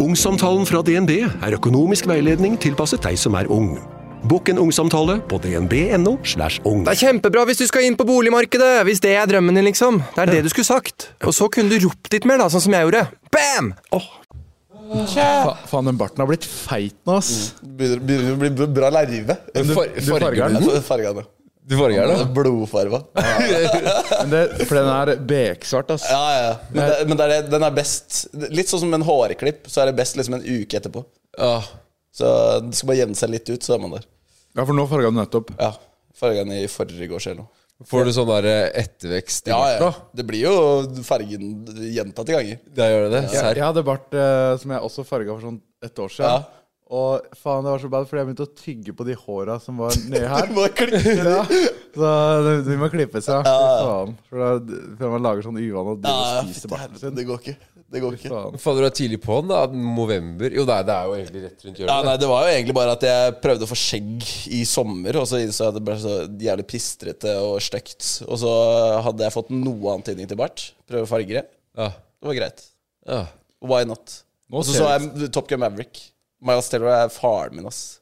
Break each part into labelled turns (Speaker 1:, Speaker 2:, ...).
Speaker 1: Ungsamtalen fra DNB er økonomisk veiledning tilpasset deg som er ung. Bokk en ungsamtale på dnb.no. slash ung.
Speaker 2: Det er kjempebra hvis du skal inn på boligmarkedet! Hvis det er drømmen din, liksom. Det er det du skulle sagt. Og så kunne du ropt litt mer, da, sånn som jeg gjorde. Bam!
Speaker 3: Fa, faen, den barten har blitt feit nå, ass.
Speaker 4: Begynner begynner å bli bra lerve.
Speaker 3: Du, du farger den.
Speaker 4: Farga nå.
Speaker 5: Du farger det?
Speaker 4: Blodfarga.
Speaker 3: Men det, for den er beksvart, ass.
Speaker 4: Ja, ja, ja. Men, det, men det er, det- den er best Litt sånn som en hårklipp, så er det best liksom en uke etterpå.
Speaker 5: Ja.
Speaker 4: Så det skal bare jevne seg litt ut, så er man der.
Speaker 3: Ja, for nå farga den nettopp.
Speaker 4: Ja. Farga den i forgårs eller noe.
Speaker 5: Får du sånn der eh, ettervekst i
Speaker 4: Ja, ja.
Speaker 5: barten?
Speaker 4: Det blir jo fargen gjentatte ganger.
Speaker 5: Da gjør det det? Serr?
Speaker 3: Jeg hadde bart eh, som jeg også farga for sånn et år siden.
Speaker 4: Ja.
Speaker 3: Og faen, det var så bad, fordi jeg begynte å tygge på de håra som var nedi her.
Speaker 4: Du må klippe
Speaker 3: Ja, så de, de må klippes, ja. Fy faen. For, da, for man lager sånn uvane og driver
Speaker 4: Ja,
Speaker 3: og
Speaker 4: fytti
Speaker 3: spiser barten
Speaker 4: Ah, helvete,
Speaker 3: sin.
Speaker 4: det går ikke. Det går ikke.
Speaker 3: Faen.
Speaker 5: Faen, du er tidlig på'n, da. November Jo, nei, det er jo egentlig rett rundt
Speaker 4: Ja,
Speaker 5: hjørnet.
Speaker 4: nei, Det var jo egentlig bare at jeg prøvde å få skjegg i sommer, og så innså jeg at det ble så jævlig pistrete og stygt. Og så hadde jeg fått noe antydning til bart. Prøve å farge det.
Speaker 5: Ja.
Speaker 4: Det var greit.
Speaker 5: Ja.
Speaker 4: Why not? Og så
Speaker 3: ser
Speaker 4: så jeg Top Gun Maverick. Miles Taylor er faren min, ass.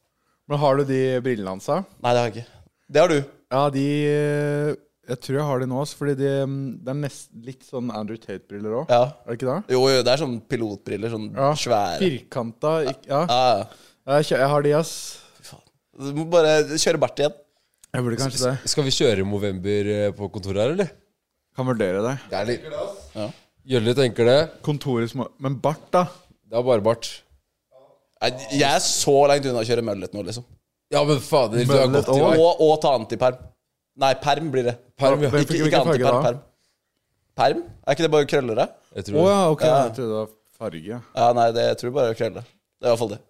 Speaker 3: Men har du de brillene hans, da?
Speaker 4: Nei, det har jeg ikke. Det har du.
Speaker 3: Ja, de eh, Jeg tror jeg har de nå, ass, fordi de, mm, det er nest, litt sånn Andrew Tate-briller òg.
Speaker 4: Ja.
Speaker 3: Er det ikke det?
Speaker 4: Jo, jo, det er sånn pilotbriller. Sånn
Speaker 3: Ja.
Speaker 4: svære.
Speaker 3: Firkanta ikk- Ja.
Speaker 4: Ja, ja.
Speaker 3: Jeg, kjø- jeg har de, ass.
Speaker 4: Du må bare kjøre bart igjen.
Speaker 3: Jeg burde kanskje det.
Speaker 5: Skal vi kjøre Movember eh, på kontoret her, eller?
Speaker 3: Kan vurdere det.
Speaker 5: Det er litt Gjølle tenker det.
Speaker 3: Kontoret små Men bart, da?
Speaker 5: Det er bare bart.
Speaker 4: Nei, Jeg er så langt unna å kjøre møllet nå, liksom.
Speaker 5: Ja, men fader, du er
Speaker 3: Møllet
Speaker 5: godt i
Speaker 3: og-
Speaker 5: vei.
Speaker 4: Og, og ta antiperm. Nei, perm blir det.
Speaker 5: Perm, ja.
Speaker 3: Men
Speaker 4: Ikke,
Speaker 3: hvilken
Speaker 4: ikke
Speaker 3: farge
Speaker 4: antiperm,
Speaker 3: da?
Speaker 4: perm. Perm? Er ikke det bare krøller, da?
Speaker 5: Jeg
Speaker 3: Å
Speaker 5: tror det.
Speaker 3: ja, ok.
Speaker 4: Ja.
Speaker 3: Jeg trodde det var farge.
Speaker 4: Ja, nei, det, jeg tror bare krøller. Det er i hvert fall det.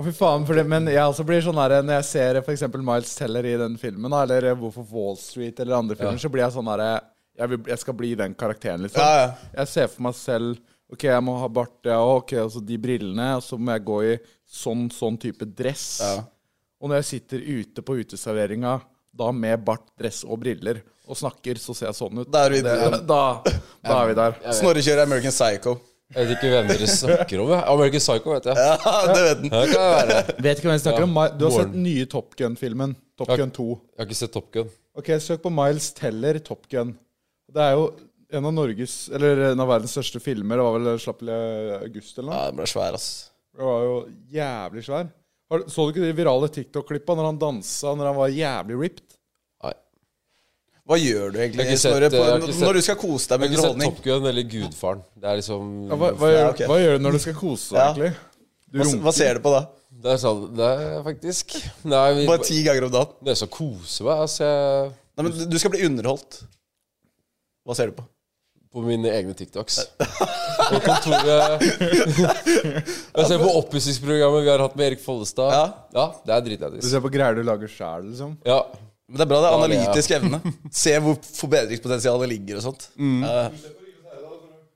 Speaker 3: Å, fy faen. For det, men jeg også blir sånn der, når jeg ser f.eks. Miles Teller i den filmen, da, eller Hvorfor Wall Street eller andre filmer, så blir jeg sånn derre jeg, vil- jeg skal bli den karakteren, liksom.
Speaker 4: Ja, ja.
Speaker 3: Jeg ser for meg selv Ok, jeg må ha bart, ja, og ok, altså de brillene, og så må jeg gå i sånn, sånn type dress.
Speaker 4: Ja.
Speaker 3: Og når jeg sitter ute på uteserveringa, da med bart, dress og briller, og snakker, så ser jeg sånn ut.
Speaker 4: Da er vi der.
Speaker 3: Det- da, da er vi der.
Speaker 4: Snorre kjører American Psycho.
Speaker 5: Jeg vet ikke hvem dere snakker om. jeg. American Psycho, vet jeg.
Speaker 4: Ja, det vet den.
Speaker 5: Ja, kan jeg, være.
Speaker 3: Vet ikke hvem jeg snakker
Speaker 5: Ja,
Speaker 3: om. Mi- Du har sett
Speaker 5: Warren.
Speaker 3: nye Top Gun-filmen. Top
Speaker 5: Ja.
Speaker 3: Gun 2.
Speaker 5: jeg har ikke sett Top Gun.
Speaker 3: Ok, søk på Miles Teller Top Gun. Det er jo en av Norges, eller en av verdens største filmer. Det var vel slapp i august eller noe.
Speaker 4: Ja, den ble svær, ass.
Speaker 3: Det var jo jævlig svær. Har du- Så du ikke de virale TikTok-klippa når han dansa når han var jævlig ripped?
Speaker 5: Nei.
Speaker 4: Hva gjør du
Speaker 5: Jeg har
Speaker 4: egentlig,
Speaker 5: ikke sett- eh,
Speaker 4: Snorre, på,
Speaker 5: jeg har ikke sett-
Speaker 4: når du skal kose deg
Speaker 5: Jeg
Speaker 4: med
Speaker 5: har ikke sett
Speaker 4: underholdning?
Speaker 5: Top Gun eller Gudfaren. Det er liksom
Speaker 3: Ja, hva, hva,
Speaker 4: Ja,
Speaker 3: gjør,
Speaker 4: ok.
Speaker 3: hva gjør du når du skal kose deg,
Speaker 4: Ja.
Speaker 3: egentlig? Du
Speaker 4: Hva,
Speaker 3: runker.
Speaker 4: hva ser du på da?
Speaker 5: Det er sånn Det er faktisk Nei, vi,
Speaker 4: Bare ti ganger om dagen?
Speaker 5: det er så kose meg. Altså, jeg
Speaker 4: Nei, men du- Du skal bli underholdt. Hva ser du på?
Speaker 5: På mine egne TikToks. På kontoret Jeg ser på oppussingsprogrammet vi har hatt med Erik Follestad.
Speaker 4: Ja.
Speaker 5: Det er
Speaker 3: Du
Speaker 5: dritlættis.
Speaker 3: ser på greier du lager sjæl, liksom?
Speaker 5: Ja.
Speaker 4: Men det er bra, det er
Speaker 5: det er-
Speaker 4: analytisk evne. Se hvor forbedringspotensialet ligger og sånt.
Speaker 5: Mm.
Speaker 4: Eh, Ja.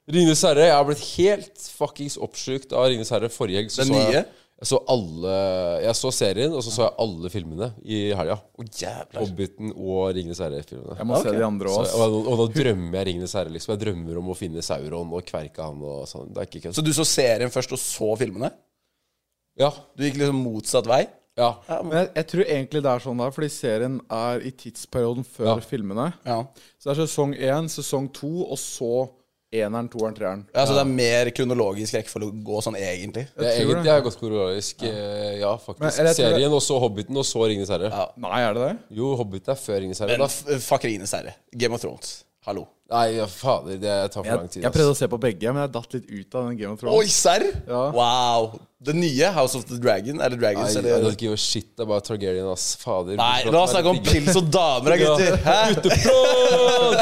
Speaker 5: Ringnes herre. Jeg har blitt helt fuckings oppsjukt av Ringnes herre forrige helg. Så
Speaker 4: Den
Speaker 5: så
Speaker 4: nye?
Speaker 5: Jeg, jeg så alle Jeg så serien, og så så jeg alle filmene i helga.
Speaker 4: Å, jævlar.
Speaker 5: Hobbiten og Ringenes herre-filmene.
Speaker 3: Jeg må se de andre
Speaker 5: Så-
Speaker 3: òg.
Speaker 5: Og, og, og da drømmer jeg Ringenes herre, liksom. Jeg drømmer om å finne Sauron og kverke han og sånn. Det er ikke kødd.
Speaker 4: Så du så serien først, og så filmene?
Speaker 5: Ja.
Speaker 4: Du gikk liksom motsatt vei?
Speaker 5: Ja.
Speaker 3: Men jeg, jeg tror egentlig det er sånn der, fordi serien er i tidsperioden før
Speaker 5: Ja.
Speaker 3: filmene.
Speaker 4: Ja.
Speaker 3: Så det er sesong én, sesong to, og så eneren, toeren, treeren.
Speaker 4: ja, Så det er mer kronologisk rekkefølge å gå sånn, egentlig?
Speaker 5: Det er
Speaker 3: tror
Speaker 5: egentlig er godt koreorisk. Ja, eh, ja
Speaker 3: Men-
Speaker 5: faktisk.
Speaker 3: eller jeg tror det-
Speaker 5: Serien, og så Hobbiten, og så Ringenes herre.
Speaker 3: Nei, er det det?
Speaker 5: Jo, Hobbiten er før Ringenes herre.
Speaker 4: Men
Speaker 5: Da.
Speaker 4: f- eh, fuck Ringenes herre. Game of Thrones. Hallo.
Speaker 5: Nei, ja, fader, det tar for lang
Speaker 3: Jeg,
Speaker 5: tid.
Speaker 3: jeg prøvde å se på begge, men jeg datt litt ut av den Game of
Speaker 4: Oi,
Speaker 3: Thrones.
Speaker 4: serr?
Speaker 3: Ja.
Speaker 4: Wow. Det nye House of the Dragon? Er det
Speaker 5: Nei,
Speaker 4: Dragons?
Speaker 5: jeg
Speaker 4: eller?
Speaker 5: don't give a shit. Det er bare Targaryen, ass. Fader.
Speaker 4: Nei, la oss snakke om pils og damer, da, gutter. Hæ?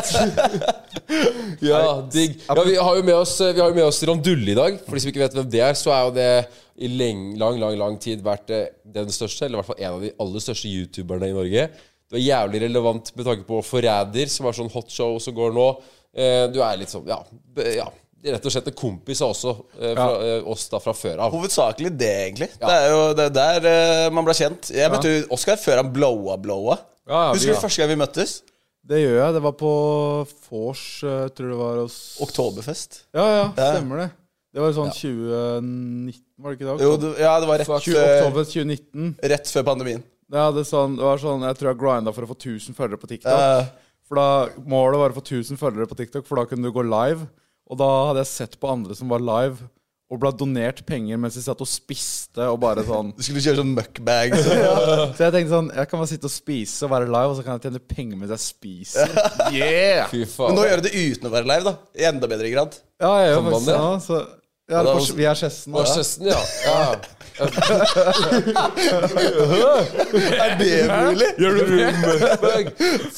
Speaker 5: Uteprat! ja, digg. Ja, vi har jo med oss, eh, vi har jo med oss Rondulle i dag. For de som ikke vet hvem det er, så er jo det i leng, lang, lang lang tid vært eh, den største, eller i hvert fall en av de aller største youtuberne i Norge. Du er jævlig relevant med tanke på Forræder, som er sånn hotshow som går nå. Eh, Du er litt sånn, ja, b- ja Rett og slett en kompis av også, eh, fra, eh, oss da fra før av.
Speaker 4: Hovedsakelig det, egentlig. Det er jo det er der eh, man ble kjent. Jeg møtte jo Oskar før han blowa-blowa.
Speaker 3: Ja, ja, vi-
Speaker 4: Husker du første gang vi møttes?
Speaker 3: Det gjør jeg. Det var på vors, eh, tror jeg det var hos
Speaker 4: Oktoberfest.
Speaker 3: Ja, ja, stemmer det. Det var jo sånn 2019, var det ikke det?
Speaker 4: Jo, det, ja, det var rett,
Speaker 3: 20,
Speaker 4: eh,
Speaker 3: oktober 2019.
Speaker 4: rett før pandemien.
Speaker 3: Ja, det, er sånn, det var sånn, Jeg tror jeg grinda for å få 1000 følgere på TikTok.
Speaker 4: Ja.
Speaker 3: For da, Målet var å få 1000 følgere på TikTok, for da kunne du gå live. Og da hadde jeg sett på andre som var live, og ble donert penger mens de satt og spiste. og bare sånn.
Speaker 4: Du skulle kjøre sånn muckbag. Så.
Speaker 3: Så jeg tenkte sånn, jeg kan bare sitte og spise og være live, og så kan jeg tjene penger mens jeg spiser. Yeah!
Speaker 5: Fy
Speaker 4: Men
Speaker 5: faen.
Speaker 4: nå gjør du det uten å være live, da. I enda bedre grad.
Speaker 3: Ja, jeg gjør
Speaker 5: Kan man
Speaker 3: faktisk
Speaker 5: det?
Speaker 3: det. nå, Så, ja, det er
Speaker 4: var-
Speaker 3: på- vi er Skjessen.
Speaker 5: Og
Speaker 3: da.
Speaker 5: Kjesten, ja. ja.
Speaker 4: Er det mulig?
Speaker 5: Gjør du rumbug?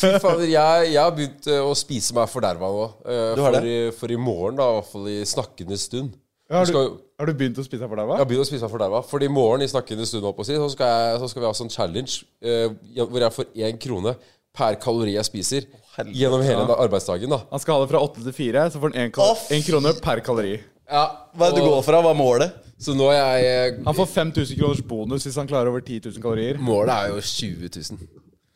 Speaker 5: Fy fader, jeg, jeg har begynt eh, å spise meg forderva nå. eh,
Speaker 4: Du har
Speaker 5: for, i, for i morgen, da, i hvert fall i snakkende stund.
Speaker 3: Ja, Har
Speaker 5: Så
Speaker 3: du,
Speaker 5: skal jo-
Speaker 3: har du begynt å spise her for deg,
Speaker 5: jeg
Speaker 3: hva?
Speaker 5: har begynt å spise meg forderva. For i morgen i snakkende stund holdt på å si, så, skal jeg, så skal vi ha sånn challenge eh, hvor jeg får én krone per kalori jeg spiser gjennom hele da- arbeidsdagen. da
Speaker 3: Han skal ha det fra åtte til fire, så får han én kal-
Speaker 4: Å, fy-
Speaker 3: én krone per kalori.
Speaker 5: ja,
Speaker 4: Hva er det du går fra? Hva er målet?
Speaker 5: Så nå er jeg eh,
Speaker 3: Han får 5000 kroners bonus hvis han klarer over 10 000 kalorier.
Speaker 5: Målet er jo 20 000.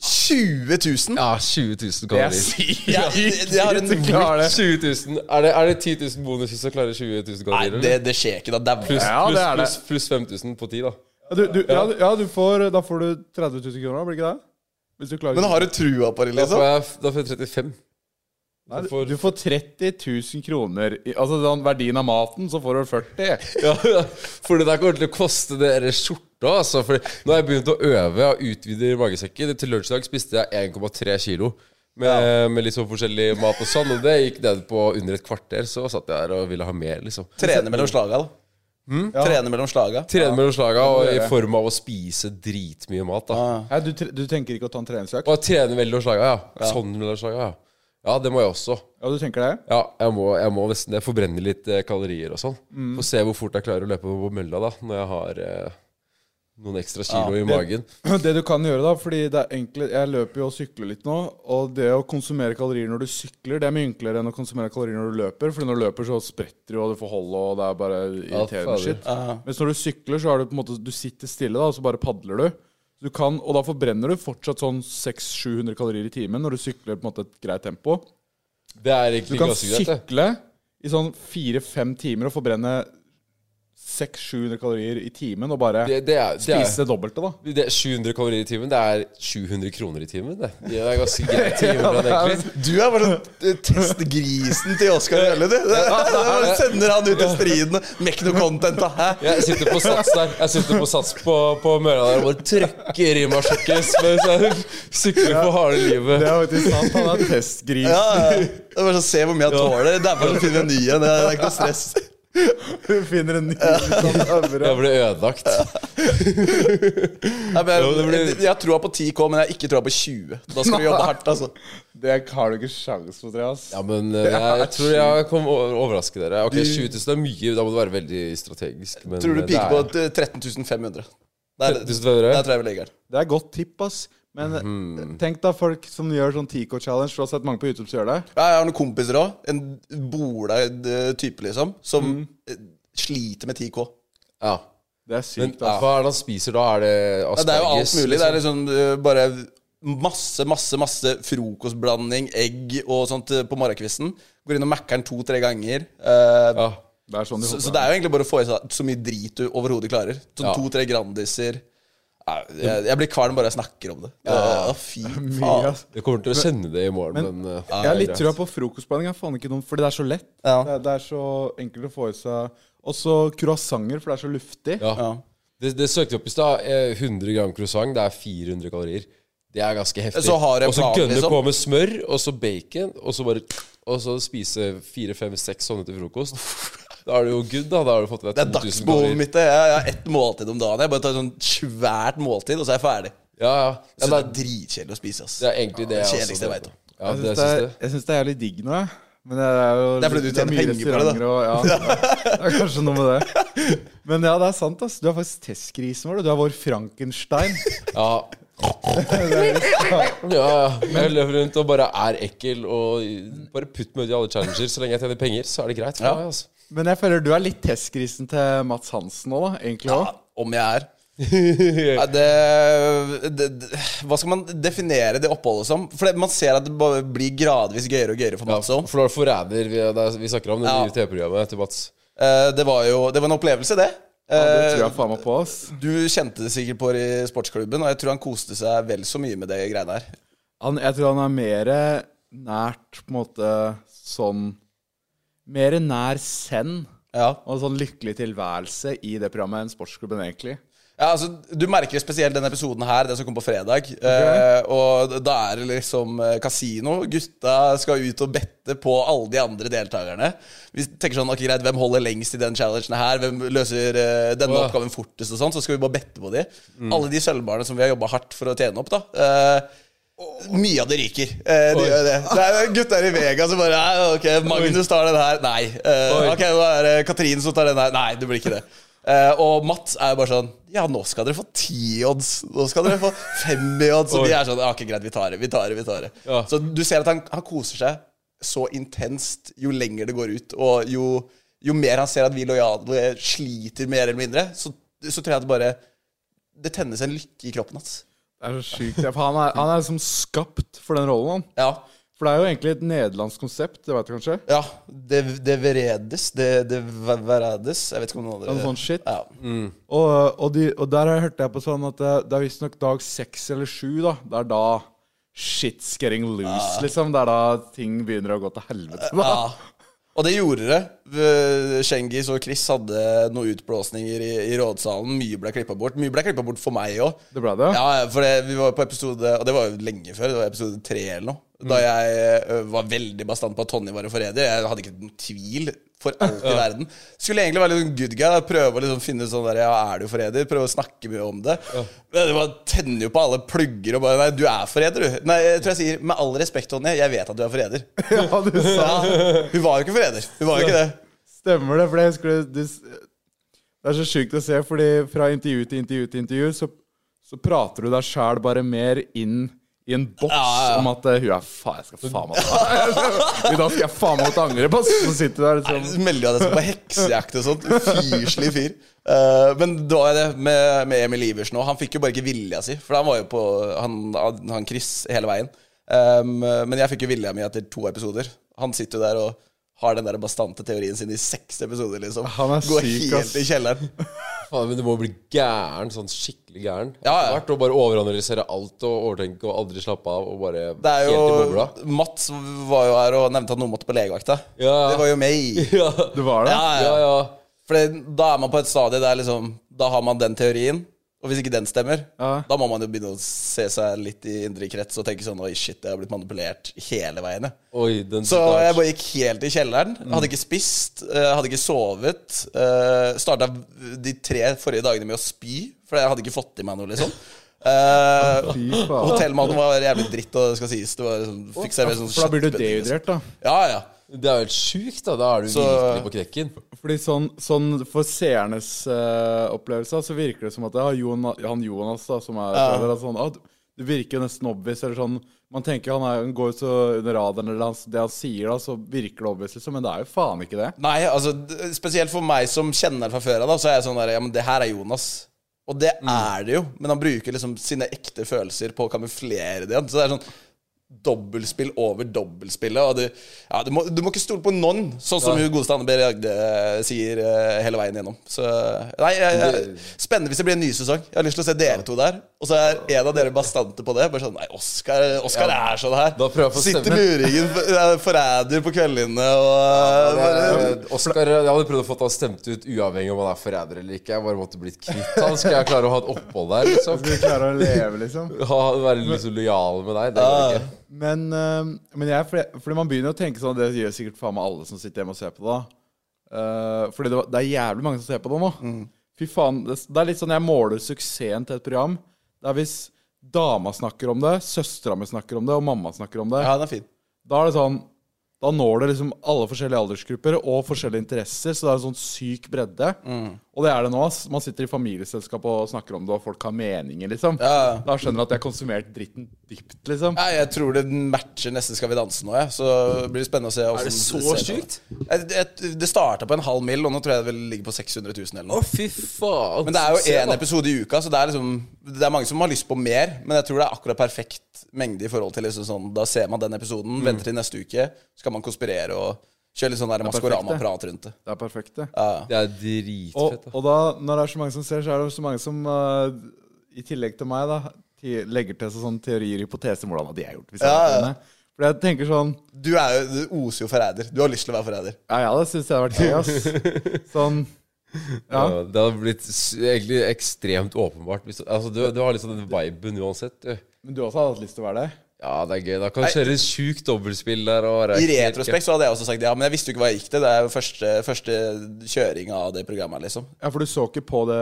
Speaker 4: 20 000?
Speaker 5: Ja, 20 000
Speaker 3: Det er
Speaker 5: kalorier.
Speaker 3: sykt!
Speaker 4: Ja, det, det, har en,
Speaker 3: Du klarer det.
Speaker 5: 20 000. Er det, er det 10 000 bonus hvis jeg klarer 20 000
Speaker 4: nei,
Speaker 5: kalorier?
Speaker 4: det,
Speaker 5: eller?
Speaker 4: det skjer ikke, da. Dæven.
Speaker 5: Pluss,
Speaker 3: Ja, det
Speaker 5: pluss,
Speaker 3: er det.
Speaker 5: pluss, pluss 5000 på 10, da.
Speaker 3: Ja, du, du, ja, du- ja du får, da får du 30 000 kroner, blir ikke det? Hvis du klarer
Speaker 4: Men har du trua på det,
Speaker 5: Da får
Speaker 4: liksom?
Speaker 5: jeg, da får jeg 35.
Speaker 3: Nei,
Speaker 5: får-
Speaker 3: Du får 30 000 kroner. i- Altså den verdien av maten, så får du 40.
Speaker 5: Ja, for det der kommer til å koste dere skjorta, altså. For nå har jeg begynt å øve og utvide magesekken. Til lunsj i dag spiste jeg 1,3 kilo. Med, med litt sånn forskjellig mat og sånn. Og det gikk ned på under et kvarter. Så satt jeg der og ville ha mer, liksom.
Speaker 4: Trene mellom slaga, da.
Speaker 3: Hm?
Speaker 4: Trene mellom slaga.
Speaker 5: Trene mellom slaga og i
Speaker 3: gjøre.
Speaker 5: form av å spise dritmye mat, da.
Speaker 4: Ah.
Speaker 3: Nei, du, tre- du tenker ikke å ta en treningsøkt?
Speaker 5: Og trene mellom slaga, ja. Sånn mellom slaga, ja. Ja, det må jeg også.
Speaker 3: Ja, du tenker det?
Speaker 5: Ja, jeg må, jeg må nesten det. Forbrenne litt eh, kalorier og sånn.
Speaker 3: Mm.
Speaker 5: Få se hvor fort jeg klarer å løpe på mølla da, når jeg har eh, noen ekstra kilo i magen.
Speaker 3: Det du kan gjøre, da, fordi det er enkle, jeg løper jo og sykler litt nå, og det å konsumere kalorier når du sykler, det er mye enklere enn å konsumere kalorier når du løper, fordi når du løper, så spretter du, og du får hold, og det er bare irriterende
Speaker 5: fader.
Speaker 3: shit. Mens når du sykler, så er du på en måte, du sitter stille, da, og så bare padler du. Du kan, og da forbrenner du fortsatt sånn 600-700 kalorier i timen når du sykler på en måte et greit tempo.
Speaker 5: Det er
Speaker 3: Du
Speaker 5: egentlig
Speaker 3: kan
Speaker 5: ganske greit, det.
Speaker 3: sykle i sånn 4-5 timer og forbrenne 600-700 kalorier i timen, og bare
Speaker 5: Det, det er, det er,
Speaker 3: spise det dobbelte, da.
Speaker 5: det er 700 kalorier i timen. Det er 700 kroner i timen, det. Det er ganske greit til julen, egentlig.
Speaker 4: Du er bare sånn testgrisen til Oskar Mjølle, du. Det- det bare Sender han ut i striden. Make no content, da. Hæ?
Speaker 5: Jeg sitter på sats der. Jeg sitter på sats på, på mølla der og bare trøkker i meg sjokkes mens jeg sykler for harde livet.
Speaker 3: Det er faktisk sant, han er testgris.
Speaker 4: Ja, ja. Det er bare sånn, Se hvor mye jeg tåler. Dæven, så finner jeg en ny en. Det er ikke noe stress.
Speaker 3: Du finner en ny øvre.
Speaker 5: Jeg ble ødelagt.
Speaker 4: Nei, men
Speaker 5: det
Speaker 4: jeg,
Speaker 5: blir-
Speaker 4: jeg, jeg tror på 10K, men jeg har ikke troa på 20. Da skal vi jobbe hardt, altså.
Speaker 3: Det har du ikke sjans på, Andreas.
Speaker 5: Ja, men eh, jeg tror jeg kom å overraske dere. Ok, 20 000 er mye, da må du være veldig strategisk. Men
Speaker 4: Tror du
Speaker 5: eh, det
Speaker 4: piker
Speaker 5: er-
Speaker 4: på t- 13 500? Der,
Speaker 5: 13 500?
Speaker 4: der tror jeg vi ligger.
Speaker 3: Det er godt tipp, ass. Men eh, tenk da folk som gjør sånn Tico-challenge. Du har sett mange på YouTube som gjør det.
Speaker 4: Ja, Jeg har noen kompiser òg. En bola eh, type, liksom. Som
Speaker 5: Mm.
Speaker 4: eh, sliter med 10K.
Speaker 5: Ja.
Speaker 3: Det er
Speaker 5: Men
Speaker 3: sykt,
Speaker 5: ja.
Speaker 3: ass.
Speaker 5: hva er det han spiser da? Er det
Speaker 4: altså. Ja,
Speaker 5: asparges?
Speaker 4: det er jo alt mulig. Det er
Speaker 5: liksom?
Speaker 4: liksom eh, bare masse, masse masse frokostblanding, egg og sånt eh, på morgenkvisten. Går inn og macker den to-tre ganger. Eh,
Speaker 5: ja.
Speaker 3: Det er sånn de
Speaker 4: så,
Speaker 3: holder
Speaker 4: så
Speaker 3: på.
Speaker 4: det er jo egentlig bare å få i seg så mye drit du overhodet klarer. Sånn
Speaker 5: Ja.
Speaker 4: to-tre Grandiser. Nei, Jeg, jeg blir kvalm bare jeg snakker om det. Å, fy
Speaker 3: Mye,
Speaker 4: faen.
Speaker 3: ass.
Speaker 5: Jeg kommer til å kjenne det i morgen, men, eh,
Speaker 3: Jeg har litt trua på frokostblanding, jeg er faen ikke dum, fordi det er så lett.
Speaker 4: Ja.
Speaker 3: Det, er- det er så enkelt å få i seg. Også croissanter, for det er så luftig.
Speaker 5: Ja. Det, det søkte jeg opp i stad. eh, 100 gram croissant, det er 400 kalorier. Det er ganske heftig.
Speaker 4: Så har jeg
Speaker 5: og så
Speaker 4: plan,
Speaker 5: gønne
Speaker 4: liksom.
Speaker 5: på med smør, og så bacon, og så bare Og så spise fire, fem, seks sånne til frokost. Da er du jo good, da. Da har du fått i
Speaker 4: Det er
Speaker 5: deg 2000
Speaker 4: dagsbehovet
Speaker 5: kalorier.
Speaker 4: mitt. det. Jeg jeg har ett måltid om dagen. Jeg bare tar sånn svært måltid, og så er jeg ferdig.
Speaker 5: Ja, ja.
Speaker 4: Så
Speaker 5: ja
Speaker 4: det
Speaker 5: det,
Speaker 4: er dritkjedelig å spise, ass.
Speaker 5: er- det er egentlig det
Speaker 4: det
Speaker 5: jeg
Speaker 4: kjedeligste jeg vet om.
Speaker 5: Ja,
Speaker 3: Jeg syns
Speaker 5: det
Speaker 3: det,
Speaker 5: syns
Speaker 3: er-
Speaker 5: jeg.
Speaker 3: jeg synes det er jævlig digg nå, jeg. Men det er jo
Speaker 4: Det er fordi du
Speaker 3: mye
Speaker 4: tjener penger på det, da.
Speaker 3: restauranter Og, ja, ja, det er kanskje noe med det. Men ja, det er sant, ass. Du er faktisk testgrisen vår. Du Du er vår Frankenstein.
Speaker 5: Ja. ja, ja. Jeg løper rundt og bare er ekkel og bare putt meg ut i alle challenger. Så lenge jeg tjener penger, så er det greit. For
Speaker 4: Ja.
Speaker 5: meg, altså.
Speaker 3: Men jeg føler du er litt testgrisen til Mats Hansen òg, da. Egentlig
Speaker 4: Ja,
Speaker 3: òg.
Speaker 4: om jeg er. Nei, det, det, det, hva skal man definere det oppholdet som? For det, man ser at det bare blir gradvis gøyere og gøyere for
Speaker 5: Ja,
Speaker 4: Mats òg.
Speaker 5: for da er det forræder vi, det er- vi snakker om det
Speaker 4: Ja.
Speaker 5: nye TV-programmet til Mats.
Speaker 4: Eh, det var jo Det var en opplevelse, det.
Speaker 3: Ja, det tror
Speaker 4: Eh,
Speaker 3: jeg faen meg på, ass.
Speaker 4: du kjente det sikkert på det i sportsklubben, og jeg tror han koste seg vel så mye med det greiene her.
Speaker 3: Han, jeg tror han er mer nært på en måte sånn Mer nær send
Speaker 4: Ja.
Speaker 3: og en sånn lykkelig tilværelse i det programmet enn sportsklubben, egentlig.
Speaker 4: Ja, altså, du merker det spesielt denne episoden her, den som kom på fredag. Eh, og da er det liksom eh, kasino. Gutta skal ut og bette på alle de andre deltakerne. Vi tenker sånn, ok greit, Hvem holder lengst i den challengen her? Hvem løser eh, denne
Speaker 5: Åh. Mm.
Speaker 4: oppgaven fortest? og sånn, Så skal vi bare bette på de. Alle de sølvbarene som vi har jobba hardt for å tjene opp, da. eh, mye av det ryker. Eh, det
Speaker 5: Oi.
Speaker 4: gjør det. Det er gutter i Vega som bare «Nei, Ok, Magnus tar den her. Nei. Eh,
Speaker 5: Oi.
Speaker 4: ok, nå er det Katrin som tar den her. Nei, det blir ikke det. Eh, og Mats er jo bare sånn Ja, nå skal dere få ti odds. Nå skal dere få fem i odds. Og
Speaker 5: Oi.
Speaker 4: de er sånn Ja, ok, greit, vi tar det. Vi tar det. vi tar det
Speaker 5: Ja.
Speaker 4: Så du ser at han, han koser seg så intenst jo lenger det går ut, og jo, jo mer han ser at vi lojale sliter mer eller mindre, så, så tror jeg at det bare Det tennes en lykke i kroppen hans.
Speaker 3: Det er så sykt. ja, for Han er, han er liksom skapt for den rollen, han.
Speaker 4: Ja.
Speaker 3: For det er jo egentlig et nederlandsk konsept, det vet du kanskje?
Speaker 4: Ja, det, det veredes. Det, det ver- veredes. Jeg vet ikke om noen
Speaker 3: Ja,
Speaker 4: andre
Speaker 3: noe
Speaker 5: sånn
Speaker 3: sånt shit.
Speaker 4: Ja.
Speaker 3: Og, og, de, og der har jeg hørt jeg på sånn at det, det er visstnok dag seks eller sju, da. Det er da shit's getting loose,
Speaker 4: Ah.
Speaker 3: liksom. Det er da ting begynner å gå til helvete. Da.
Speaker 4: ja. Og det gjorde det. V- Schengis og Chris hadde noen utblåsninger i, i rådsalen. Mye ble klippa bort. Mye ble klippa bort for meg òg.
Speaker 3: Det ble det?
Speaker 4: Ja, for det, vi var på episode Og det var jo lenge før, det var episode tre eller noe. Da
Speaker 3: Mm.
Speaker 4: jeg ø, var veldig bastant på at Tonje var en forræder. Jeg hadde ikke noen tvil for alt i verden. Skulle egentlig være litt sånn good guy. Da. Prøve å liksom finne ut sånn der, ja, er du forræder? Prøve å snakke mye om det. Men det bare tenner jo på alle plugger og bare Nei, du er forræder, du. Nei, jeg tror jeg sier med all respekt, Tonje, jeg vet at du er forræder.
Speaker 3: Ja, du sa
Speaker 4: Ja, hun var jo ikke forræder. Hun var jo ikke det.
Speaker 3: Stemmer det, for jeg husker det, det s- Det er så sjukt å se, fordi fra intervju til intervju til intervju, så, så prater du deg sjæl bare mer inn i en boks
Speaker 4: Ah, Ja, ja, ja.
Speaker 3: om at eh, hun er faen, jeg skal faen meg ta I dag skal jeg faen meg ta angre på Så sitter du der liksom.
Speaker 4: Så melder jo at jeg skal på heksejakt og sånt. Ufyselig fyr. Eh, men det var jo det med, med Emil Iversen òg. Han fikk jo bare ikke vilja si. For han var jo på Han, han Chris hele veien. Em, men jeg fikk jo vilja mi etter to episoder. Han sitter jo der og har den der bastante teorien sin i seks episoder, liksom.
Speaker 3: Han er
Speaker 4: Går
Speaker 3: syk,
Speaker 4: helt
Speaker 3: ass.
Speaker 4: i kjelleren.
Speaker 5: Faen, men du må bli gæren, sånn skikkelig gæren.
Speaker 4: Ja, ja.
Speaker 5: Etter hvert, Og bare overanalysere alt og overtenke og aldri slappe av. Og bare
Speaker 4: Det er
Speaker 5: helt i bobla.
Speaker 4: jo Mats var jo her og nevnte at noen måtte på legevakta.
Speaker 5: Ja.
Speaker 4: Det var jo meg.
Speaker 5: Ja,
Speaker 3: Du var det?
Speaker 4: sånn- Ja,
Speaker 5: ja,
Speaker 4: ja.
Speaker 5: ja.
Speaker 4: For det, da er man på et stadie der liksom Da har man den teorien, og hvis ikke den stemmer,
Speaker 3: Ja.
Speaker 4: da må man jo begynne å se seg litt i indre krets og tenke sånn Oi, shit, jeg har blitt manipulert hele veien. jeg».
Speaker 5: Oi, den
Speaker 4: Så
Speaker 5: sitter
Speaker 4: jeg
Speaker 5: hardt.
Speaker 4: bare gikk helt i kjelleren.
Speaker 3: Mm.
Speaker 4: Hadde ikke spist, eh, hadde ikke sovet. Uh, Starta de tre forrige dagene med å spy, for jeg hadde ikke fått i meg noe, liksom. Uh,
Speaker 3: Fy faen.
Speaker 4: Hotellmaten var jævlig dritt, og det skal sies. Det var sånn, fikk servert sånn
Speaker 3: For da blir du
Speaker 4: kjøttbøtter, liksom.
Speaker 3: dehydrert, da.
Speaker 4: Ja, ja.
Speaker 5: Det er jo helt sjukt, da. Da er du
Speaker 4: Så-
Speaker 5: virkelig på knekken.
Speaker 3: Fordi sånn, sånn For seernes eh, opplevelse da, så virker det som at ja, Jonas, han Jonas da, som er forelder, altså, han, ah, du- Det virker jo nesten obvious. Eller sånn, man tenker han, er, han går jo så under radaren, eller han, det han sier, da, så virker det obvious, liksom, men det er jo faen ikke det.
Speaker 4: Nei, altså d- spesielt for meg som kjenner han fra før av, da, så er jeg sånn der Ja, men det her er Jonas. Og det
Speaker 5: Mm.
Speaker 4: er det jo, men han bruker liksom sine ekte følelser på å kamuflere det igjen. Så det er sånn dobbeltspill over dobbeltspillet. Og du, ja, du, må, du må ikke stole på noen, sånn som hun godeste Anne B. Ragde eh, sier eh, hele veien gjennom. Så Nei, jeg, jeg, spennende hvis det blir en ny sesong. Jeg har lyst til å se dere to der. Og så er en av dere bastante på det. Bare sånn Nei, Oskar, Oskar er sånn her.
Speaker 5: Da prøver jeg å få
Speaker 4: Sitter
Speaker 5: stemmen.
Speaker 4: luringen, for- eh, forræder på kveldene og eh, bare,
Speaker 5: Oskar, jeg hadde prøvd å få han stemt ut uavhengig om han er forræder eller ikke. Jeg bare måtte blitt kvitt han. Skal jeg klare å ha et opphold der, liksom?
Speaker 3: Du klarer å leve, liksom.
Speaker 5: Ha, være liksom lojal med deg? Det går ikke.
Speaker 3: Men, eh, men jeg, fordi, fordi man begynner å tenke sånn, det gjør sikkert faen meg alle som sitter hjemme og ser på det. da. Eh, fordi det, var- det er jævlig mange som ser på det nå.
Speaker 4: Mm.
Speaker 3: Fy faen, det, det er litt sånn jeg måler suksessen til et program. Det er hvis dama snakker om det, søstera mi snakker om det, og mamma snakker om det.
Speaker 4: Ja, den er fin.
Speaker 3: Da er det sånn Da når det liksom alle forskjellige aldersgrupper og forskjellige interesser, så det er en sånn syk bredde.
Speaker 4: Mm.
Speaker 3: Og det er det nå. ass. Man sitter i familieselskap og snakker om det, og folk har meninger, liksom.
Speaker 4: Ja, ja.
Speaker 3: Da skjønner du at jeg har konsumert dritten dypt, liksom.
Speaker 4: Nei, jeg tror det matcher nesten Skal vi danse nå, jeg. Så det blir spennende å se. hvordan
Speaker 5: Er det så
Speaker 4: ser ut. Jeg, jeg, det starta på en halv mil, og nå tror jeg det vel ligger på 600 000 eller
Speaker 5: Å,
Speaker 4: noe.
Speaker 5: fy faen.
Speaker 4: Men det er jo
Speaker 5: Se,
Speaker 4: én
Speaker 5: da.
Speaker 4: episode i uka, så det er liksom Det er mange som har lyst på mer, men jeg tror det er akkurat
Speaker 5: Mm.
Speaker 4: perfekt mengde i forhold til liksom sånn Da ser man den episoden, venter til neste uke, så kan man konspirere og Kjør litt sånn der
Speaker 3: perfekt,
Speaker 4: Maskorama-prat rundt det.
Speaker 3: Det er perfekt, det.
Speaker 5: Det er dritfett.
Speaker 3: Og,
Speaker 5: da.
Speaker 3: og da, når det er så mange som ser, så er det så mange som eh, i tillegg til meg, da, ti- legger til seg sånne teorier og hypoteser om hvordan de har gjort. Hvis jeg
Speaker 4: Ja,
Speaker 3: hadde
Speaker 4: ja.
Speaker 3: vært henne. For jeg tenker sånn
Speaker 4: Du, er jo, du oser jo forræder. Du har lyst til å være forræder.
Speaker 3: Ja, ja, det syns jeg har vært gøy, ass. Sånn
Speaker 5: Ja.
Speaker 3: Ja.
Speaker 5: Det hadde blitt s- egentlig ekstremt åpenbart. hvis du- Altså, du, du har liksom den viben uansett, du.
Speaker 3: Men du også hadde hatt lyst til å være det?
Speaker 5: Ja, det er gøy. Da kan du kjøre sjukt dobbeltspill der. Og være
Speaker 4: I
Speaker 5: helt-
Speaker 4: retrospekt så hadde jeg også sagt ja, men jeg visste jo ikke hva jeg gikk til. Det er jo første, første kjøring av det programmet, liksom.
Speaker 3: Ja, for du så ikke på det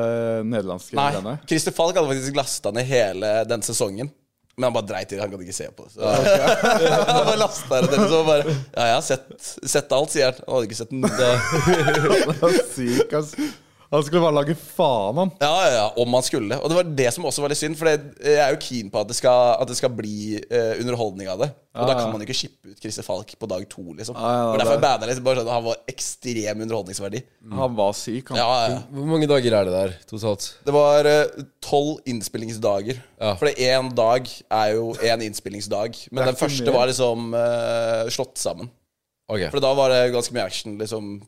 Speaker 3: nederlandske
Speaker 4: Nei.
Speaker 3: greiene?
Speaker 4: Christer Falk hadde faktisk lasta ned hele den sesongen. Men han bare dreit i det, han gadd ikke se på det. Så. han bare lasta det ned, så bare Ja, jeg har sett, sett alt, sier han. Han hadde ikke sett noe.
Speaker 3: Det var syk, ass. Han skulle bare lage faen, han.
Speaker 4: Ja, ja, ja, om han skulle. Og det var det som også var litt synd, for det- jeg er jo keen på at det skal, at det skal bli eh, underholdning av det. Og da kan man jo ikke skippe ut Christer Falk på dag to, liksom.
Speaker 3: ja,
Speaker 4: Og derfor
Speaker 3: det- Mm.
Speaker 4: bada jeg litt. Bare sånn, at han var ekstrem underholdningsverdi.
Speaker 3: Han var syk, han.
Speaker 4: Ja, ja, ja.
Speaker 5: Hvor mange dager er det der totalt?
Speaker 4: Det var eh, tolv innspillingsdager.
Speaker 5: Ja.
Speaker 4: For én dag er jo én innspillingsdag. Men
Speaker 3: Det er
Speaker 4: den
Speaker 3: ikke
Speaker 4: første
Speaker 3: mye.
Speaker 4: var liksom eh, slått sammen.
Speaker 5: Ok.
Speaker 4: For da var det ganske mye action. liksom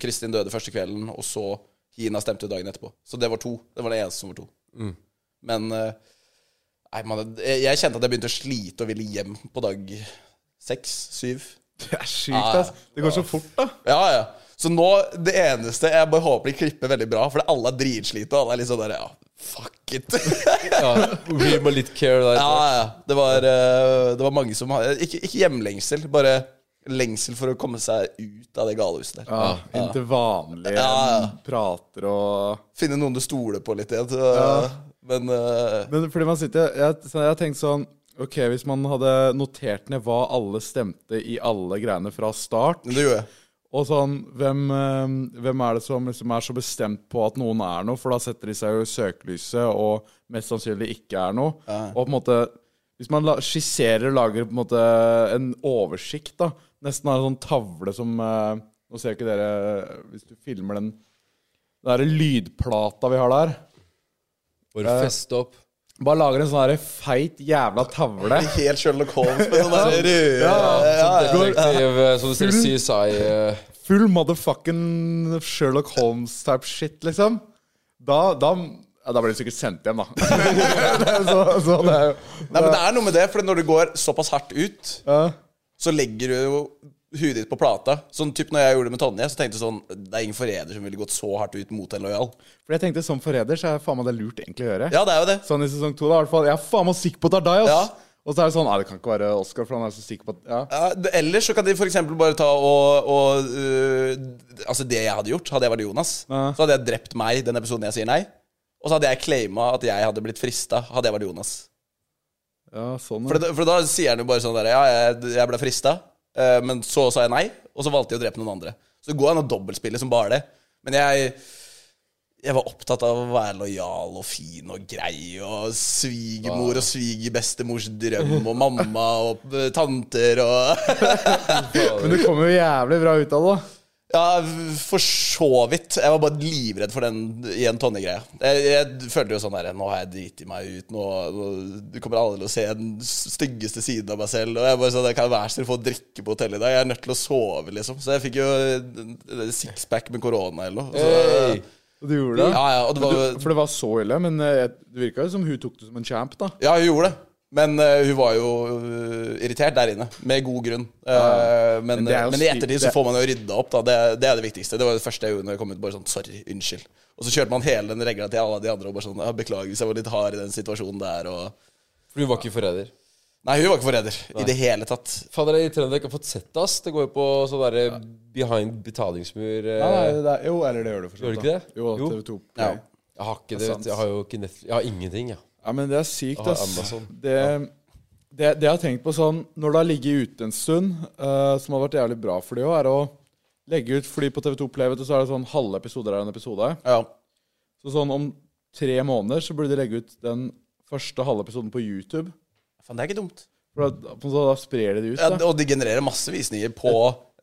Speaker 4: Kristin døde første kvelden, og så Hina stemte dagen etterpå. Så det var to. Det var det eneste som var to. Men eh, nei, man, jeg, jeg kjente at jeg begynte å slite og ville hjem på dag seks, syv.
Speaker 3: Det er sykt, ass. Det går så fort, da.
Speaker 4: Ja, ja. Så nå, det eneste Jeg bare håper de klipper veldig bra, for alle er dritslite, og alle er litt sånn der Ja, fuck it.
Speaker 5: Ja, real med litt care der.
Speaker 4: Ja, ja. Det var, eh, det var mange som hadde ikke, ikke hjemlengsel, bare lengsel for å komme seg ut av det galehuset der.
Speaker 3: Ja, Inn til vanlige
Speaker 4: Ja, ja.
Speaker 3: prater og
Speaker 4: Finne noen du stoler på litt igjen. Så, Men eh,
Speaker 3: Men fordi man sitter Jeg, så jeg tenkte sånn Ok, hvis man hadde notert ned hva alle stemte i alle greiene fra start
Speaker 4: det gjorde jeg.
Speaker 3: Og sånn, hvem, eh, hvem er det som liksom er så bestemt på at noen er noe? For da setter de seg jo i søkelyset, og mest sannsynlig ikke er noe. Og på en måte, hvis man la, skisserer og lager på en måte en oversikt, da Nesten har en sånn tavle som eh, Nå ser ikke dere Hvis du filmer den Den derre lydplata vi har der.
Speaker 5: Bare feste opp.
Speaker 3: Bare lager en sånn derre feit jævla tavle.
Speaker 4: Helt Sherlock Holmes med sånn der røde
Speaker 5: Detektiv, eh, som du ser CSI eh,
Speaker 3: Full motherfucking Sherlock Holmes-type shit, liksom. Da, da, ja, da blir du sikkert sendt hjem, da. Det er så, så det er jo
Speaker 4: Nei, men det er noe med det, for når du går såpass hardt ut, så legger du jo huet ditt på plata. Sånn typ når jeg gjorde det med Tonje, så tenkte jeg sånn Det er ingen forræder som ville gått så hardt ut mot en lojal.
Speaker 3: For jeg tenkte som forræder, så er faen meg det lurt egentlig å gjøre.
Speaker 4: Ja, det er jo det.
Speaker 3: Sånn i sesong to, da, i hvert fall. Jeg er faen meg sikker på at det er deg, ass.
Speaker 4: Ja.
Speaker 3: Og så er det sånn Nei, det kan ikke være Oscar, for han er så sikker på at ja.
Speaker 4: Ja, det- ellers så kan de for eksempel bare ta og, og øh, Altså, det jeg hadde gjort, hadde jeg vært Jonas, så hadde jeg drept meg den episoden jeg sier nei. Og så hadde jeg claima at jeg hadde blitt frista, hadde jeg vært Jonas.
Speaker 3: ja, sånn.
Speaker 4: For,
Speaker 3: ja.
Speaker 4: da- for da sier han jo bare sånn der Ja, jeg, jeg ble frista, eh, men så sa jeg nei, og så valgte jeg å drepe noen andre. Så det går an å dobbeltspille som bare det. Men jeg jeg var opptatt av å være lojal og fin og grei, og svigermor og svigerbestemors drøm, og mamma og eh, tanter og
Speaker 3: Men det kommer jo jævlig bra ut av det, da.
Speaker 4: Ja, for så vidt. Jeg var bare livredd for den igjen Tonje-greia. Jeg, jeg følte jo sånn der Nå har jeg driti meg ut. Nå, nå kommer alle til å se den styggeste siden av meg selv. Og jeg bare sånn Jeg kan være så snill få drikke på hotellet i dag. Jeg er nødt til å sove, liksom. Så jeg fikk jo eh, sixpack med korona eller noe. Så,
Speaker 5: Hey!
Speaker 3: Og du gjorde det.
Speaker 4: ja, ja, og det var,
Speaker 3: Du, for det var så ille, men eh, det virka jo som hun tok det som en champ, da.
Speaker 4: ja, hun gjorde det. Men eh, hun var jo eh, irritert der inne, med god grunn. Eh, men,
Speaker 3: Men det er jo
Speaker 4: men i
Speaker 3: stygt,
Speaker 4: ettertid så
Speaker 3: det-
Speaker 4: får man jo rydda opp, da. Det, det er det viktigste. Det var det første jeg gjorde når jeg kom ut. Bare sånn sorry, unnskyld. Og så kjørte man hele den regla til alle de andre og bare sånn ja, beklager hvis jeg var litt hard i den situasjonen der og
Speaker 5: For du var ikke forræder.
Speaker 4: Nei, hun var ikke forræder i det hele tatt.
Speaker 5: Fader, det er irriterende at jeg ikke har fått sett det, ass. Det går jo på sånn derre behind betalingsmur eh.
Speaker 3: Nei, nei, det er, jo, eller det gjør du for så
Speaker 5: Gjør
Speaker 3: vidt.
Speaker 5: du ikke
Speaker 3: da.
Speaker 5: det?
Speaker 3: Jo,
Speaker 5: Jo.
Speaker 3: TV2
Speaker 4: Ja.
Speaker 3: Play.
Speaker 5: Jeg har ikke det, vet du. Jeg har jo ikke Netflix. Jeg har ingenting, jeg.
Speaker 3: Ja, men det er sykt,
Speaker 5: har
Speaker 3: ass.
Speaker 5: Amazon.
Speaker 3: Det, det, det jeg har tenkt på sånn Når det har ligget ute en stund, eh, som har vært jævlig bra for de òg, er å legge ut fly på TV2 Play, vet du, så er det sånn halve episoder er en episode.
Speaker 4: Ja.
Speaker 3: Så sånn om tre måneder så burde de legge ut den første halve episoden på YouTube.
Speaker 4: Faen, det er ikke dumt.
Speaker 3: For da, så da sprer de det ut.
Speaker 4: Ja,
Speaker 3: Da.
Speaker 4: og de genererer masse visninger på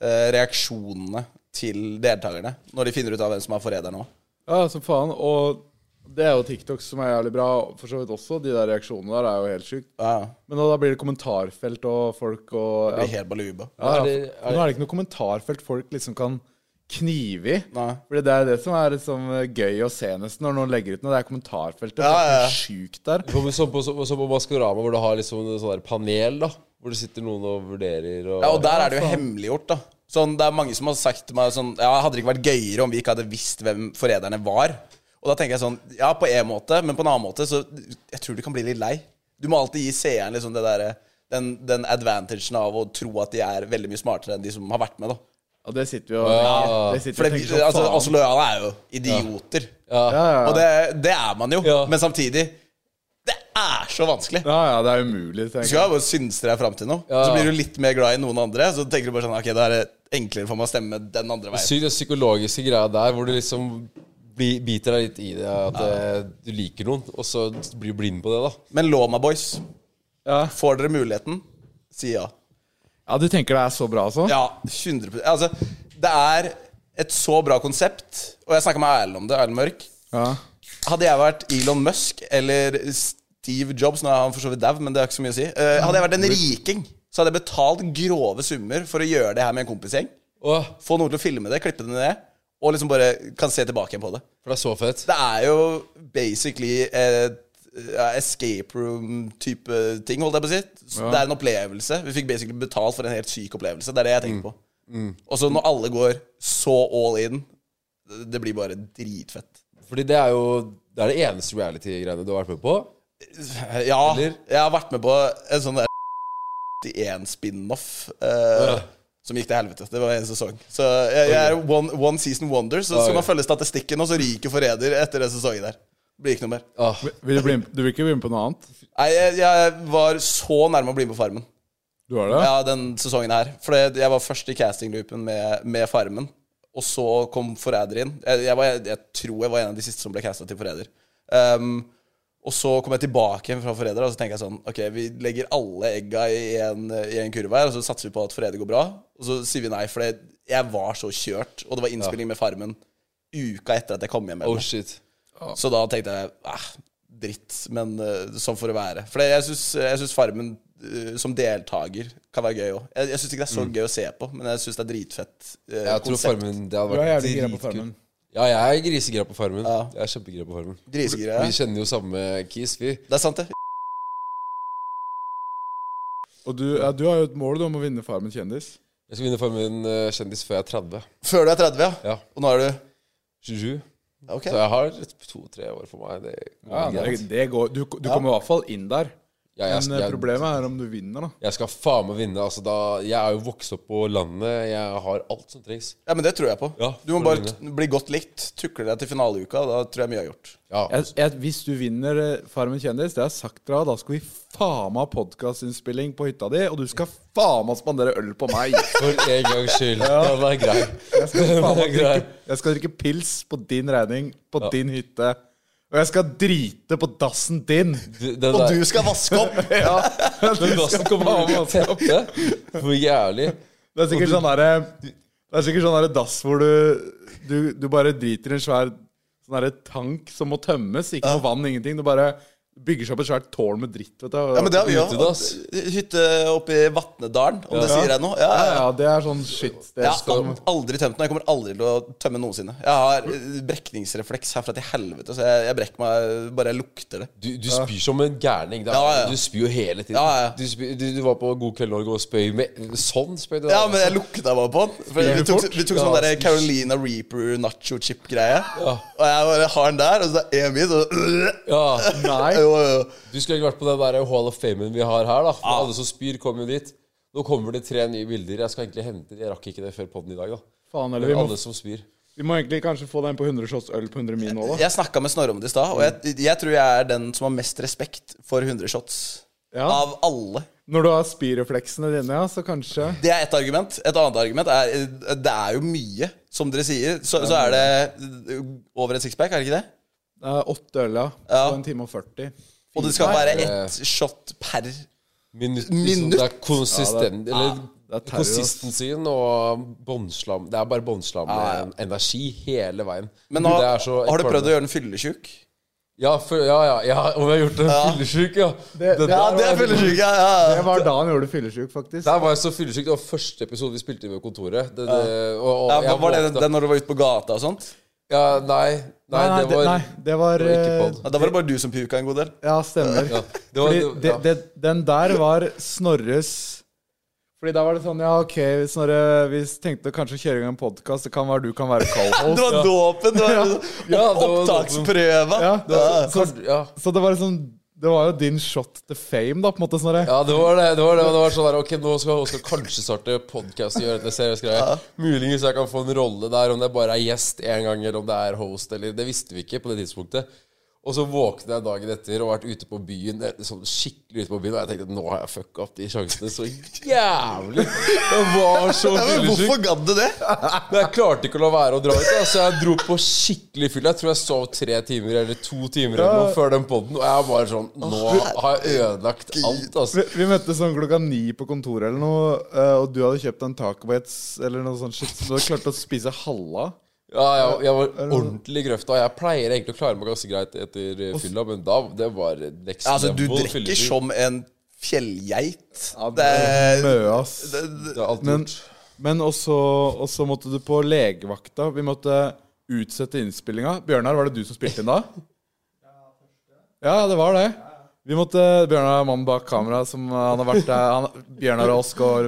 Speaker 4: eh, reaksjonene til deltakerne når de finner ut av hvem som er forræder nå.
Speaker 3: Ja, som faen. Og Det er jo TikTok som er jævlig bra, for så vidt også. De der reaksjonene der er jo helt sjukt.
Speaker 4: Ja,
Speaker 3: Men da, da blir det kommentarfelt og folk og
Speaker 4: det
Speaker 3: ja,
Speaker 4: blir helt baluba.
Speaker 3: ja, ja.
Speaker 5: Er det- er
Speaker 3: Men Nå er det ikke noe kommentarfelt folk liksom kan knive i.
Speaker 4: Nei.
Speaker 3: Fordi det er det som er liksom gøy å se nesten når noen legger ut noe. Det er kommentarfeltet. Det
Speaker 4: Ja,
Speaker 3: er
Speaker 4: ja, ja.
Speaker 3: helt sjukt der.
Speaker 5: Som så på, så, så på Maskorama, hvor du har liksom en sånn der panel, da. Hvor det sitter noen og vurderer og
Speaker 4: Ja, og der er
Speaker 3: altså.
Speaker 4: det jo hemmeliggjort, da. Sånn, det er mange som har sagt til meg sånn Ja, hadde det ikke vært gøyere om vi ikke hadde visst hvem forræderne var? Og da tenker jeg sånn Ja, på en måte, men på en annen måte så Jeg tror du kan bli litt lei. Du må alltid gi seeren liksom det derre den, den advantagen av å tro at de er veldig mye smartere enn de som har vært med, da.
Speaker 3: Og det sitter vi og
Speaker 5: Ja.
Speaker 3: det sitter vi
Speaker 4: For
Speaker 3: og
Speaker 4: det,
Speaker 3: tenker sånn,
Speaker 4: altså,
Speaker 3: faen.
Speaker 4: altså lojale er jo idioter.
Speaker 3: ja, ja, ja.
Speaker 4: Og det, det er man jo.
Speaker 5: Ja.
Speaker 4: Men samtidig Det er så vanskelig.
Speaker 3: ja, ja, det er umulig.
Speaker 4: Du
Speaker 3: tenker
Speaker 4: skal
Speaker 3: jeg.
Speaker 4: jo bare synse deg fram til noe.
Speaker 5: Ja.
Speaker 4: Så blir du litt mer glad i noen andre. Så tenker du bare sånn Ok, da er det enklere for meg å stemme den andre veien.
Speaker 5: Sykt den psykologiske greia der, hvor du liksom bli- biter deg litt i det at eh, du liker noen, og så blir du blind på det, da.
Speaker 4: Men lov meg, boys.
Speaker 3: Ja.
Speaker 4: Får dere muligheten, si ja.
Speaker 3: ja, du tenker det er så bra, altså?
Speaker 4: Ja, 100 Altså, det er et så bra konsept. Og jeg snakka med Erlend om det. Erlend Mørk.
Speaker 3: Ja.
Speaker 4: Hadde jeg vært Elon Musk eller Steve Jobs Nå er han for så vidt dau, men det har ikke så mye å si. Eh, hadde jeg vært
Speaker 5: Mm.
Speaker 4: en riking, så hadde jeg betalt grove summer for å gjøre det her med en kompisgjeng.
Speaker 5: Åh,
Speaker 4: Få noen til å filme det, klippe det ned, og liksom bare kan se tilbake igjen på det.
Speaker 5: for det er så fett.
Speaker 4: Det er jo basically et ja, escape room-type ting, holdt jeg på å si. Så Det er en opplevelse. Vi fikk basically betalt for en helt syk opplevelse. Det er det jeg
Speaker 5: Mm.
Speaker 4: tenker på. Og så når alle går så all in, det- det blir bare dritfett.
Speaker 5: Fordi det er jo det er det eneste reality-greiene du har vært med på.
Speaker 4: Ja,
Speaker 5: Eller?
Speaker 4: jeg har vært med på en sånn der 1 spin-off eh,
Speaker 5: Ja.
Speaker 4: som gikk til helvete. Det var en sesong. Så jeg, jeg er one, one season wonder. Så skal man følge statistikken, og så ryker forræder etter den sesongen der. Det Blir ikke noe mer.
Speaker 5: Åh,
Speaker 3: Vil du, bli med, du vil ikke bli med på noe annet?
Speaker 4: Nei, jeg, jeg var så nærme å bli med på Farmen.
Speaker 3: Du har det?
Speaker 4: Ja, den sesongen her. For det- jeg var først i castingloopen med, med Farmen. Og så kom Forræder inn. Jeg, jeg, var, jeg, tror jeg var en av de siste som ble casta til Forræder. Um, og så kom jeg tilbake igjen fra Forræder, og så tenker jeg sånn Ok, vi legger alle egga i en, i en kurve her, og så satser vi på at Forræder går bra. Og så sier vi nei, for det, jeg var så kjørt, og det var innspilling med Farmen uka etter at jeg kom hjem.
Speaker 5: Oh
Speaker 4: eller noe.
Speaker 5: shit.
Speaker 4: Så da tenkte jeg eh, dritt, men eh, sånn får det være. For jeg syns, jeg syns Farmen eh, som deltaker kan være gøy òg. Jeg, jeg syns ikke det er så gøy å se på, men jeg syns det er dritfett. eh,
Speaker 5: Mm. Jeg tror
Speaker 4: konsept.
Speaker 5: Farmen Det
Speaker 3: Du
Speaker 5: hadde
Speaker 3: er
Speaker 5: vært
Speaker 3: jævlig gira på
Speaker 5: dritkult.
Speaker 3: farmen.
Speaker 5: Ja, jeg er grisegira på Farmen. Jeg er kjempegira på Farmen. Vi
Speaker 4: Grisegreier.
Speaker 5: kjenner jo samme Kis, vi.
Speaker 4: Det er sant, det.
Speaker 3: Og du, ja, du har jo et mål du, om å vinne Farmen kjendis.
Speaker 5: Jeg skal vinne Farmen eh, kjendis før jeg er 30.
Speaker 4: Før du er 30, ja.
Speaker 5: Ja.
Speaker 4: Og nå er du
Speaker 5: 27.
Speaker 4: Ja, Ok.
Speaker 5: Så jeg har to-tre år for meg. Det går
Speaker 3: Ja, det,
Speaker 5: greit.
Speaker 3: det går, du du kommer i hvert fall inn der.
Speaker 5: Ja, jeg,
Speaker 3: Men eh,
Speaker 5: jeg, jeg,
Speaker 3: problemet er om du vinner, da.
Speaker 5: skal faen meg vinne. Altså, da, jeg er jo vokst opp på landet. Jeg har alt som trengs.
Speaker 4: Ja, men det tror jeg på.
Speaker 5: Ja,
Speaker 4: du må
Speaker 5: for
Speaker 4: bare
Speaker 5: mine.
Speaker 4: t- bli godt likt. Tukle deg til finaleuka, da tror jeg mye er gjort.
Speaker 5: Ja.
Speaker 3: Jeg, jeg, hvis du vinner eh, Farmen kjendis, det har jeg sagt til deg, da skal vi faen meg ha podkastinnspilling på hytta di, og du skal faen meg spandere øl på meg.
Speaker 5: For en gangs skyld. Ja. Den er grei.
Speaker 3: Jeg skal faen meg
Speaker 5: Det er grei.
Speaker 3: drikke, jeg skal drikke pils på din regning, på din hytte. Og jeg skal drite på dassen din.
Speaker 5: Du- Den
Speaker 4: Og
Speaker 5: der
Speaker 4: du skal vaske opp!
Speaker 3: Ja,
Speaker 5: den
Speaker 3: du
Speaker 5: dassen
Speaker 3: skal
Speaker 5: kommer
Speaker 3: faen
Speaker 5: du
Speaker 3: meg
Speaker 5: til å tette. For jævlig.
Speaker 3: Det er sikkert sånn derre Det er sikkert sånn derre dass hvor du, du Du bare driter i en svær sånn derre tank som må tømmes. Ikke noe vann, ingenting. Du bare bygger seg opp et svært tårn med dritt, vet du.
Speaker 4: Ja, men det har vi òg.
Speaker 5: Utedass.
Speaker 4: Hytte oppe i Vatnedalen, om det sier deg noe. Ja,
Speaker 3: ja,
Speaker 4: ja, ja.
Speaker 3: ja, det er sånn shit. Det
Speaker 4: Jeg
Speaker 3: skal-
Speaker 4: har aldri tømt den. og Jeg kommer aldri til å tømme noensinne. Jeg har eh, brekningsrefleks herfra til helvete, så jeg, jeg brekker meg bare jeg lukter det.
Speaker 5: Du, du spyr som en gærning. Da.
Speaker 4: Ja, ja.
Speaker 5: Du spyr jo hele tiden.
Speaker 4: Ja, ja.
Speaker 5: Du, spyr, du, du var på God kveld Norge og spøy med Sånn spøy du.
Speaker 4: Ja, men jeg lukta bare på den. For vi tok, vi tok sånn
Speaker 5: Ja,
Speaker 4: der
Speaker 5: spyr.
Speaker 4: Carolina Reaper nacho chip-greie. Og jeg bare har den der, og så er Emil så
Speaker 5: Ja.
Speaker 3: Nei.
Speaker 4: jo, jo.
Speaker 5: Du skulle egentlig vært på den der Hall of Famen vi har her, da. For alle som spyr, kommer jo dit. Nå kommer det tre nye bilder. Jeg skal egentlig hente Jeg rakk ikke det før podden i dag, da.
Speaker 3: Faen, eller
Speaker 5: Men
Speaker 3: vi må,
Speaker 5: alle som spyr.
Speaker 3: vi må egentlig kanskje få den på 100 shots øl på 100 min nå, da.
Speaker 4: Jeg snakka med Snorre om det i stad, og jeg, jeg tror jeg er den som har mest respekt for 100 shots.
Speaker 3: Ja.
Speaker 4: Av alle.
Speaker 3: Når du har spirefleksene dine, ja, så kanskje
Speaker 4: Det er ett argument. Et annet argument er eh, Det er jo mye, som dere sier. Så, så er det eh, over en sixpack, er det ikke det?
Speaker 3: Det er åtte øl, ja.
Speaker 4: Ja.
Speaker 3: På en time og 40.
Speaker 4: Og det skal være
Speaker 5: Nei.
Speaker 4: ett shot per
Speaker 5: Minutt.
Speaker 4: Minutt?
Speaker 5: Liksom, det er konsistent Eller
Speaker 3: det er terror, ass.
Speaker 5: konsistensien og båndslam. Det er bare båndslam med energi hele veien.
Speaker 4: Men
Speaker 5: Du,
Speaker 4: har,
Speaker 5: det er så-
Speaker 4: har du prøvd å gjøre den fyllesyk?
Speaker 5: Ja, for, ja, ja, ja, om jeg har gjort en fyllesyk, ja.
Speaker 3: Det- det-
Speaker 5: der
Speaker 4: Ja, det er
Speaker 5: var-
Speaker 4: fyllesyk, ja, ja.
Speaker 3: Det var da han gjorde fyllesyk, faktisk.
Speaker 5: Der var jeg så fyllesyk. Det var første episode vi spilte inn ved kontoret. Det, det, og, og,
Speaker 4: ja.
Speaker 5: jeg
Speaker 4: Var det
Speaker 5: våkna-
Speaker 4: den når du var ute på gata og sånt?
Speaker 5: Ja, nei, nei,
Speaker 3: Nei, nei,
Speaker 5: det var,
Speaker 3: nei, det var,
Speaker 5: det var ikke
Speaker 3: eh,
Speaker 5: pod.
Speaker 4: Ja, da var det bare du som puka en god del.
Speaker 3: Ja, stemmer.
Speaker 5: Det var,
Speaker 3: Fordi det,
Speaker 5: ja.
Speaker 3: det, den der var Snorres Fordi da var det sånn Ja, ok, Snorre, vi tenkte å kanskje kjøre i gang en podkast. Det kan være du kan være
Speaker 4: Det
Speaker 3: co-host.
Speaker 4: var dåpen! Det var
Speaker 5: Ja, det var
Speaker 4: opptaksprøva!
Speaker 3: Ja,
Speaker 4: Ja.
Speaker 3: så,
Speaker 5: Kort- ja.
Speaker 3: så det var liksom Det var jo din shot to fame, da, på en måte, Snorre.
Speaker 5: Ja, det var det. det, var det. Og det var sånn der, Ok, nå skal Oskar kanskje starte podkast og gjøre dette seriøst greie. Muligens jeg kan få en rolle der, om det bare er gjest en gang, eller om det er host, eller Det visste vi ikke på det tidspunktet. Og så våknet jeg dagen etter og vært ute på byen, eh, sånn skikkelig ute på byen, og jeg tenkte nå har jeg fucka opp de sjansene så jævlig. Jeg var så
Speaker 4: Ja, men
Speaker 5: fyllesyk.
Speaker 4: hvorfor gadd du det?
Speaker 5: Men jeg klarte ikke å la være å dra ut. da, Så jeg dro på skikkelig fyll. Jeg tror jeg sov tre timer eller to timer eller noe før den poden. Og jeg var bare sånn Nå har jeg ødelagt alt,
Speaker 3: Vi,
Speaker 5: altså.
Speaker 3: vi møttes sånn klokka ni på kontoret eller noe, eh, og du hadde kjøpt en tacobits eller noe sånt shit, så du hadde klart å spise halva.
Speaker 5: Ja, jeg, jeg var ordentlig i grøfta. Jeg pleier egentlig å klare meg ganske greit etter eh, fylla, men da det var next
Speaker 4: Altså, du
Speaker 5: level
Speaker 4: drikker
Speaker 5: fyllesyk.
Speaker 4: som en fjellgeit.
Speaker 3: Ja,
Speaker 4: Det er-
Speaker 3: Mø, ass.
Speaker 4: Eh, det-
Speaker 5: Det er alt
Speaker 3: Men,
Speaker 5: gjort.
Speaker 3: men også, også måtte du på legevakta. Vi måtte utsette innspillinga. Bjørnar, var det du som spilte inn da? Ja, det var det. Vi måtte, Bjørnar er mannen bak kamera. Som eh, han har vært der han, Bjørnar og Oskar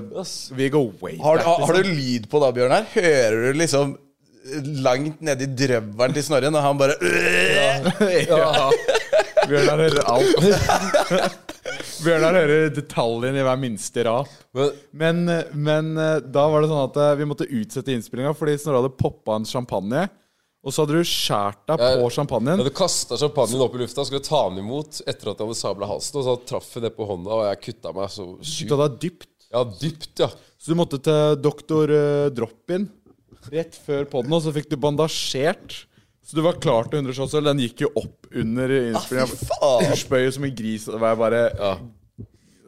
Speaker 3: Vi går way
Speaker 4: Har, du-
Speaker 3: back.
Speaker 4: har, har du lyd på da, Bjørnar? Hører du liksom langt nedi drøvelen til Snorre når han bare
Speaker 3: Ja. Bjørnar hører alt. Bjørnar hører detaljene i hver minste rap.
Speaker 5: Men
Speaker 3: Men, men eh, da var det sånn at eh, vi måtte utsette innspillinga fordi Snorre hadde poppa en champagne. Og så hadde du skåret deg
Speaker 5: Jeg-
Speaker 3: på champagnen.
Speaker 5: jeg hadde kasta champagnen opp i lufta skulle ta den imot etter at jeg hadde sabla halsen, og så traff jeg det på hånda, og jeg kutta meg så sjukt.
Speaker 3: Kutta deg dypt.
Speaker 5: Ja, dypt, ja.
Speaker 3: Så du måtte til doktor eh, drop-in rett før poden, og så fikk du bandasjert. Så du var klar til 100 shots, eller den gikk jo opp
Speaker 5: Ah,
Speaker 3: under innspillinga.
Speaker 4: faen.
Speaker 3: Du spøy jo som en gris. og Det var bare,
Speaker 5: Ja.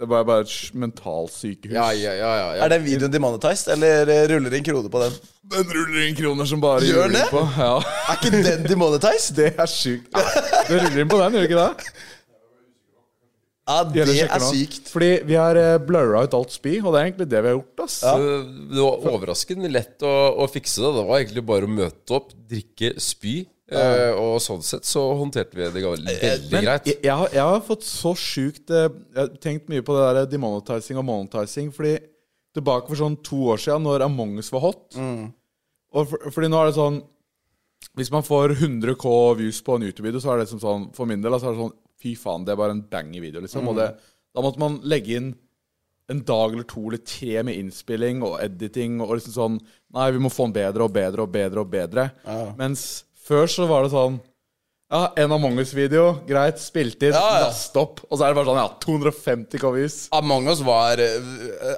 Speaker 3: det var bare et sj- mentalsykehus.
Speaker 5: Ja, ja, ja, ja, ja.
Speaker 4: Er den videoen demonetized, eller eh, ruller det inn kroner på den?
Speaker 3: Den ruller inn kroner som bare
Speaker 4: Gjør
Speaker 3: juling
Speaker 4: den det?
Speaker 3: på. Ja,
Speaker 4: Er ikke den demonetized?
Speaker 3: det er sjukt. Du ruller inn på den, gjør du ikke det?
Speaker 4: Ja,
Speaker 3: Gjør
Speaker 4: det
Speaker 3: sjekker
Speaker 4: er
Speaker 3: nå.
Speaker 4: sykt.
Speaker 3: Fordi vi har eh, blurra ut alt spy, og det er egentlig det vi har gjort. ass.
Speaker 5: Så Eh, Det var overraskende lett å, å fikse det. Det var egentlig bare å møte opp, drikke, spy. eh, Og sånn sett så håndterte vi det ga-
Speaker 4: Eh,
Speaker 5: veldig
Speaker 3: Men
Speaker 5: greit.
Speaker 3: jeg, jeg, har, jeg har fått så sjukt eh, Jeg har tenkt mye på det der demonetizing og monetizing. Fordi tilbake for sånn to år siden, når Among us var hot og for, Fordi nå er det sånn Hvis man får 100 K views på en YouTube-video, så er det som sånn For min del da, så er det sånn Fy faen, det er bare en banger video, liksom. Og det, da måtte man legge inn en dag eller to eller tre med innspilling og editing og liksom sånn Nei, vi må få den bedre og bedre og bedre og bedre. Mens før så var det sånn ja, En Among us-video. Greit, spilt inn,
Speaker 4: Ja, ja.
Speaker 3: last opp. Og så er det bare sånn, ja, 250 covers.
Speaker 4: Among us var eh,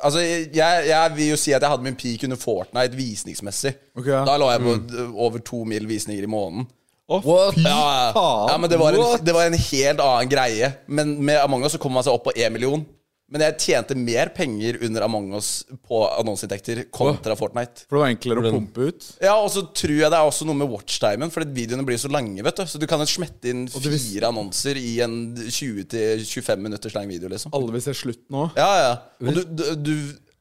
Speaker 4: Altså, jeg, jeg vil jo si at jeg hadde min peak under Fortnite visningsmessig.
Speaker 3: Ok, ja.
Speaker 4: Da lå jeg på eh, over to mil visninger i måneden.
Speaker 3: Å,
Speaker 5: What?
Speaker 3: fy
Speaker 4: Ja, ja.
Speaker 3: faen!
Speaker 4: ja men det var, en,
Speaker 3: What?
Speaker 4: det var en helt annen greie. Men med Among us så kom man seg opp på 1 million. Men jeg tjente mer penger under Among us på annonseinntekter kontra Fortnite.
Speaker 3: For det var enklere å pumpe ut.
Speaker 4: Ja, Og så tror jeg det er også noe med watchtimen, for videoene blir så lange. vet du Så du kan jo smette inn
Speaker 3: det vis-
Speaker 4: fire annonser i en 20-25 minutters lang video. liksom
Speaker 3: Alle vil se slutt nå.
Speaker 4: Ja, ja Og du, du, du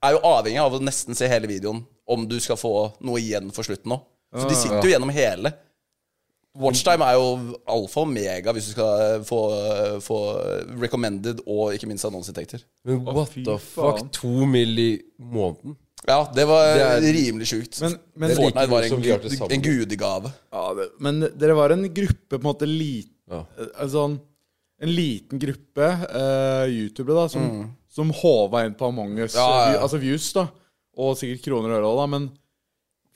Speaker 4: er jo avhengig av å nesten se hele videoen om du skal få noe igjen for slutten nå.
Speaker 5: Ah,
Speaker 4: Så de sitter jo gjennom hele. Watchtime er jo alfa og omega hvis du skal eh, få, få recommended og ikke minst annonseinntekter.
Speaker 5: Men what
Speaker 3: fy
Speaker 5: the fuck?
Speaker 3: faen.
Speaker 5: To mill. i måneden?
Speaker 4: Ja, det var
Speaker 5: Det er-
Speaker 4: rimelig sjukt.
Speaker 3: Men- men- Det er
Speaker 5: like
Speaker 4: Fortnite var
Speaker 5: mye
Speaker 4: en,
Speaker 5: som vi har til
Speaker 4: gud,
Speaker 5: sammen.
Speaker 4: en gudegave.
Speaker 3: Ja, det, men dere var en gruppe, på en måte liten
Speaker 5: Ja.
Speaker 3: sånn, En liten gruppe eh, youtubere da, som, som håva inn på Among us.
Speaker 4: Ja, ja,
Speaker 3: eh,
Speaker 4: ja.
Speaker 3: view- Altså views, da. Og sikkert kroner og øre òg, da. Men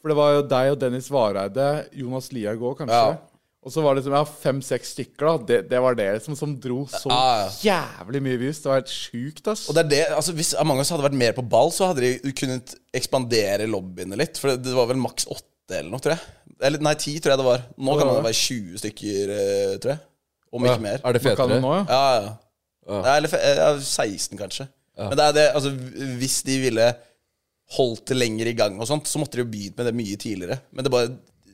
Speaker 3: For det var jo deg og Dennis Vareide, Jonas Liaug òg, kanskje.
Speaker 4: Ja.
Speaker 3: Og så var det liksom, ja, fem-seks stykker, da. Det, det var det liksom, som dro så
Speaker 4: Ja,
Speaker 3: jævlig mye views. Det var helt sjukt, ass.
Speaker 4: Og det er det, altså Hvis Among us hadde vært mer på ball, så hadde de kunnet ekspandere lobbyene litt. For det, det var vel maks åtte eller noe, tror jeg. Eller nei, ti tror jeg det var. Nå kan det være 20 stykker, eh, tror jeg. Om ikke mer.
Speaker 5: Er det
Speaker 3: Kan du
Speaker 5: fetere?
Speaker 3: nå, ja?
Speaker 4: Ja, ja. Nei, Eller fe- eh, ja, 16, kanskje. Men det er det, altså hvis de ville holdt det lenger i gang, og sånt, så måtte de jo begynt med det mye tidligere. Men det bare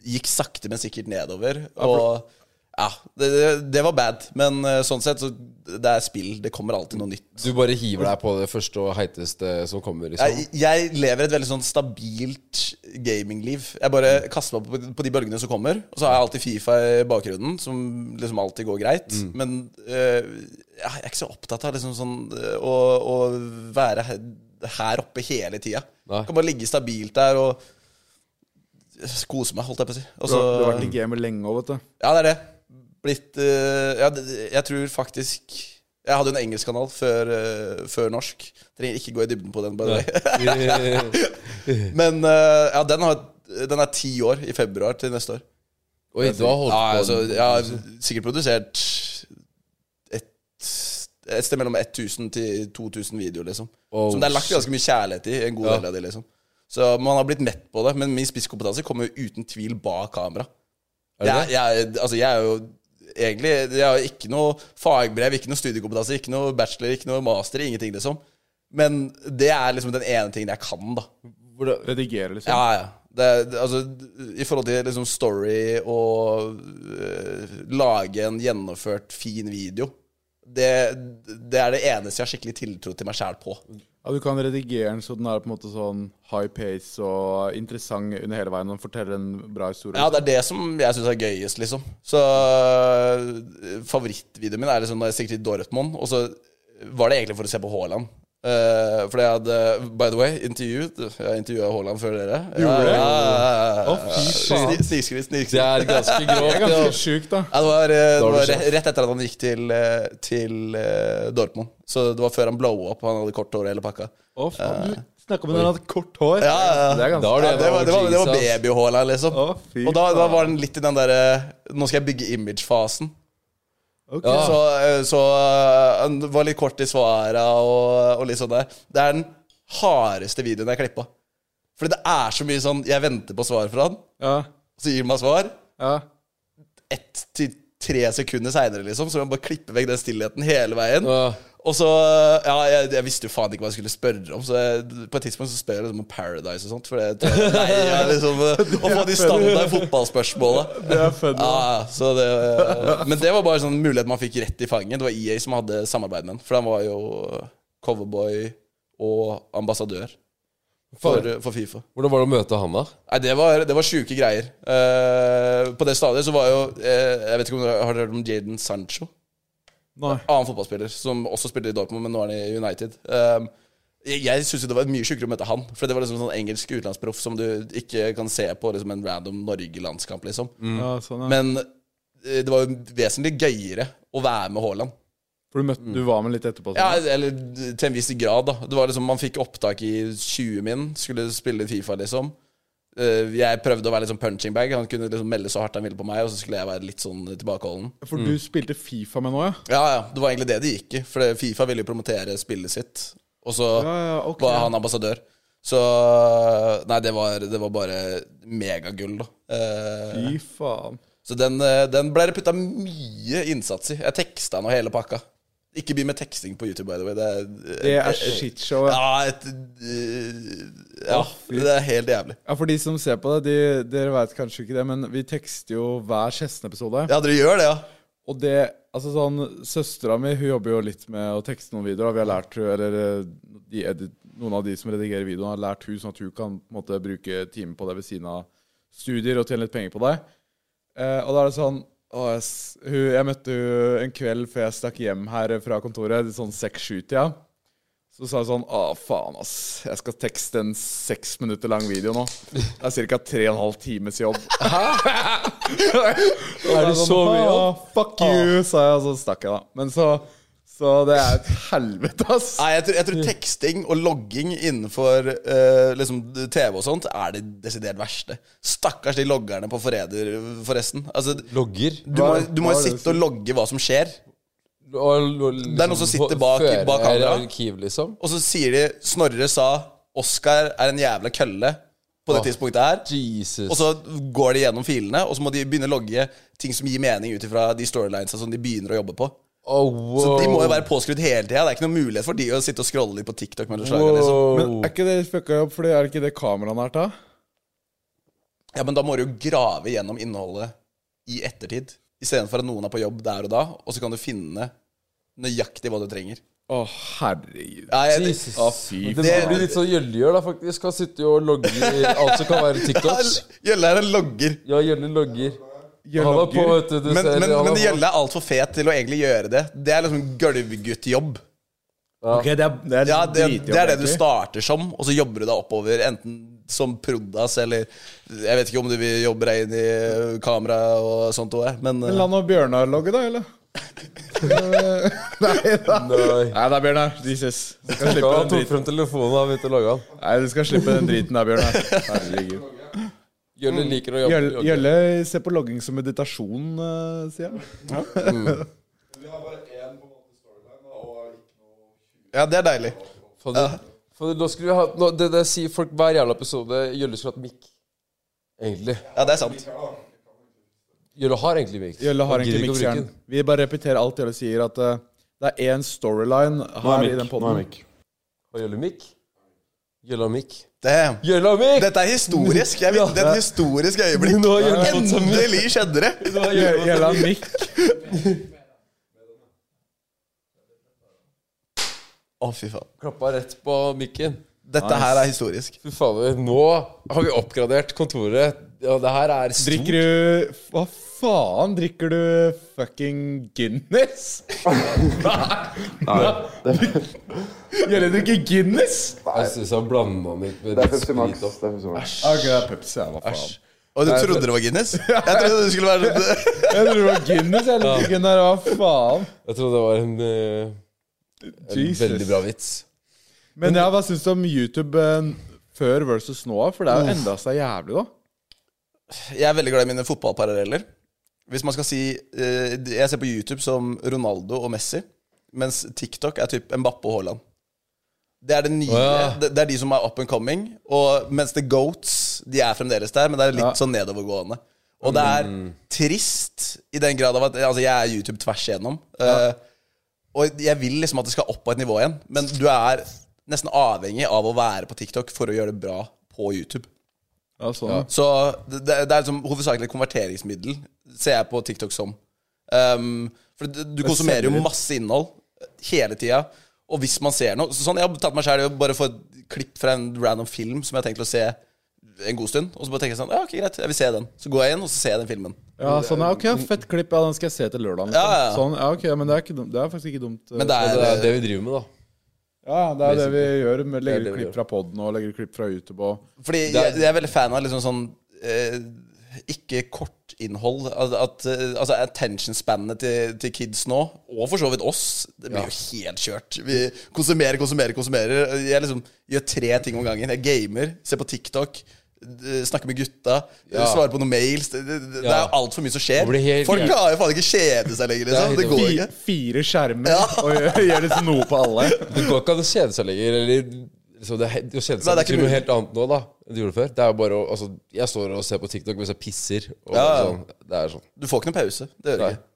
Speaker 4: gikk sakte, men sikkert nedover. Og ja, det, det- det var bad. Men eh, sånn sett, så det er spill. Det kommer alltid noe nytt.
Speaker 5: Du bare hiver deg på det første og heiteste som kommer, liksom.
Speaker 4: Jeg, jeg lever et veldig sånn stabilt gamingliv. Jeg bare kaster meg på, på de bølgene som kommer. Og så har jeg alltid Fifa i bakgrunnen, som liksom alltid går greit.
Speaker 3: Mm.
Speaker 4: Men øh, jeg er ikke så opptatt av liksom sånn øh, å, å være her, her oppe hele tida.
Speaker 5: Nei.
Speaker 4: Kan bare ligge stabilt der og kose meg, holdt jeg på å si. Og
Speaker 3: Du har, du har
Speaker 4: så-
Speaker 3: vært i gamet lenge òg, vet du.
Speaker 4: ja, det er det. Blitt eh, ja, det, Jeg tror faktisk Jeg hadde jo en engelskkanal før, eh, før norsk. Trenger ikke gå i dybden på den, by the way. Men eh, ja, den, har, den er ti år i februar til neste år.
Speaker 5: Oi, du har holdt
Speaker 4: Ja,
Speaker 5: på
Speaker 4: altså, jeg har sikkert produsert et, et sted mellom 1000 til 2000 videoer, liksom.
Speaker 5: Oh,
Speaker 4: som det er lagt ganske mye kjærlighet i. En god del av de, liksom. Så man har blitt mett på det. Men min spisskompetanse kommer jo uten tvil bak kamera.
Speaker 5: Er det
Speaker 4: Jeg, jeg, altså, jeg er jo egentlig Jeg har ikke noe fagbrev, ikke noe studiekompetanse, ikke noe bachelor, ikke noe master, ingenting, liksom. Men det er liksom den ene tingen jeg kan, da.
Speaker 5: Hvordan-
Speaker 3: Redigere, liksom.
Speaker 4: Ja, ja. Det, er- det, altså, I forhold til liksom story og øh, lage en gjennomført, fin video det, det er det eneste jeg har skikkelig tiltro til meg sjæl på.
Speaker 3: Ja, Du kan redigere den så den er på en måte sånn high pace og interessant under hele veien. Og forteller en bra historie.
Speaker 4: Ja, det er det som jeg syns er gøyest, liksom. Så øh, favorittvideoen min er liksom når jeg stikker til Dortmund, og så var det egentlig for å se på Haaland. Uh, fordi jeg hadde By the way, intervjuet Jeg intervjua Haaland før dere.
Speaker 3: Gjorde du?
Speaker 4: ja, ja, ja,
Speaker 3: Å,
Speaker 4: ja.
Speaker 3: fy faen.
Speaker 4: Sni- Snikskritt, snikskritt.
Speaker 5: Det er ganske
Speaker 3: det er
Speaker 5: grovt.
Speaker 3: ganske
Speaker 5: ja.
Speaker 3: sjukt, da.
Speaker 4: Ja, det var, eh, det
Speaker 5: var
Speaker 4: var
Speaker 5: det
Speaker 4: re- rett etter at han gikk til, eh, til eh, Dortmund. Så det var før han blow up. Han hadde kort hår i hele pakka.
Speaker 3: Å, faen. Du snakka om den hadde kort hår.
Speaker 4: Ja, ja, ja.
Speaker 3: Det er ganske
Speaker 5: Da er
Speaker 4: Ja, det var, det var, det var
Speaker 5: Jesus.
Speaker 4: babyhåla, liksom.
Speaker 3: Å, fy
Speaker 4: Og da, da
Speaker 3: faen.
Speaker 4: var den litt i den derre Nå skal jeg bygge image-fasen.
Speaker 3: Ok.
Speaker 5: Ja.
Speaker 4: Så, eh, så eh, han var litt kort i svara og, og litt sånn der. Det er den hardeste videoen jeg klippa. Fordi det er så mye sånn Jeg venter på svar fra han,
Speaker 3: Ja,
Speaker 4: så gir han meg svar.
Speaker 3: ja.
Speaker 4: Ett til tre sekunder seinere, liksom. Så må jeg bare klippe vekk den stillheten hele veien.
Speaker 5: Ja.
Speaker 4: Og så Ja, jeg, jeg visste jo faen ikke hva jeg skulle spørre om, så jeg, på et tidspunkt så spør jeg liksom om Paradise og sånt. For jeg tror nei, jeg liksom Å få de standard fotballspørsmåla.
Speaker 3: Det er funny.
Speaker 4: Ja, ja, så det, men det var bare sånn mulighet man fikk rett i fanget. Det var EA som hadde samarbeid med den, for han var jo coverboy og ambassadør for, for Fifa.
Speaker 5: Hvordan var det å møte han, da?
Speaker 4: Nei, det var, det var sjuke greier. Eh, på det stadiet så var jo eh, Jeg vet ikke om dere har hørt om Jaden Sancho?
Speaker 3: Nei.
Speaker 4: Annen fotballspiller som også spilte i Dortmund, men nå er han i United. Um, jeg jeg syns det var mye sjukere å møte han. For det var liksom sånn engelsk utenlandsproff som du ikke kan se på liksom en random Norge-landskamp, liksom.
Speaker 3: Ja, sånn, ja.
Speaker 4: Men eh, det var jo vesentlig gøyere å være med Haaland.
Speaker 3: For du, møtte, du var med litt etterpå?
Speaker 4: Ja,
Speaker 3: Sånn.
Speaker 4: eller til en viss grad, da. Det var liksom, Man fikk opptak i 20 min, skulle spille Fifa, liksom. Eh, Jeg prøvde å være litt sånn punching bag. Han kunne liksom melde så hardt han ville på meg, og så skulle jeg være litt sånn tilbakeholden.
Speaker 3: For du
Speaker 4: Mm.
Speaker 3: spilte Fifa med nå, ja?
Speaker 4: Ja, ja, det var egentlig det det gikk i. For det- Fifa ville jo promotere spillet sitt, og så
Speaker 3: Ja, ja, ok.
Speaker 4: var han ambassadør. Så Nei, det var, det var bare megagull, da. Eh,
Speaker 3: Fy faen.
Speaker 4: så den, eh, den ble det putta mye innsats i. Jeg teksta han og hele pakka. Ikke begynn med teksting på YouTube, by the way. Det er,
Speaker 3: Det er shitshow. Ja.
Speaker 4: Eh, ja, et, eh, ja, det er helt jævlig.
Speaker 3: Ja, for de som ser på det, de, dere veit kanskje ikke det, men vi tekster jo hver Kjessen-episode.
Speaker 4: Ja, dere gjør det, ja?
Speaker 3: Og det, altså sånn, Søstera mi hun jobber jo litt med å tekste noen videoer. og Vi har lært, hun- eller eh, de edit, Noen av de som redigerer videoen, har lært hun sånn at hun kan på en måte, bruke timer på det ved siden av studier og tjene litt penger på det. Eh, og da er det sånn å, jeg, s- hun, jeg møtte hun en kveld før jeg stakk hjem her fra kontoret, sånn seks-sju-tida. Så sa hun sånn Å, faen, ass. Jeg skal tekste en seks minutter lang video nå. Det er ca. tre og en halv times jobb.
Speaker 5: Er det
Speaker 3: Jeg
Speaker 5: så mye
Speaker 3: «Ah,
Speaker 5: jobb?
Speaker 3: Fuck you, sa jeg, og så stakk jeg, da. Men så Så det er et helvete, ass.
Speaker 4: Nei, jeg tror, jeg tror teksting og logging innenfor eh, liksom TV og sånt er det desidert verste. Stakkars de loggerne på Forræder, forresten. Altså, du
Speaker 5: Logger?
Speaker 4: må,
Speaker 3: Hva-
Speaker 4: du må
Speaker 3: hva
Speaker 4: jo
Speaker 3: er det
Speaker 4: sitte og logge hva som skjer,
Speaker 5: Det
Speaker 4: er noen som sitter bak- bak kamera.
Speaker 5: liksom Arkiv, liksom.
Speaker 4: og så sier de 'Snorre sa Oskar er en jævla kølle' på det
Speaker 5: Åh.
Speaker 4: tidspunktet her.
Speaker 5: Jesus.
Speaker 4: Og så går de gjennom filene, og så må de begynne å logge ting som gir mening ut ifra de storylinesa som de begynner å jobbe på.
Speaker 5: oh, wow.
Speaker 4: Så de må jo være påskrudd hele tida. Det er ikke noen mulighet for de å sitte og scrolle litt på TikTok mellom slagene. Liksom.
Speaker 5: wow.
Speaker 3: Men er ikke det fucka jobb, fordi er det ikke det kameraet er til?
Speaker 4: Ja, men da må du jo grave gjennom innholdet i ettertid. istedenfor at noen er på jobb der og da, og så kan du finne nøyaktig hva du trenger.
Speaker 3: Å, herregud.
Speaker 4: Ja, jeg,
Speaker 5: Jesus.
Speaker 3: Å, fy
Speaker 5: Det
Speaker 4: faen.
Speaker 5: blir litt sånn gjøllegjør, da, faktisk. Han sitter jo og logger i alt som kan være TikToks.
Speaker 4: Gjølle er en logger.
Speaker 5: Ja, Gjølle logger.
Speaker 3: Gjølle
Speaker 5: Han var på,
Speaker 3: logger.
Speaker 5: vet du. du
Speaker 4: Men,
Speaker 5: ser,
Speaker 4: men,
Speaker 5: han var
Speaker 4: men
Speaker 5: på.
Speaker 4: Gjølle er altfor fet til å egentlig gjøre det. Det er liksom gulvguttjobb.
Speaker 3: Ok, det er, det er
Speaker 4: Ja, det,
Speaker 3: dritjobb,
Speaker 4: det er det du
Speaker 3: egentlig.
Speaker 4: starter som, og så jobber du deg oppover. Enten som prod.ass eller Jeg vet ikke om du vil jobbe deg inn i eh, kamera og sånt òg, men
Speaker 3: Men La
Speaker 4: eh,
Speaker 3: nå Bjørnar logge, da, eller? Nei da.
Speaker 5: Nei.
Speaker 3: Nei da, Bjørnar. Jesus. Du skal
Speaker 5: Ja,
Speaker 3: slippe
Speaker 5: han
Speaker 3: den
Speaker 5: tok
Speaker 3: driten.
Speaker 5: frem telefonen og begynte å logge han.
Speaker 3: Nei, du skal slippe den driten der, Bjørnar. Herregud.
Speaker 5: Gjølle liker å jobbe.
Speaker 3: Mm. Gjølle, Gjølle ser på logging som meditasjon, eh, sier han.
Speaker 4: Ja, det er deilig.
Speaker 5: Fader, fader, nå skulle vi hatt nå, det, det sier folk hver jævla episode. Gjølle skulle hatt mikk. Egentlig.
Speaker 4: Ja, det er sant.
Speaker 5: Gjølle har egentlig mikk.
Speaker 3: Gjølle har
Speaker 5: Han
Speaker 3: egentlig
Speaker 5: gidder ikke å bruke
Speaker 3: mikseren.
Speaker 5: den.
Speaker 3: Vi bare repeterer alt Gjølle sier, at eh, det er én storyline her i den poden.
Speaker 5: Har Gjølle mikk? Gjølle har mikk.
Speaker 4: Det,
Speaker 5: Gjølle har mikk!
Speaker 4: dette er historisk. Jeg vet, det er et historisk øyeblikk.
Speaker 5: Nå har Gjølle fått seg mikk.
Speaker 4: Endelig skjedde det!
Speaker 5: Nå har Gjølle fått seg
Speaker 3: Gjølle har mikk.
Speaker 4: Å, fy faen.
Speaker 5: Klappa rett på mikken.
Speaker 4: Dette her er historisk.
Speaker 5: Fy fader, nå har vi oppgradert kontoret. Ja, det her er stort.
Speaker 3: Drikker du Hva faen? Drikker du fucking Guinness? Gjølle drikker Guinness?
Speaker 5: Jeg syns han blanda den litt med
Speaker 6: Det er
Speaker 5: litt
Speaker 6: Pepsi Max.
Speaker 5: sprit opp.
Speaker 6: Det er Pepsi Max.
Speaker 3: Ok, det er Pepsi. Ja, hva faen.
Speaker 4: Og du trodde det var Guinness? Jeg trodde det skulle være
Speaker 3: Jeg trodde det var Guinness. Jeg liker ikke den der, hva faen?
Speaker 5: Jeg trodde det var en, eh, en
Speaker 3: Jesus.
Speaker 5: veldig bra vits.
Speaker 3: Men ja, hva syns du om YouTube eh, før versus nå? For det har jo endra seg jævlig, da.
Speaker 4: Jeg er veldig glad i mine fotballparalleller. Hvis man skal si eh, Jeg ser på YouTube som Ronaldo og Messi, mens TikTok er typ Mbappe og Haaland. Det er, det, nye,
Speaker 5: Å, ja.
Speaker 4: det, det er de som er up and coming. Og mens The Goats de er fremdeles der, men det er litt sånn nedovergående. Og det er
Speaker 5: Mm.
Speaker 4: trist i den grad av at Altså, jeg er YouTube tvers igjennom. Eh, og jeg vil liksom at det skal opp på et nivå igjen, men du er nesten avhengig av å være på TikTok for å gjøre det bra på YouTube.
Speaker 3: Ja, sånn. ja.
Speaker 4: Så det, det er liksom hovedsakelig et konverteringsmiddel, ser jeg på TikTok som. Um, for du, du konsumerer jo
Speaker 3: selger.
Speaker 4: masse innhold eh, hele tida. Og hvis man ser noe så Sånn, Jeg har tatt meg sjæl i å bare få et klipp fra en random film som jeg har tenkt å se en god stund. Og så bare tenker jeg sånn Ja, ok, greit, jeg vil se den. Så går jeg inn, og så ser jeg den filmen.
Speaker 3: sånn, ja, ok, ja, Fett klipp. Ja, den skal jeg se til lørdag.
Speaker 4: Ja, ja, ja.
Speaker 3: Sånn, ja, ok, men det er, ikke dumt. det er faktisk ikke dumt. eh.
Speaker 4: Men det
Speaker 5: Ja,
Speaker 4: er,
Speaker 5: det er det vi driver med, da.
Speaker 3: ja, det er det vi gjør. Med,
Speaker 5: Det er
Speaker 3: legger
Speaker 5: det vi gjør.
Speaker 3: klipp fra poden og legger klipp fra YouTube og
Speaker 4: Fordi jeg, jeg er veldig fan av liksom sånn eh, Ikke kortinnhold. At, at, eh, altså attention-spannene til, til kids nå, og for så vidt oss, det blir jo helt kjørt. Vi konsumerer, konsumerer, konsumerer. Jeg liksom gjør tre ting om gangen. Jeg gamer, ser på TikTok. eh, Snakker med gutta, eh,
Speaker 5: Ja.
Speaker 4: svarer på noen mails. Det, det, det er
Speaker 5: Ja.
Speaker 4: jo altfor mye som skjer.
Speaker 5: Det blir helt
Speaker 4: Folk
Speaker 5: jævlig.
Speaker 4: klarer jo faen ikke kjede seg lenger. Liksom.
Speaker 5: helt
Speaker 4: Det går
Speaker 3: Fi-
Speaker 4: ikke.
Speaker 3: Fire skjermer og gjør, gjør liksom noe på alle.
Speaker 5: Det går ikke an å kjede seg lenger. Eller liksom, det, er he- å kjede
Speaker 4: Nei, det er
Speaker 5: seg betyr
Speaker 4: ikke
Speaker 5: noe helt annet nå da enn det gjorde før. Det er jo bare å altså, Jeg står og ser på TikTok mens jeg pisser. Og
Speaker 4: Ja, ja.
Speaker 5: sånn, det er sånn.
Speaker 4: Du får ikke noen pause. Det gjør du
Speaker 5: Nei.
Speaker 4: ikke.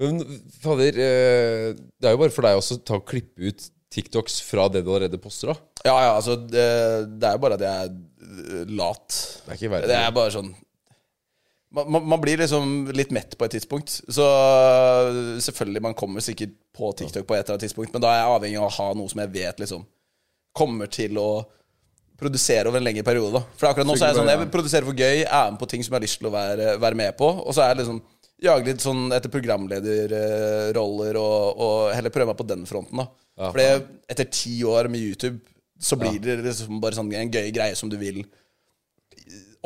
Speaker 5: Men fader, eh, det er jo bare for deg også å ta og klippe ut TikToks fra det du allerede poster, da.
Speaker 4: Ja, ja, altså Det, det er jo bare at jeg er eh, lat.
Speaker 5: Det er ikke verre.
Speaker 4: Det er bare sånn man, man, man blir liksom litt mett på et tidspunkt. Så selvfølgelig, man kommer sikkert på TikTok på et eller annet tidspunkt, men da er jeg avhengig av å ha noe som jeg vet liksom kommer til å produsere over en lengre periode. Da. For akkurat nå så er jeg sånn, jeg produserer for gøy, er med på ting som jeg har lyst til å være, være med på, og så er jeg liksom jager litt sånn etter programlederroller og, og heller prøver meg på den fronten, da. Fordi etter ti år med YouTube, så blir det liksom bare sånn en gøy greie som du vil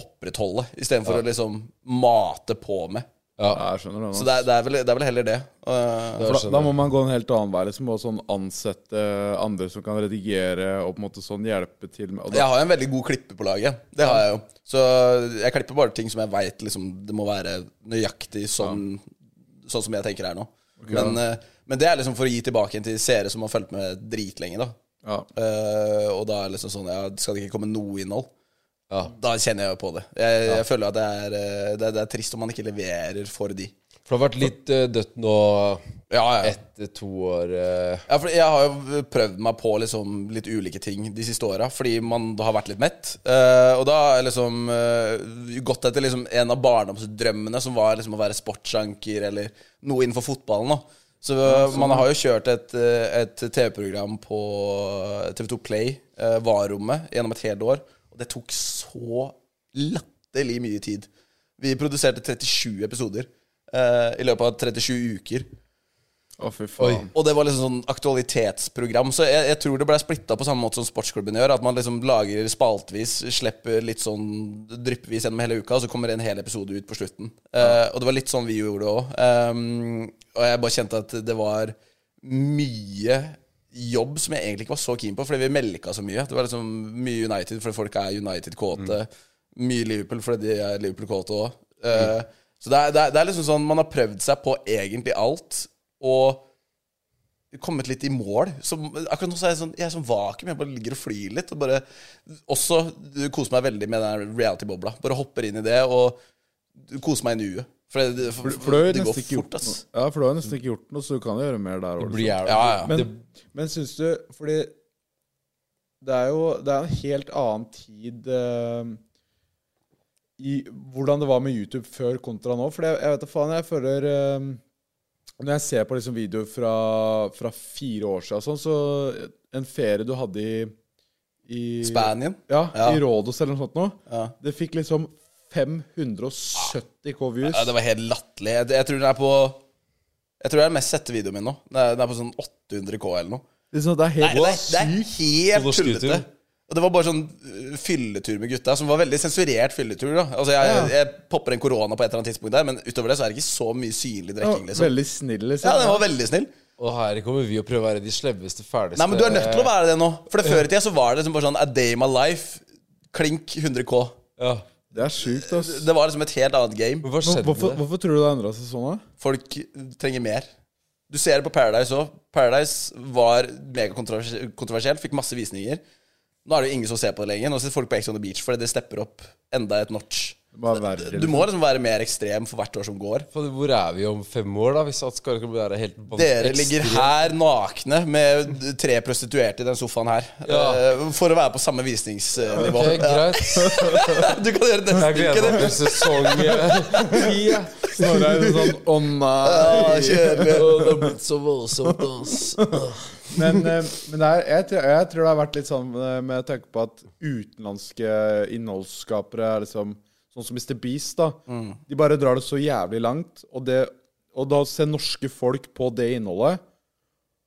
Speaker 4: opprettholde, istedenfor for å liksom mate på med.
Speaker 3: Ja, jeg skjønner det nå.
Speaker 4: Så det er, det er, vel, det er vel heller det. Uh,
Speaker 5: Jeg
Speaker 3: For da, da
Speaker 5: skjønner.
Speaker 3: må man gå en helt annen vei. Liksom, og sånn ansette andre som kan redigere og på en måte sånn hjelpe til med og da,
Speaker 4: jeg har jo en veldig god klipper på laget. Det har jeg jo. Så jeg klipper bare ting som jeg veit liksom, det må være nøyaktig sånn, sånn som jeg tenker her nå. Men, eh, men det er liksom for å gi tilbake igjen til seere som har fulgt med dritlenge, da.
Speaker 3: ja.
Speaker 4: Eh, og da er det liksom sånn ja, Skal det ikke komme noe innhold?
Speaker 5: Ja.
Speaker 4: Da kjenner jeg jo på det. Jeg, jeg føler at det er, eh, det, er- det er trist om man ikke leverer for de.
Speaker 5: For det har vært litt eh, dødt nå
Speaker 4: Ja, ja.
Speaker 5: Etter to år eh,
Speaker 4: Ja, for jeg har jo prøvd meg på liksom litt ulike ting de siste åra, fordi man da har vært litt mett. Eh, og da har jeg liksom eh, gått etter liksom en av barndomsdrømmene, som var liksom å være sportsanker eller noe innenfor fotballen. Da. Så eh, man har jo kjørt et, eh, et TV-program på eh, TV2 Play, uh, Varrommet, gjennom et helt år. Og det tok så latterlig mye tid. Vi produserte 37 episoder eh, i løpet av 37 uker.
Speaker 3: Å, fy faen.
Speaker 4: Og det var liksom sånn aktualitetsprogram. Så jeg, jeg tror det ble splitta på samme måte som sportsklubben gjør. At man liksom lager spaltvis, slipper litt sånn dryppvis gjennom hele uka, og så kommer en hel episode ut på slutten. Eh, og det var litt sånn vi gjorde det òg. og jeg bare kjente at det var mye jobb som jeg egentlig ikke var så keen på, fordi vi melka så mye. Det var liksom mye United fordi folk er United-kåte. Mye Liverpool fordi de er Liverpool-kåte òg. Så det er, det, er, det er liksom sånn man har prøvd seg på egentlig alt. Og kommet litt i mål. Så, akkurat nå så er jeg sånn, jeg er sånn vakuum. Jeg bare ligger og flyr litt. Og bare også koser meg veldig med den reality-bobla. Bare hopper inn i det og koser meg i nuet. For det, for,
Speaker 3: For, for du har jo
Speaker 4: det går
Speaker 3: nesten ikke gjort
Speaker 4: fort, ass.
Speaker 3: noe. Ja, for du har jo nesten ikke gjort noe, så du kan jo gjøre mer der. også,
Speaker 5: blir
Speaker 3: liksom.
Speaker 5: jeg-
Speaker 4: Ja, ja.
Speaker 5: Men,
Speaker 3: Men, men syns du Fordi det er jo det er en helt annen tid eh, i hvordan det var med YouTube før kontra nå. For jeg, jeg vet da faen, jeg føler eh, Når jeg ser på liksom videoer fra, fra fire år siden og sånn, så en ferie du hadde i, i
Speaker 4: Spanien.
Speaker 3: Ja,
Speaker 4: Ja.
Speaker 3: i Rådås eller noe sånt nå.
Speaker 4: Ja.
Speaker 3: Det fikk liksom 570 K views.
Speaker 4: Ja, det var helt latterlig. Jeg, jeg tror den er på Jeg tror det er den mest sette videoen min nå. Den er, den er på sånn 800 K eller noe.
Speaker 3: liksom, det er helt
Speaker 4: Nei, det, er, det er helt
Speaker 5: På norsk
Speaker 4: tullete.
Speaker 5: YouTube.
Speaker 4: Og det var bare sånn øh, fylletur med gutta, som var veldig sensurert fylletur. da Altså Jeg, jeg popper en korona på et eller annet tidspunkt der, men utover det så er det ikke så mye synlig
Speaker 3: Ja,
Speaker 4: drikking. Liksom.
Speaker 3: Veldig snill, liksom.
Speaker 4: Ja, den var veldig snill.
Speaker 5: og her kommer vi og prøver å være de slemmeste, fæleste
Speaker 4: Nei, men du er nødt til å være det nå. For det før i tida så var det liksom bare sånn A day in my life, klink 100 K.
Speaker 5: ja.
Speaker 3: Det er sjukt, ass.
Speaker 4: Det var liksom et helt annet game.
Speaker 5: Men hva skjedde
Speaker 3: Hvorfor,
Speaker 5: med det?
Speaker 3: hvorfor tror du det har endra seg sånn? da?
Speaker 4: Folk trenger mer. Du ser det på Paradise òg. Paradise var megakontroversielt, fikk masse visninger. Nå er det jo ingen som ser på det lenger. Nå sitter folk på Ex on the Beach fordi det stepper opp enda et notch.
Speaker 3: Det var verre,
Speaker 4: Du må liksom være mer ekstrem for hvert år som går.
Speaker 5: Fader, Hvor er vi om fem år, da? Hvis at skal ikke være helt
Speaker 4: Dere
Speaker 5: ekstremt-
Speaker 4: ligger her nakne med tre prostituerte i den sofaen her.
Speaker 5: Ja.
Speaker 4: eh, For å være på samme visningsnivå.
Speaker 5: Ok, greit.
Speaker 4: Du kan gjøre det neste
Speaker 5: Jeg gleder
Speaker 4: uke,
Speaker 5: meg
Speaker 4: du.
Speaker 5: til sesong eh, ti. ja.
Speaker 3: liksom. Snorre er jo sånn Å nei!
Speaker 4: Ja, Ah, kjedelig.
Speaker 5: Åh, Det har blitt så voldsomt, ass.
Speaker 3: Men, eh, men det er, jeg, tror- jeg tror det har vært litt sånn eh, med tanke på at utenlandske innholdsskapere er liksom Sånn som Mr. Beast, da.
Speaker 4: Mm.
Speaker 3: De bare drar det så jævlig langt. Og, det, og da ser norske folk på det innholdet.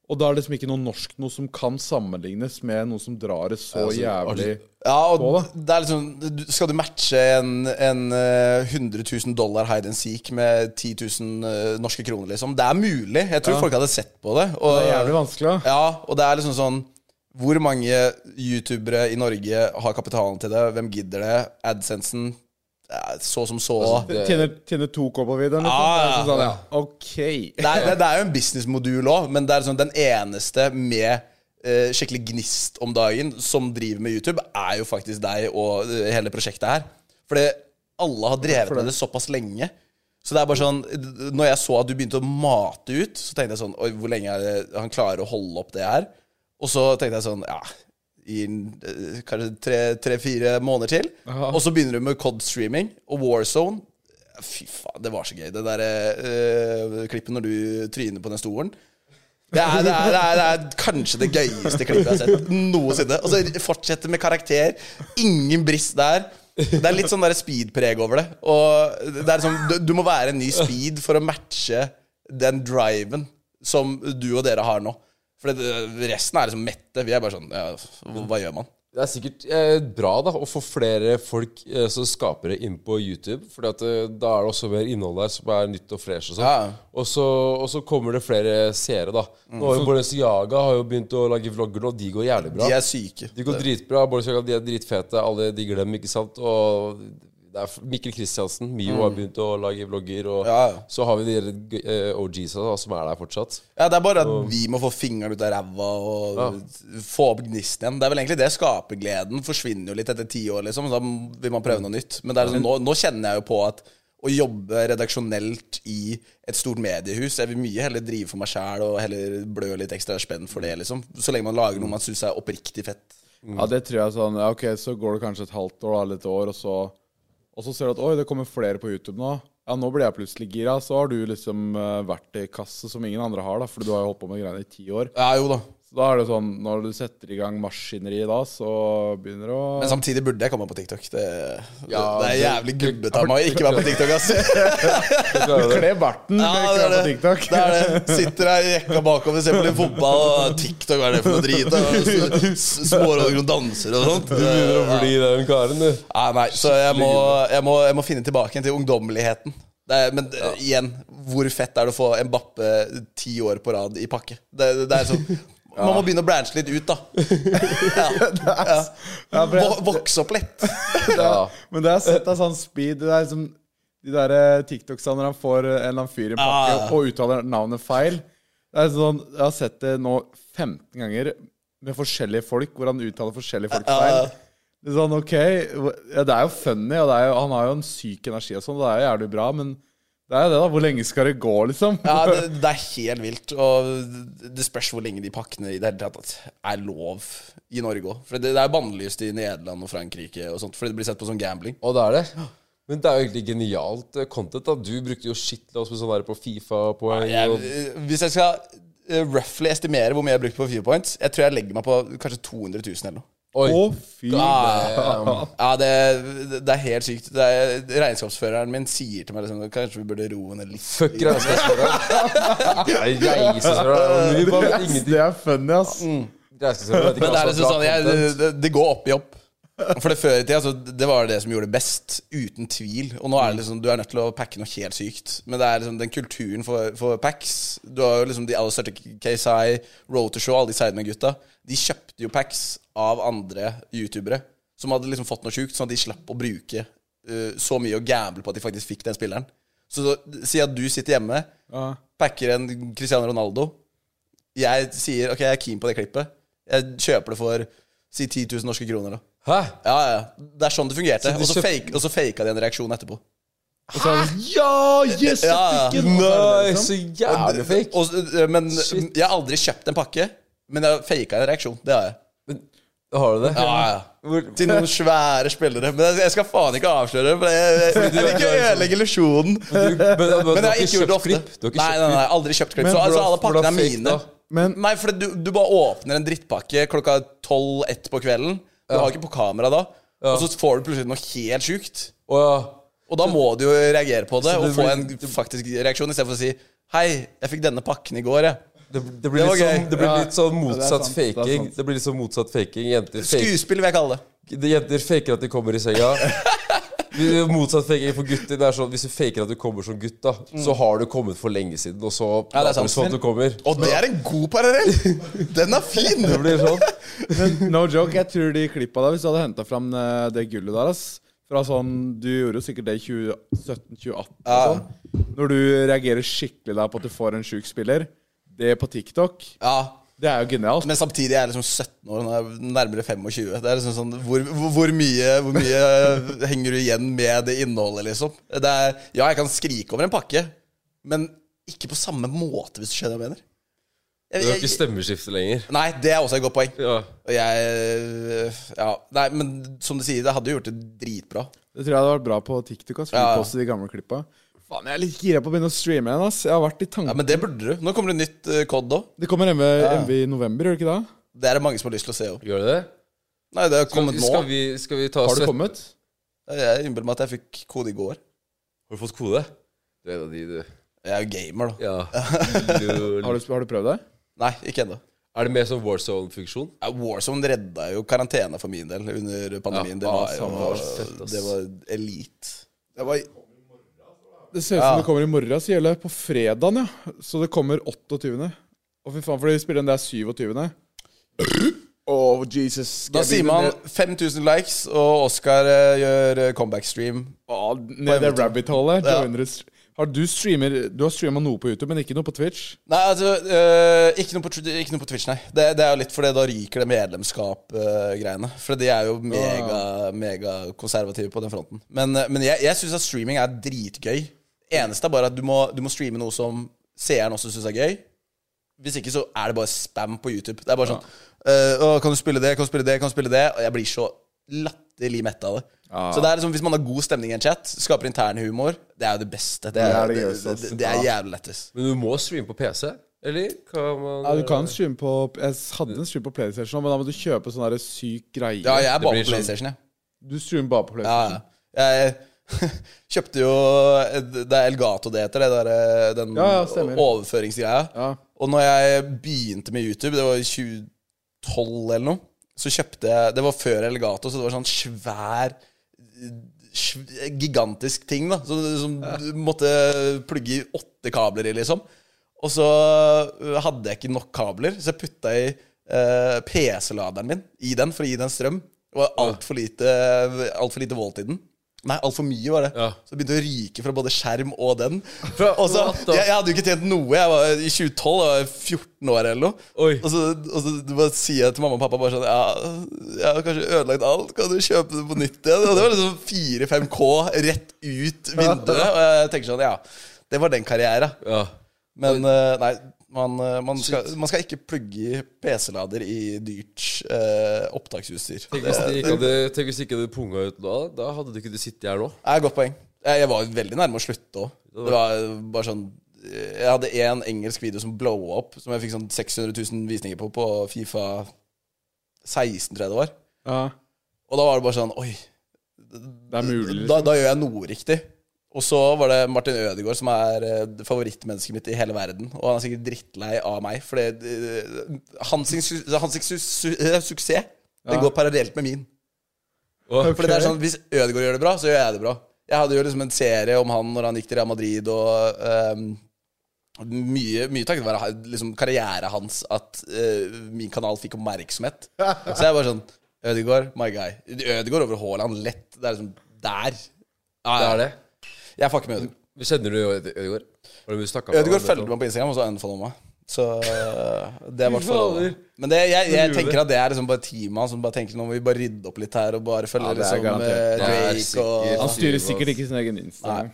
Speaker 3: Og da er det liksom ikke noe norsk noe som kan sammenlignes med noe som drar det så jævlig
Speaker 4: Ja, altså, og
Speaker 3: På,
Speaker 4: det er liksom, du- skal du matche en, en eh, 100 000 dollar hide and seek med 10 000 eh, norske kroner, liksom? Det er mulig. Jeg tror folk hadde sett på det. Og,
Speaker 3: Det er jævlig vanskelig. da.
Speaker 4: Ja, og det er liksom sånn Hvor mange youtubere i Norge har kapitalen til det? Hvem gidder det? AdSensen det er så som så. Det Ah,
Speaker 5: Det-
Speaker 3: Tjener, tjener to K på videoen, liksom.
Speaker 4: Ja, ja,
Speaker 3: Det er sånn, ja. OK.
Speaker 4: er, det, det er jo en businessmodul òg, men det er sånn, den eneste med eh, skikkelig gnist om dagen som driver med YouTube, er jo faktisk deg og eh, hele prosjektet her. Fordi alle har drevet med det såpass lenge. Så det er bare sånn Når jeg så at du begynte å mate ut, så tenkte jeg sånn Oi, hvor lenge er det han klarer å holde opp det her? Og så tenkte jeg sånn Ja, i eh, kanskje tre-fire måneder til. Og så begynner du med COD-streaming og Warzone. Fy faen, det var så gøy. Det der eh, klippet når du tryner på den stolen. Det er, det, er, det, er, det er kanskje det gøyeste klippet jeg har sett noensinne. Og så fortsette med karakter. Ingen brist der. Det er litt sånn der speed-preg over det. Og det er sånn, du, du må være en ny speed for å matche den driven som du og dere har nå. For det, resten er liksom mette. Vi er bare sånn ja, Hva gjør man?
Speaker 5: Det er sikkert eh, bra da å få flere folk eh, som skapere inn på YouTube. For da er det også mer innhold der som er nytt og fresh. Og sånn
Speaker 4: Ja.
Speaker 5: og, så, og så kommer det flere seere, da. Nå har jo Balenciaga har jo begynt å lage vlogger nå. De går jævlig bra.
Speaker 4: Mm. De er syke.
Speaker 5: De går dritbra. Bortsett de er dritfete. Alle digger dem, ikke sant? Og det er Mikkel Kristiansen, Mio, har begynt å lage vlogger.
Speaker 4: Mm.
Speaker 5: Og
Speaker 4: Ja, ja.
Speaker 5: så har vi de eh, OG-sa da, som er der fortsatt.
Speaker 4: Ja, det er bare at vi må få fingeren ut av ræva og få opp gnisten igjen. Det er vel egentlig det. Mm. Skapergleden forsvinner jo litt etter ti år, liksom. Så da vil man prøve noe nytt. Men det er sånn, nå, nå kjenner jeg jo på at å jobbe redaksjonelt i et stort mediehus. Jeg vil mye heller drive for meg sjæl og heller blø litt ekstra spenn for det, liksom. Så lenge man lager noe man syns er oppriktig fett.
Speaker 3: Ja, det tror jeg sånn ja, Ok, så går det kanskje et halvt år, da, eller et år, og så, og så ser du at oi, det kommer flere på YouTube nå. Ja, nå blir jeg plutselig gira. Så har du liksom eh, verktøykasse som ingen andre har, da, for du har jo holdt på med greiene i ti år.
Speaker 4: Ja, jo da.
Speaker 3: Så da er det sånn, når du setter i gang maskineriet da, så begynner det å
Speaker 4: Men samtidig burde jeg komme på TikTok. Det, det, det er jævlig gubbete av meg å ikke være på TikTok, ass.
Speaker 3: Kle barten!
Speaker 4: Ja,
Speaker 3: Ja,
Speaker 4: det er det.
Speaker 3: På TikTok.
Speaker 4: det er det. Sitter der i rekka bakover, ser på litt fotball, og TikTok, hva er det for noe drit? Og s- s- Småråder og danser og sånt.
Speaker 5: Begynner å bli den karen, du.
Speaker 4: Nei, nei, så jeg må, jeg må, jeg må finne tilbake igjen til ungdommeligheten. Det er, men eh, igjen, hvor fett er det å få en bappe ti år på rad i pakke? Det, det, det er sånn Man må begynne å branche litt ut, da. Ja. Ja.
Speaker 3: for jeg-
Speaker 4: Vo- Vokse opp litt.
Speaker 5: Ja.
Speaker 3: Men det jeg har sett av sånn speed Det er liksom de der eh, TikToksene når han får eh, en eller annen fyr i en pakke
Speaker 4: Ah.
Speaker 3: og uttaler navnet feil. Det er sånn, Jeg har sett det nå 15 ganger med forskjellige folk, hvor han uttaler forskjellige folk feil.
Speaker 4: Ah.
Speaker 3: Det er sånn, ok hvor- ja, Det er jo funny, og det er jo, han har jo en syk energi og sånn. Det er jo jævlig bra, men det er jo det, da. Hvor lenge skal det gå, liksom?
Speaker 4: Ja, det, det er helt vilt. Og det spørs hvor lenge de pakkene i det hele tatt er lov i Norge òg. For det, det er bannlyst i Nederland og Frankrike og sånt, fordi det blir sett på som gambling.
Speaker 5: Og det er det. Men det er jo egentlig genialt eh, content. da Du brukte jo shitloads med sånn der på Fifa-poeng.
Speaker 4: Jeg,
Speaker 5: og-
Speaker 4: hvis jeg skal eh, roughly estimere hvor mye jeg har brukt på Few Points, jeg tror jeg legger meg på kanskje 200 000 eller noe. Ah,
Speaker 5: Oi.
Speaker 3: Å, fy faen.
Speaker 4: Ja, det, det er helt sykt. Det er, regnskapsføreren min sier til meg liksom, kanskje vi burde roe ned litt.
Speaker 5: Fuck regnskapsføreren. Reisesøren Vi bare ingenting.
Speaker 3: Det er funny, ass.
Speaker 4: Mm.
Speaker 5: Regnskapsføreren
Speaker 4: Men det er liksom sånn, jeg, det- det, det går opp i opp. For det før i tida, altså, det var det som gjorde det best, uten tvil. Og nå er det liksom, du er nødt til å packe noe helt sykt. Men det er liksom den kulturen for, for packs Du har jo liksom de aller største KSI, Road to Show, alle de Sidemen-gutta. De kjøpte jo packs av andre youtubere som hadde liksom fått noe sjukt, sånn at de slapp å bruke eh, så mye og gamble på at de faktisk fikk den spilleren. Så da- si at du sitter hjemme,
Speaker 3: Ja.
Speaker 4: packer en Cristiano Ronaldo jeg sier ok, jeg er keen på det klippet. Jeg kjøper det for si 10 000 norske kroner. da
Speaker 5: Hæ?
Speaker 4: Ja, ja, ja. Det er sånn det fungerte.
Speaker 5: Så du
Speaker 4: Og så
Speaker 5: kjøp-
Speaker 4: fake, og så faka de en reaksjon etterpå.
Speaker 3: Og så er det sånn, ja! Yes!
Speaker 4: Ja, ja.
Speaker 3: jeg fikk den! Og så er
Speaker 5: Nei,
Speaker 3: det det, liksom.
Speaker 5: så jævlig fake.
Speaker 4: Og, så- eh, men
Speaker 5: Shit.
Speaker 4: jeg har aldri kjøpt en pakke. Men jeg har faka en reaksjon. Det har jeg.
Speaker 5: Har du det?
Speaker 4: Ja, ja, ja.
Speaker 5: Hvor-
Speaker 4: Til noen svære spillere. Men jeg- jeg skal faen ikke avsløre det. For jeg, jeg, jeg vil ikke ødelegge illusjonen.
Speaker 5: Men, men, men,
Speaker 4: Men
Speaker 5: du
Speaker 4: jeg
Speaker 5: har
Speaker 4: har ikke gjort det
Speaker 5: kjøpt
Speaker 4: ofte.
Speaker 5: klipp? Du har ikke
Speaker 4: nei, nei,
Speaker 5: kjøpt
Speaker 4: nei, aldri kjøpt klipp.
Speaker 3: Men
Speaker 4: Så altså,
Speaker 3: hvordan-
Speaker 4: alle
Speaker 5: hvordan
Speaker 4: pakkene er
Speaker 5: fake,
Speaker 4: mine.
Speaker 5: da?
Speaker 3: Men-
Speaker 4: Nei, for det, du, du bare åpner en drittpakke klokka 12-1 på kvelden. Du har ikke på kamera da. Og så får du plutselig noe helt sjukt.
Speaker 5: Å ja.
Speaker 4: Og da må du jo reagere på det,
Speaker 5: Så
Speaker 4: og
Speaker 5: det
Speaker 4: få
Speaker 5: blir-
Speaker 4: en faktisk reaksjon istedenfor å si Hei, jeg fikk denne pakken i går, jeg.
Speaker 5: Det, det blir,
Speaker 4: Det var
Speaker 5: litt sånn,
Speaker 4: gøy.
Speaker 5: det blir
Speaker 3: Ja.
Speaker 5: litt
Speaker 3: Ja,
Speaker 5: sånn
Speaker 3: det er
Speaker 5: motsatt
Speaker 3: sant, det er
Speaker 5: faking.
Speaker 3: sant.
Speaker 5: Det blir litt sånn motsatt faking. Jenter fake,
Speaker 4: Skuespill vil jeg kalle det.
Speaker 5: De Jenter faker at de kommer i senga. Vi- Motsatt faking for gutter. Det er sånn, hvis du faker at du kommer som gutt, da, så har du kommet for lenge siden. Og så
Speaker 4: Mm. Ja, det er
Speaker 5: later du
Speaker 4: sant.
Speaker 5: sånn at du kommer.
Speaker 4: Og det er en god parallell! Den er fin!
Speaker 5: Det blir sånn.
Speaker 3: No joke, jeg tror de klippa der, hvis du hadde henta fram eh, det gullet der ass. Fra sånn, Du gjorde jo sikkert det i 2017-2018. Sånn. Når du reagerer skikkelig der på at du får en sjuk spiller. Det på TikTok,
Speaker 4: Ja,
Speaker 3: det er jo genialt.
Speaker 4: Men samtidig er jeg liksom 17 år, og nå er jeg nærmere 25. Det er liksom sånn, Hvor, hvor- hvor, mye, hvor mye henger du igjen med det innholdet, liksom? Det er, ja, jeg kan skrike over en pakke, men ikke på samme måte, hvis du skjønner hva jeg mener. Jeg-
Speaker 5: Du har ikke
Speaker 4: jeg-
Speaker 5: stemmeskifte lenger.
Speaker 4: Nei, det er også et godt poeng.
Speaker 5: Ja.
Speaker 4: Og jeg Ja. Nei, men som du sier, det hadde jo gjort det dritbra.
Speaker 3: Det tror jeg hadde vært bra på TikTok. ass, for
Speaker 4: Ja.
Speaker 3: de poster de gamle klippa. Faen, jeg er litt gira på å begynne å streame igjen. ass. Jeg har vært i
Speaker 4: Ja,
Speaker 3: tanken.
Speaker 4: Men det burde du. Nå kommer det nytt eh, COD òg.
Speaker 3: Det kommer MV, MV i november, gjør det ikke det?
Speaker 4: Det er det mange som har lyst til å se òg.
Speaker 5: Gjør det det?
Speaker 4: Nei, det har kommet nå.
Speaker 5: Skal vi, skal vi ta
Speaker 3: Har det
Speaker 5: svett-
Speaker 3: kommet?
Speaker 4: Jeg innbiller meg at jeg fikk kode i går.
Speaker 5: Har du fått kode? Du er en av de, du.
Speaker 4: Jeg er jo gamer, da.
Speaker 5: Ja.
Speaker 3: Har
Speaker 5: Lol.
Speaker 3: du, har du prøvd det?
Speaker 4: Nei, ikke ennå.
Speaker 5: Er det mer sånn Warzone-funksjon?
Speaker 4: Ja, Warzone redda jo karantene for min del under pandemien.
Speaker 5: Ja, ah,
Speaker 4: det,
Speaker 5: samme
Speaker 4: var,
Speaker 5: var fett,
Speaker 4: jo,
Speaker 5: ass.
Speaker 4: det var elite.
Speaker 3: Det ser ut som det kommer i morgen, så gjelder det på fredagen, ja. Så det kommer 28. Å, fy faen, for de spiller den der 27. Oh, Jesus.
Speaker 4: Da sier man 5000 likes, og Oscar eh, gjør eh, comeback-stream.
Speaker 3: Nede i rabbit hole der.
Speaker 4: Ja.
Speaker 3: joiner et- Har du streamer Du har streama noe på YouTube, men ikke noe på Twitch?
Speaker 4: Nei, altså, øh, ikke, noe på, Tw- ikke noe på Twitch, nei. Det, det er jo litt fordi da ryker det medlemskap-greiene. for de er jo mega,
Speaker 3: Ah.
Speaker 4: mega konservative på den fronten. Men, øh, men jeg, jeg syns at streaming er dritgøy. Eneste er bare at du må, du må streame noe som seeren også syns er gøy. Hvis ikke så er det bare spam på YouTube. Det er bare sånn
Speaker 3: Ah.
Speaker 4: øh, «Å, Kan du spille det? Kan du spille det? Kan du spille det? Og jeg blir så latterlig mett av det.
Speaker 3: Ah.
Speaker 4: Så det er liksom, Hvis man har god stemning i en chat, skaper intern humor, det er jo det beste. Det er,
Speaker 3: Det er det gøyeste, ass. Ah.
Speaker 4: det, det, det er jævlig lettest.
Speaker 5: Men du må streame på PC? Eller kan man
Speaker 3: Ja, du kan streame på Jeg hadde en stream på PlayStation, nå, men da må du kjøpe sånn der syk greie.
Speaker 4: Ja, jeg er bare
Speaker 5: blir
Speaker 4: på
Speaker 5: sånn-
Speaker 4: PlayStation, jeg.
Speaker 3: Du streamer bare på
Speaker 4: Ja,
Speaker 3: PlayStation.
Speaker 4: ja. Jeg kjøpte jo eh, Det er Elgato det heter, det der, eh, den
Speaker 3: Ja, ja, stemmer.
Speaker 4: overføringsgreia.
Speaker 3: Ja.
Speaker 4: Og når jeg begynte med YouTube, det var i 2012 eller noe, så kjøpte jeg Det var før Elgato, så det var sånn svær sv- Gigantisk ting, da. Som, som du måtte plugge i åtte kabler i, liksom. Og så øh, hadde jeg ikke nok kabler, så jeg putta i øh, PC-laderen min i den for å gi den strøm. Det var altfor lite, alt for lite volt i den. Nei, altfor mye var det.
Speaker 5: Ja.
Speaker 4: Så det begynte å ryke fra både skjerm og den.
Speaker 5: Fra-
Speaker 4: Og så,
Speaker 5: What the-
Speaker 4: jeg, jeg hadde jo ikke tjent noe. Jeg var i 2012, jeg var 14 år eller noe.
Speaker 5: Oi.
Speaker 4: Og så, og så bare sier jeg til mamma og pappa bare sånn Ja, jeg har kanskje ødelagt alt. Kan du kjøpe det på nytt igjen? Og det var liksom 4-5 K rett ut vinduet. Og jeg tenker sånn Ja, det var den karrieren.
Speaker 5: Ja.
Speaker 4: Men eh, nei, man, eh, man, skal, man skal ikke plugge i PC-lader i dyrt eh, opptaksutstyr.
Speaker 5: Tenk
Speaker 4: Det
Speaker 5: hvis de ikke hadde, tenk hvis de ikke hadde punga ut da? Da hadde du ikke sittet her nå.
Speaker 4: er et godt poeng. Jeg, jeg var jo veldig nærme å slutte òg. Det var bare sånn Jeg hadde én engelsk video som blowa opp, som jeg fikk sånn 600 000 visninger på på Fifa 16, tror jeg det var.
Speaker 3: Ja.
Speaker 4: Og da var det bare sånn Oi,
Speaker 3: Det er mulig. liksom.
Speaker 4: da, da gjør jeg noe riktig. Og så var det Martin Ødegaard, som er eh, favorittmennesket mitt i hele verden. Og han er sikkert drittlei av meg, for det, eh, hans, su- hans su su eh, suksess Det går parallelt med min.
Speaker 5: Åh,
Speaker 4: For det er sånn, Hvis Ødegaard gjør det bra, så gjør jeg det bra. Jeg hadde jo liksom en serie om han når han gikk til Real Madrid, og ehm, mye, mye takket være ha- liksom, karrieren hans at eh, min kanal fikk oppmerksomhet. Så jeg var sånn Ødegaard, my guy. Ødegaard over Haaland, lett. Det er liksom der. Ja,
Speaker 5: Det
Speaker 4: ja.
Speaker 5: er det.
Speaker 4: Jeg fucker med Ødegaard.
Speaker 5: Kjenner du Ødegaard? Var det mye du snakket med han
Speaker 4: Ødegaard
Speaker 5: om
Speaker 4: fulgte
Speaker 5: dette?
Speaker 4: meg på Instagram, og så unfollowa meg. Så øh, det var
Speaker 5: Fy
Speaker 4: forholdet.
Speaker 5: fader.
Speaker 4: Men det, jeg, jeg tenker at det er liksom bare teamet hans som bare tenker nå må vi bare rydde opp litt her og bare
Speaker 3: Ja,
Speaker 4: følge
Speaker 3: det er
Speaker 4: liksom
Speaker 3: garantert.
Speaker 4: eh,
Speaker 5: Det
Speaker 4: Drake
Speaker 5: er sikkert.
Speaker 4: og
Speaker 3: Han styrer sikkert ikke sin egen Instagram.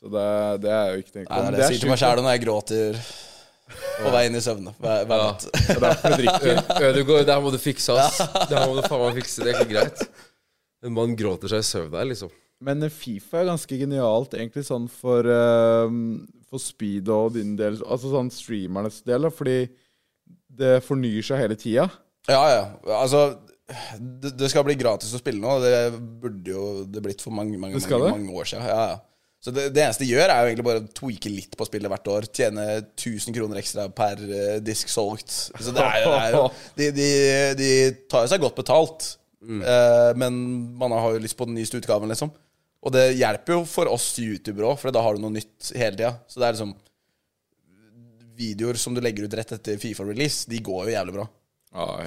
Speaker 3: Så det, det er jo ikke tenkt
Speaker 4: Nei, det er
Speaker 3: Men
Speaker 4: det jeg sier til meg
Speaker 3: sjukt,
Speaker 4: sjæl når jeg gråter på vei inn i søvne hver, hver natt.
Speaker 3: det er derfor jeg drikker.
Speaker 5: Ø- Ødegaard, det her må du fikse, ass. Det her må du faen meg fikse. Det er ikke greit. En mann gråter seg i søvn der, liksom.
Speaker 3: Men eh, Fifa er ganske genialt, egentlig sånn for, ehm, for speed og din del, altså sånn streamernes del, da, fordi det fornyer seg hele tida.
Speaker 4: Ja, ja. Altså, det, det skal bli gratis å spille nå. og Det burde jo det blitt for mange, mange,
Speaker 3: Det skal
Speaker 4: mange,
Speaker 3: det?
Speaker 4: mange år siden. Ja, ja. Så det, det eneste de gjør, er jo egentlig bare å tweake litt på spillet hvert år. Tjene 1000 kroner ekstra per eh, disk solgt. Så det er, jo- det er jo de, de, de tar jo seg godt betalt,
Speaker 3: Mm.
Speaker 4: Eh, men man har jo lyst på den nyeste utgaven, liksom. Og det hjelper jo for oss youtubere òg, for da har du noe nytt hele tida. Så det er liksom Videoer som du legger ut rett etter Fifa-release, de går jo jævlig bra.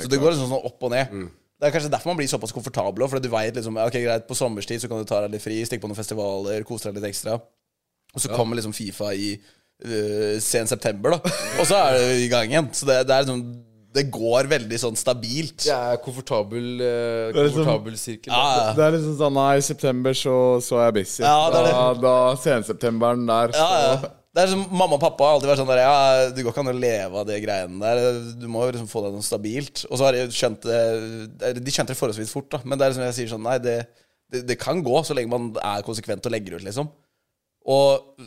Speaker 4: Så det går liksom sånn opp og ned. Det er kanskje derfor man blir såpass komfortabel òg, fordi du veit liksom Ok, greit, på sommerstid så kan du ta deg litt fri, stikke på noen festivaler, kose deg litt ekstra. Og så kommer liksom Fifa i øh, sen september, da. Og så er det i gang igjen. Så det, det er liksom Det går veldig sånn stabilt.
Speaker 5: Det er komfortabel, eh,
Speaker 3: er liksom-
Speaker 5: komfortabel sirkel.
Speaker 4: Ja, ja.
Speaker 3: Det er liksom sånn Nei, i september så, så er jeg busy.
Speaker 4: Ja, det er det.
Speaker 3: Da, da senseptemberen der, så
Speaker 4: Ja, ja. Det er som Mamma og pappa har alltid vært sånn der ja, Du går ikke an å leve av de greiene der. Du må jo liksom få deg noe stabilt. Og så har de skjønt det eller De skjønte det forholdsvis fort, da. Men det er som jeg sier sånn Nei, det, det, det kan gå, så lenge man er konsekvent og legger ut, liksom. Og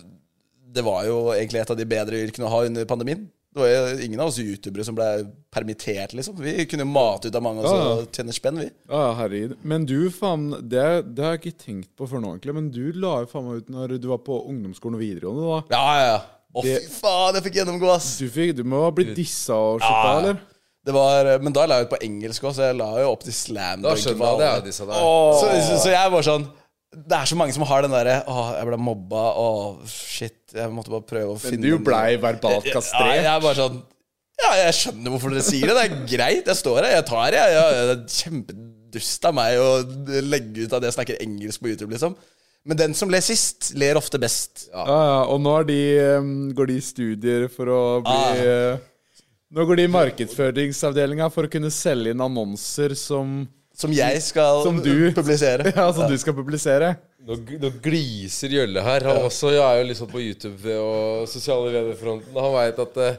Speaker 4: det var jo egentlig et av de bedre yrkene å ha under pandemien. Det var jo ingen av oss youtubere som ble permittert, liksom. Vi kunne jo mate ut av mange og så
Speaker 3: Ja, ja.
Speaker 4: tjene spenn, vi.
Speaker 3: Ja, herregud. Men du, faen Det, det har jeg ikke tenkt på før nå, egentlig. Men du la jo faen meg ut når du var på ungdomsskolen og videregående, da.
Speaker 4: Ja, ja, ja. Å, fy
Speaker 3: Det-
Speaker 4: faen, jeg fikk gjennomgå, ass.
Speaker 3: Du, fikk, du må ha blitt dissa og shit da,
Speaker 4: Ja.
Speaker 3: eller?
Speaker 4: Det var, eh, men da la jeg ut på engelsk òg, så jeg la jo opp til slam.
Speaker 5: Da
Speaker 4: dunk
Speaker 5: skjønner
Speaker 4: for
Speaker 5: jeg det.
Speaker 4: alle.
Speaker 5: er disse der.
Speaker 4: så, så, så jeg var sånn Det er så mange som har den derre Å, jeg ble mobba. Å, shit. Jeg måtte bare prøve å
Speaker 3: Men
Speaker 4: finne
Speaker 3: du
Speaker 4: en-
Speaker 3: blei verbalt
Speaker 4: Ja,
Speaker 3: kastrert.
Speaker 4: jeg er bare sånn Ja, jeg skjønner hvorfor dere sier det. Det er greit. Jeg står her, jeg tar det. Jeg, jeg, det er kjempedust av meg å legge ut at jeg snakker engelsk på YouTube, liksom. Men den som ler sist, ler ofte best.
Speaker 3: Ja, ja, og nå er de, ehm, går de i studier for å
Speaker 4: Ah.
Speaker 3: bli eh, Nå går de i markedsføringsavdelinga for å kunne selge inn annonser som
Speaker 4: Som jeg skal
Speaker 3: Som du.
Speaker 4: publisere.
Speaker 3: Ja, som du skal publisere.
Speaker 5: Nå, g- nå gliser Jølle her. Han også jeg er jo liksom på YouTube og sosiale medier-fronten. og Han veit at eh,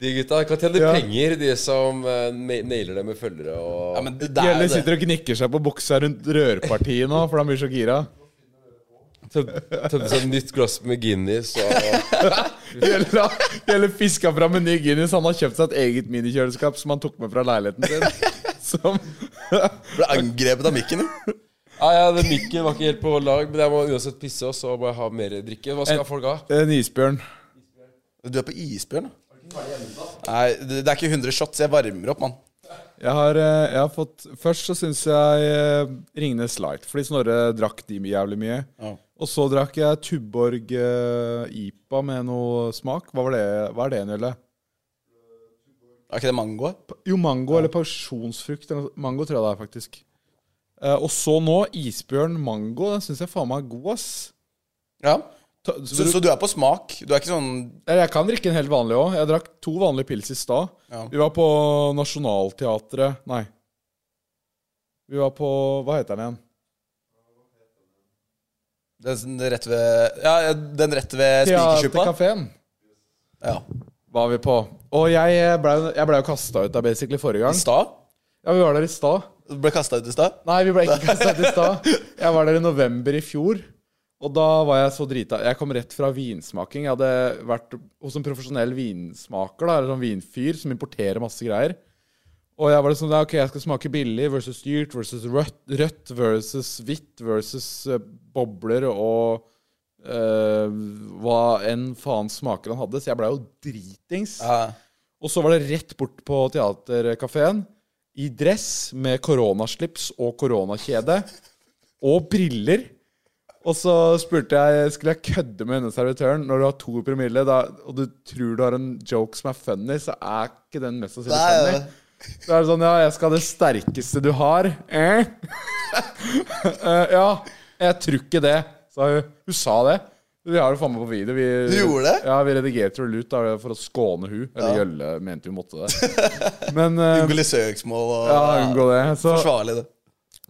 Speaker 5: de gutta kan tjene
Speaker 3: Ja.
Speaker 5: penger, de som eh, na- nailer det med følgere og
Speaker 4: Ja, men det, det er
Speaker 3: Gjelle
Speaker 4: jo det.
Speaker 3: sitter og gnikker seg på buksa rundt rørpartiet nå, for han blir så gira.
Speaker 5: tøm, tømmer seg et nytt glass med Guinness og
Speaker 3: Gjelle Gjelle fiska fram en ny Guinness. Han har kjøpt seg et eget minikjøleskap som han tok med fra leiligheten sin. Som
Speaker 4: Ble angrepet av mikken. jo.
Speaker 5: Ja, ja, den mikken var ikke helt på lag, men jeg må uansett pisse, og så må jeg ha mer drikke. Hva
Speaker 3: Eh,
Speaker 5: skal folk ha?
Speaker 3: en isbjørn.
Speaker 4: Du er på isbjørn, da. Nei, det det er ikke 100 shots. Jeg varmer opp, mann.
Speaker 3: Jeg har, eh, jeg har fått Først så syns jeg eh, Ringnes Light, fordi Snorre drakk de jævlig mye.
Speaker 4: Ja.
Speaker 3: Og så drakk jeg Tuborg eh, IPA med noe smak. Hva, var det, hva er det igjen, Gjelle?
Speaker 4: Er ikke det mango?
Speaker 3: Jo, mango eller pasjonsfrukt. eller noe- Mango tror jeg det er, faktisk. Eh, og så nå isbjørn mango. Den syns jeg faen meg er god, ass.
Speaker 4: Ja.
Speaker 3: Ta, så,
Speaker 4: Så, så du er på smak? Du er ikke sånn
Speaker 3: Eller jeg kan drikke en helt vanlig òg. Jeg drakk to vanlige pils i stad.
Speaker 4: Ja.
Speaker 3: Vi var på Nationaltheatret Nei. Vi var på Hva heter den igjen?
Speaker 4: den som- sånn rett ved Ja, den rett ved spikertuppa?
Speaker 3: Theatercaféen
Speaker 4: Ja.
Speaker 3: var vi på. Og jeg blei ble jo kasta ut der basically forrige gang.
Speaker 4: I stad?
Speaker 3: Ja, vi var der i stad.
Speaker 4: Du ble kasta ut i stad?
Speaker 3: Nei, vi ble ikke kasta ut i stad. Jeg var der i november i fjor. Og da var jeg så drita. Jeg kom rett fra vinsmaking. Jeg hadde vært hos en profesjonell vinsmaker, da, eller sånn vinfyr, som importerer masse greier. Og jeg var liksom sånn, ok, jeg skal smake billig versus dyrt versus rødt, rødt versus hvitt versus eh, bobler og eh, hva enn faen smaker han hadde. Så jeg blei jo dritings.
Speaker 4: Ja.
Speaker 3: Og så var det rett bort på teaterkafeen i dress med koronaslips og koronakjede og briller. Og så spurte jeg skulle jeg kødde med denne servitøren når du har to promille, da, og du tror du har en joke som er funny, så er ikke den mest sannsynlig
Speaker 4: Nei,
Speaker 3: funny.
Speaker 4: ja.
Speaker 3: Da er det sånn Ja, jeg skal ha det sterkeste du har. Eh? Eh, ja, jeg tror ikke det, sa hun. Hun sa det. Vi har det faen meg på video. Vi,
Speaker 4: Du gjorde det?
Speaker 3: Ja, vi redigerte det ut da, for å skåne hun Eller Gjølle mente hun måtte det. Men eh,
Speaker 4: Unngå litt søksmål og
Speaker 3: ja, unngå det. Så,
Speaker 4: Forsvarlig, det.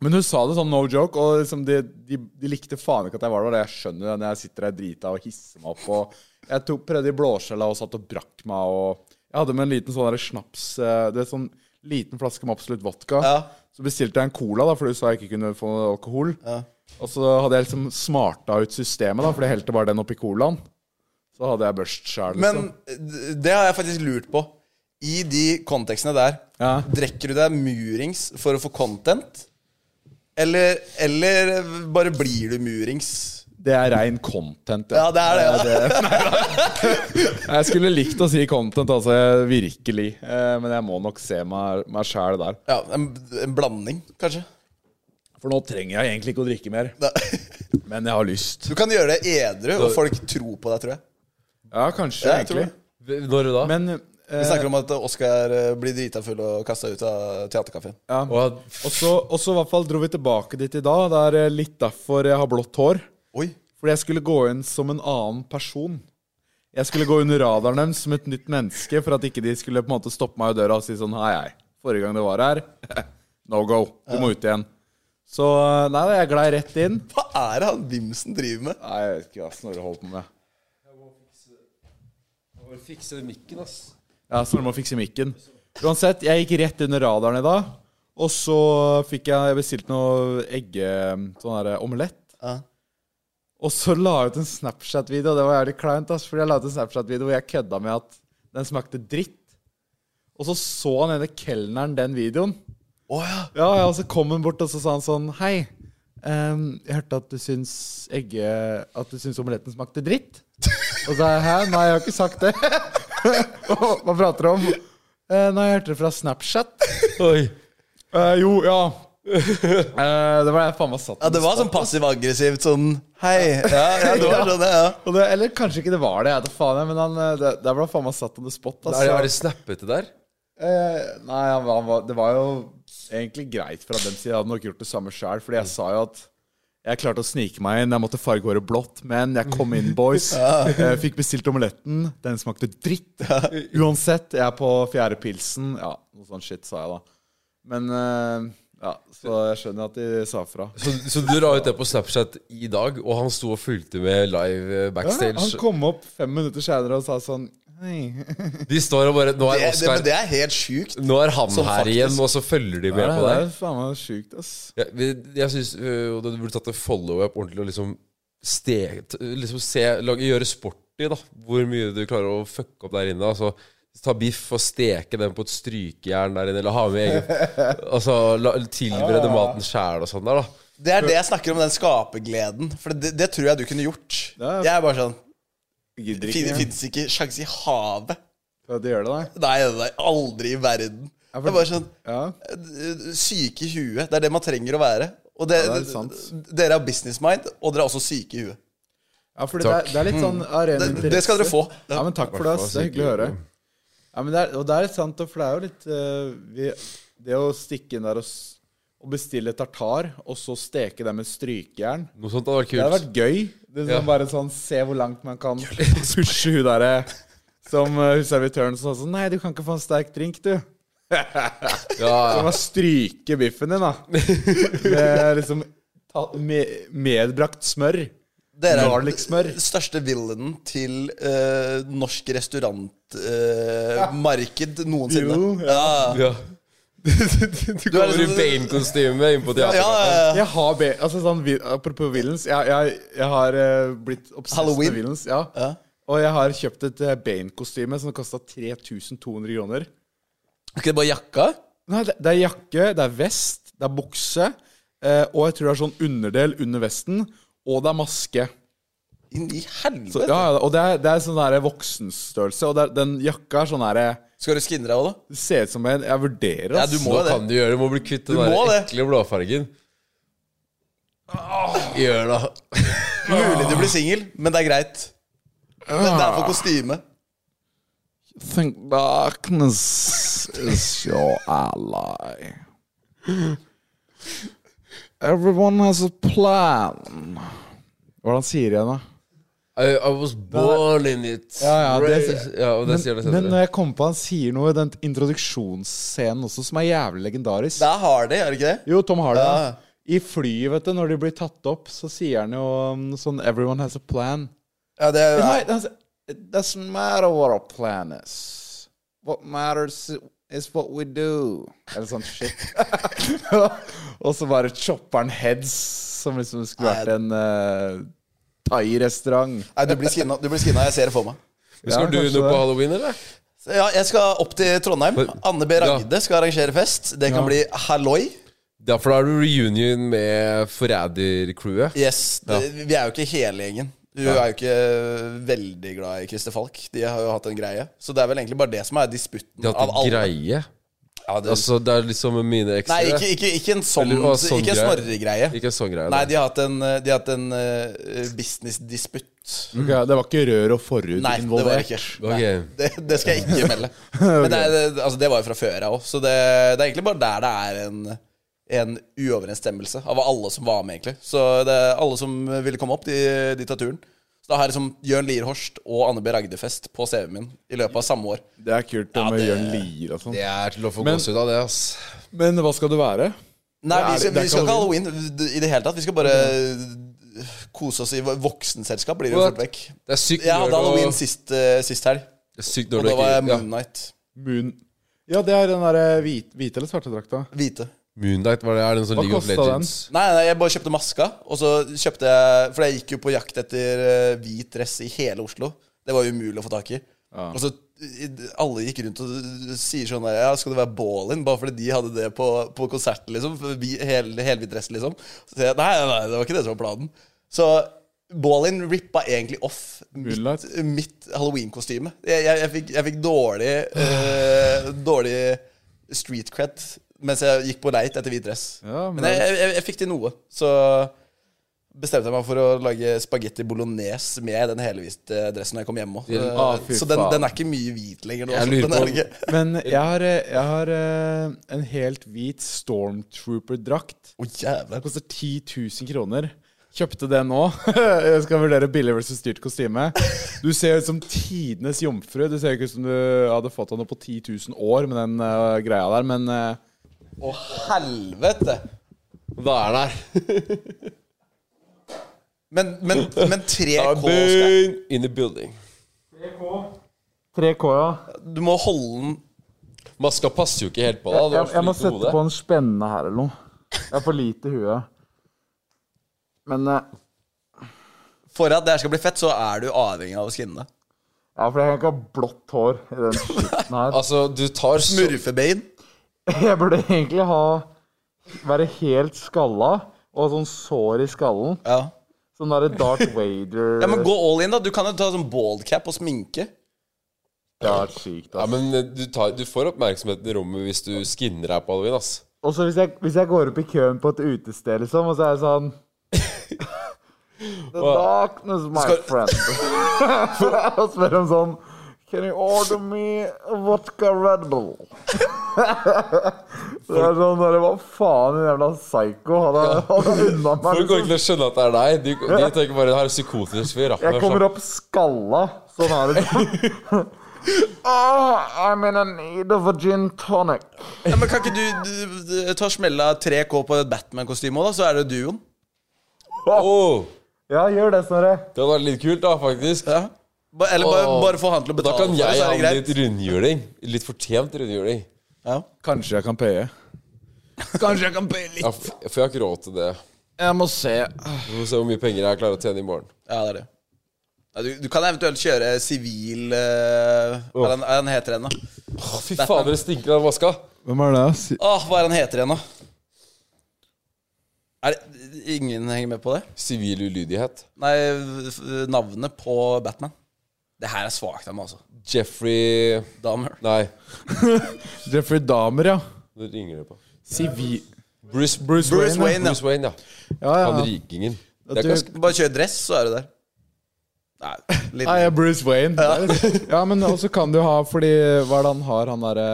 Speaker 3: men hun sa det sånn no joke, og liksom de, de, de likte faen ikke at jeg var der. og Jeg skjønner det når jeg sitter der drita og hisser meg opp. Og jeg tok, prøvde i blåskjella og satt og brakk meg. Og jeg hadde med en liten sånn der snaps eh, Det er sånn liten flaske med absolutt vodka.
Speaker 4: Ja.
Speaker 3: Så bestilte jeg en cola, da, for du sa jeg ikke kunne få noe alkohol. Og så hadde jeg liksom smarta ut systemet, da, for jeg helte bare den oppi colaen. Så hadde jeg børst sjæl, liksom.
Speaker 4: Men eh, d- det har jeg faktisk lurt på. I de kontekstene der,
Speaker 3: Ja.
Speaker 4: drekker du deg murings for å få content? Eller, eller bare blir du murings?
Speaker 3: Det er rein content.
Speaker 4: Ja, det er det. Ja.
Speaker 3: Jeg skulle likt å si content, altså. jeg- Virkelig. Eh, men jeg må nok se meg, meg sjæl der.
Speaker 4: Ja, en, en blanding, kanskje.
Speaker 3: For nå trenger jeg egentlig ikke å drikke mer.
Speaker 4: Da-
Speaker 3: Men jeg har lyst.
Speaker 4: Du kan gjøre det edru, og folk tror på deg, tror jeg.
Speaker 3: Ja, kanskje,
Speaker 4: Ja, jeg tror
Speaker 3: egentlig.
Speaker 4: det.
Speaker 5: Når da?
Speaker 3: Men
Speaker 4: Vi
Speaker 3: eh,
Speaker 4: snakker om at Oskar eh, blir drita full og kasta ut av teaterkafeen.
Speaker 5: og,
Speaker 3: eh, og så og så i hvert fall dro vi tilbake dit i dag. Det er eh, litt derfor jeg har blått hår.
Speaker 4: Oi.
Speaker 3: Fordi jeg skulle gå inn som en annen person. Jeg skulle gå under radaren deres som et nytt menneske, for at ikke de skulle på en måte stoppe meg i døra og si sånn Hei, hei. Forrige gang du var her, no go. Du må ut igjen. Så eh, nei da, jeg glei rett inn.
Speaker 4: Hva er det han Vimsen driver med?
Speaker 3: Nei, jeg vet ikke hva Snorre holder på med.
Speaker 5: Bare fikse den mikken, ass.
Speaker 3: Ja, Snorre må fikse mikken. Uansett, jeg gikk rett under radaren i dag. Og så fikk jeg bestilt noe egge... Sånn her omelett.
Speaker 4: Ja.
Speaker 3: Og så la jeg ut en Snapchat-video, og det var jævlig kleint. ass, Fordi jeg la ut en Snapchat-video hvor jeg kødda med at den smakte dritt. Og så så han ene kelneren den videoen.
Speaker 4: Å ja.
Speaker 3: Ja, ja, og så kom hun bort, og så sa han sånn Hei, ehm, jeg hørte at du syns egge... At du syns omeletten smakte dritt. Og så sa jeg hæ? Nei, jeg har ikke sagt det. Hva prater du om? «Eh, nei, jeg hørte det fra Snapchat.
Speaker 5: Oi.
Speaker 3: «Eh, jo, ja. Eh, det var jeg faen meg satt
Speaker 4: ja. Det var sånn passiv-aggressivt sånn Hei. Ja, ja det var sånn, ja.
Speaker 3: Og det, eller kanskje ikke det var det, jeg vet da faen. jeg, Men han, eh, det, der ble han faen meg satt on the spot.
Speaker 5: Er det,
Speaker 3: Altså.
Speaker 5: er det snappete der?
Speaker 3: Eh, nei, han, var- han var, det var jo egentlig greit fra dem siden. Jeg hadde nok gjort det samme sjøl, fordi jeg sa jo at Jeg klarte å snike meg inn. Jeg måtte farge håret blått, men jeg kom inn, boys. Jeg fikk bestilt omeletten. Den smakte dritt. Uansett, jeg er på fjerde pilsen. Ja, noe sånn shit, sa jeg da. Men eh, ja, så jeg skjønner at de sa fra.
Speaker 5: Så, så du la ut det på Snapchat i dag, og han sto og fulgte med live eh,
Speaker 3: Ja,
Speaker 5: backstage.
Speaker 3: han kom opp fem minutter senere og sa sånn Hei.
Speaker 5: De står og bare Nå
Speaker 4: Det,
Speaker 5: er
Speaker 4: det,
Speaker 5: Oscar
Speaker 4: men det er helt sjukt.
Speaker 5: Nå er han
Speaker 4: Som
Speaker 5: her
Speaker 4: faktisk-
Speaker 5: igjen, og så følger de med
Speaker 3: Det
Speaker 5: på
Speaker 3: er
Speaker 5: deg.
Speaker 3: faen meg sjukt, ass.
Speaker 5: Ja, vi- jeg syns øh, du burde tatt en follow-up ordentlig og liksom, ste- t- liksom se, lage, gjøre sport i da, hvor mye du klarer å fucke opp der inne. Altså, ta biff og steke den på et strykejern der inne, eller ha med egen Altså la, tilberede maten sjæl og sånn der, da.
Speaker 4: Det er det jeg snakker om, den skapergleden. For det, det tror jeg du kunne gjort.
Speaker 3: Ja.
Speaker 4: Jeg er bare sånn
Speaker 3: Gidder
Speaker 4: Det
Speaker 3: ikke.
Speaker 4: fins ikke sjans i havet.
Speaker 3: Ja, det gjør det, nei.
Speaker 4: Nei, nei, aldri i verden. Det er bare sånn
Speaker 3: Ja.
Speaker 4: Syke i huet. Det er det man trenger å være. Og det,
Speaker 3: Ja, det er sant.
Speaker 4: Dere har business mind, og dere er også syke i huet.
Speaker 3: Ja, for det, er- det er litt sånn arena
Speaker 4: Hmm. Det- det skal dere få.
Speaker 3: Ja, men takk for det. ass. Det er hyggelig å høre. Ja, men det er, og det er litt sant, for det er jo litt eh, vi, Det å stikke inn der og, s- og bestille tartar, og så steke det med strykejern
Speaker 5: Noe sånt hadde vært
Speaker 3: Det hadde
Speaker 5: kult.
Speaker 3: vært gøy. Det er sånn,
Speaker 5: Ja.
Speaker 3: Bare sånn se hvor langt man kan pushe hun derre som eh, hun servitøren som sa sånn Nei, du kan ikke få en sterk drink, du.
Speaker 5: Ja,
Speaker 3: Så
Speaker 5: ja.
Speaker 3: man stryke biffen din, da. Med liksom ta, med, medbrakt smør.
Speaker 4: Dere er
Speaker 3: Garlic-smør.
Speaker 4: den største villainen til eh, norsk restaurantmarked eh, noensinne.
Speaker 3: Jo,
Speaker 4: ja.
Speaker 5: ja. Du kommer i
Speaker 4: liksom-
Speaker 5: Bane-kostyme inn på
Speaker 4: Ja, ja,
Speaker 5: teateret.
Speaker 4: ja.
Speaker 3: Jeg har be altså, sånn, vi- Apropos villains. Jeg, jeg, jeg har eh, blitt obsess
Speaker 4: Halloween?
Speaker 3: med villains. Ja.
Speaker 4: Ja.
Speaker 3: Og jeg har kjøpt et eh, Bane-kostyme som kosta 3200 kroner.
Speaker 4: Er ikke det bare jakka?
Speaker 3: Nei, det, det er jakke, det er vest, det er bukse, eh, og jeg tror det er sånn underdel under vesten, og det er maske.
Speaker 4: Inn i
Speaker 3: Så,
Speaker 4: helvete!
Speaker 3: ja, ja, og det er, det er sånn der voksenstørrelse, og det er, den jakka er sånn der eh,
Speaker 4: Skal du skinne deg òg, da?
Speaker 3: Det ser ut som en Jeg vurderer,
Speaker 4: Ja,
Speaker 3: ass.
Speaker 4: du må
Speaker 5: Nå
Speaker 4: jo det.
Speaker 5: kan du gjøre det. Må bli kvitt den
Speaker 4: Du må
Speaker 5: der
Speaker 4: det.
Speaker 5: ekle blåfargen. Gjør det.
Speaker 4: Mulig du blir singel, men det er greit. Det det
Speaker 3: Ah.
Speaker 4: er for kostyme.
Speaker 3: Think darkness is your ally. Everyone has a plan. Hvordan sier jeg det?
Speaker 5: I, I was born in it.
Speaker 3: Ja, ja, det-
Speaker 5: Raised- ja, og det sier det
Speaker 3: Men, eh, men
Speaker 5: senere.
Speaker 3: når jeg kommer på han sier noe i den introduksjonsscenen også, som er jævlig legendarisk
Speaker 4: Det er hardy, er det ikke det?
Speaker 3: Jo, Tom Hardy.
Speaker 4: Ja.
Speaker 3: ja. I flyet, vet du, når de blir tatt opp, så sier han jo um, sånn Everyone has a plan.
Speaker 4: Ja, det er,
Speaker 3: Nei, altså, It doesn't matter what our plan is. What matters is what we do. Eller sånn shit. og så bare chopper han heads, som liksom skulle vært en uh, thai-restaurant.
Speaker 4: Nei, du blir skinna. Du blir skinna, jeg ser det for meg.
Speaker 5: Skal
Speaker 3: Ja,
Speaker 5: du
Speaker 3: kanskje
Speaker 5: noe
Speaker 3: det.
Speaker 5: på halloween, eller?
Speaker 4: Så Ja, jeg skal opp til Trondheim.
Speaker 5: For-
Speaker 4: Anne B. Ragde skal arrangere fest. Det kan
Speaker 3: Ja.
Speaker 4: bli halloi.
Speaker 5: Ja, for da er du reunion med Forræder-crewet.
Speaker 4: Yes. Det, Vi er jo ikke hele gjengen. Hun er jo ikke veldig glad i Christer Falk. De har jo hatt en greie. Så det er vel egentlig bare det som er disputten
Speaker 5: De har
Speaker 4: av
Speaker 5: hatt en
Speaker 4: alle.
Speaker 5: greie.
Speaker 4: Ja, det,
Speaker 5: Altså, det er liksom mine
Speaker 4: nei,
Speaker 5: ekstra
Speaker 4: ikke, ikke, ikke en sånn,
Speaker 5: Eller, å, sånn
Speaker 4: Ikke en
Speaker 5: greie.
Speaker 4: Snorre-greie.
Speaker 5: Ikke en sånn greie.
Speaker 4: Nei,
Speaker 5: da.
Speaker 4: de har hatt en, de har hatt en eh, business-disputt.
Speaker 3: Ok, det var ikke rør og forhud
Speaker 4: Nei, det var det Mm. ikke. Nei,
Speaker 5: Ok.
Speaker 4: det, det skal jeg ikke melde. Men det, er, det- altså, det var jo fra før av òg, så det, det er egentlig bare der det er en, en uoverensstemmelse av alle som var med, egentlig. Så det er alle som ville komme opp, de, de tar turen. Så da har jeg liksom Jørn Lier Horst og Anne B. Ragde-fest på CV-en min i løpet av samme år.
Speaker 3: Det er kult om å gjøre en lir og sånn.
Speaker 5: Det er til å få
Speaker 3: Men-
Speaker 5: gåsehud av det, ass.
Speaker 3: Men hva skal det være?
Speaker 4: Nei,
Speaker 3: Det er-
Speaker 4: vi skal,
Speaker 3: det er
Speaker 4: vi
Speaker 3: ikke
Speaker 4: skal ikke halloween i det hele tatt. Vi skal bare kose oss i voksenselskap, blir det jo
Speaker 5: What?
Speaker 4: fort vekk.
Speaker 5: Det er sykt
Speaker 4: Jeg hadde
Speaker 5: når du-
Speaker 4: halloween sist, eh, sist helg,
Speaker 5: Det er sykt
Speaker 4: og
Speaker 5: når du
Speaker 4: da var jeg
Speaker 5: ikke ja.
Speaker 4: Moon Knight.
Speaker 3: Moon Ja, det er den derre hvite, hvite eller svarte drakta.
Speaker 4: Hvite.
Speaker 5: Moonlight var det er den som
Speaker 3: Hva
Speaker 5: League of
Speaker 3: kostet den?
Speaker 5: Legends.
Speaker 4: Nei, nei, jeg bare kjøpte maska. Og så kjøpte jeg For jeg gikk jo på jakt etter eh, hvit dress i hele Oslo. Det var jo umulig å få tak i. Og så i- alle gikk rundt og sier sånn der, Ja, skal det være Ballin? Bare fordi de hadde det på, på konsert, liksom. for Vi, hel, helhvit dress, liksom. Så sier jeg nei, nei, nei, det var ikke det som var planen. Så Ballin rippa egentlig off mitt,
Speaker 3: Moonlight?
Speaker 4: mitt halloween-kostyme. Jeg, jeg, jeg, fikk, jeg fikk dårlig eh, Dårlig street cred mens jeg gikk på leit etter hvit dress.
Speaker 3: Ja, men
Speaker 4: Men jeg, jeg, jeg, jeg fikk til noe, så bestemte jeg meg for å lage spagetti bolognese med den helhvite dressen når jeg kom hjem òg.
Speaker 3: Ah, fy
Speaker 4: så den,
Speaker 3: faen.
Speaker 4: den er ikke mye hvit lenger nå.
Speaker 5: Jeg
Speaker 4: altså.
Speaker 5: lurer
Speaker 4: Den
Speaker 5: på
Speaker 4: er
Speaker 5: om-
Speaker 4: ikke-
Speaker 3: Men jeg har, eh, jeg har eh, en helt hvit stormtrooper-drakt.
Speaker 4: Å, jævla.
Speaker 3: Den koster 10 000 kroner. Kjøpte det nå. Jeg skal vurdere billig versus dyrt kostyme. Du ser ut som tidenes jomfru. Du ser ikke ut som du hadde fått av noe på 10 000 år med den eh, greia der, men eh,
Speaker 4: Å, helvete!
Speaker 5: Da er den her.
Speaker 4: Men, men, men 3K skal
Speaker 5: Boom! In the building.
Speaker 3: 3K, ja.
Speaker 4: Du må holde den
Speaker 5: Maska passer jo ikke helt på deg. Du har
Speaker 3: Jeg,
Speaker 5: for
Speaker 3: jeg må
Speaker 5: lite
Speaker 3: sette
Speaker 5: hode.
Speaker 3: på en spenne her eller noe. Jeg har for lite hue. Men eh,
Speaker 4: For at det her skal bli fett, så er du avhengig av å skinne det.
Speaker 3: Ja, for jeg kan ikke ha blått hår i den skitten her.
Speaker 5: Altså, du tar så
Speaker 4: Smurfebein.
Speaker 3: Jeg burde egentlig ha Være helt skalla og ha sånn sår i skallen.
Speaker 4: Ja.
Speaker 3: Sånn derre Darth Vader
Speaker 4: ja, men gå all in, da. Du kan jo ta sånn baldcap og sminke.
Speaker 3: Det har vært sykt,
Speaker 5: Ja,
Speaker 3: ass.
Speaker 5: men eh, du, tar, du får oppmerksomheten i rommet hvis du skinner deg på halloween, ass.
Speaker 3: Og så hvis, jeg- hvis jeg går opp i køen på et utested, liksom, og så er det sånn The darkness, my
Speaker 4: Skal-
Speaker 3: friend. og spør om sånn Can you order me a vodka Red Bull? det er sånn der, Hva faen, din jævla psyko? Han er, han er unna meg.
Speaker 5: Folk
Speaker 3: liksom.
Speaker 5: går ikke til å skjønne at det er deg. De, de tenker bare her er sånn, psykotisk fyr.
Speaker 3: Jeg kommer opp skalla. Sånn er det. Ah, I'm in a need of a gin tonic.
Speaker 4: Ja, men kan ikke du, du, du ta smella 3K på et Batman-kostyme òg, da? Så er det duoen.
Speaker 5: Oh,
Speaker 3: Ja, gjør det, Snorre.
Speaker 5: det hadde vært litt kult, da, faktisk.
Speaker 4: Ja. Ba- Eller bare,
Speaker 5: Åh.
Speaker 4: bare få han til å
Speaker 5: Da
Speaker 4: betale for
Speaker 5: kan
Speaker 4: det,
Speaker 5: jeg
Speaker 4: så
Speaker 5: ha
Speaker 4: er det greit.
Speaker 5: litt rundhjuling. Litt fortjent rundhjuling.
Speaker 4: Ja.
Speaker 3: Kanskje jeg kan paye. Kanskje jeg kan paye litt.
Speaker 5: Ja, f- for jeg har ikke råd til det.
Speaker 3: Jeg må se.
Speaker 5: Vi får se hvor mye penger jeg klarer å tjene i morgen.
Speaker 4: ja, det er det. Ja, du, du kan eventuelt kjøre sivil eh, Hva er den- hva er den heter igjen, da?
Speaker 5: Å, fy fader, det stinker av maska.
Speaker 3: Hvem er det? Si-
Speaker 4: Åh, hva er den heter igjen, da? Er det, ingen henger med på det?
Speaker 5: Sivil ulydighet.
Speaker 4: Nei, f- navnet på Batman. Det her er svakt av meg, altså.
Speaker 5: Jeffrey
Speaker 4: Dahmer.
Speaker 5: Nei,
Speaker 3: Jeffrey Dahmer, ja.
Speaker 5: nå ringer det på.
Speaker 3: Sivi...
Speaker 5: Bruce,
Speaker 4: Bruce Wayne, ja.
Speaker 5: Bruce Wayne, ja.
Speaker 3: Ja,
Speaker 5: Han
Speaker 3: ja.
Speaker 5: rikingen.
Speaker 3: At
Speaker 5: Det er
Speaker 3: du-
Speaker 5: ganske
Speaker 4: Bare kjør dress, så er du der. Nei, litt
Speaker 3: Nei, jeg er Bruce Wayne. Ja, men også kan du ha Fordi hva er det han har, han derre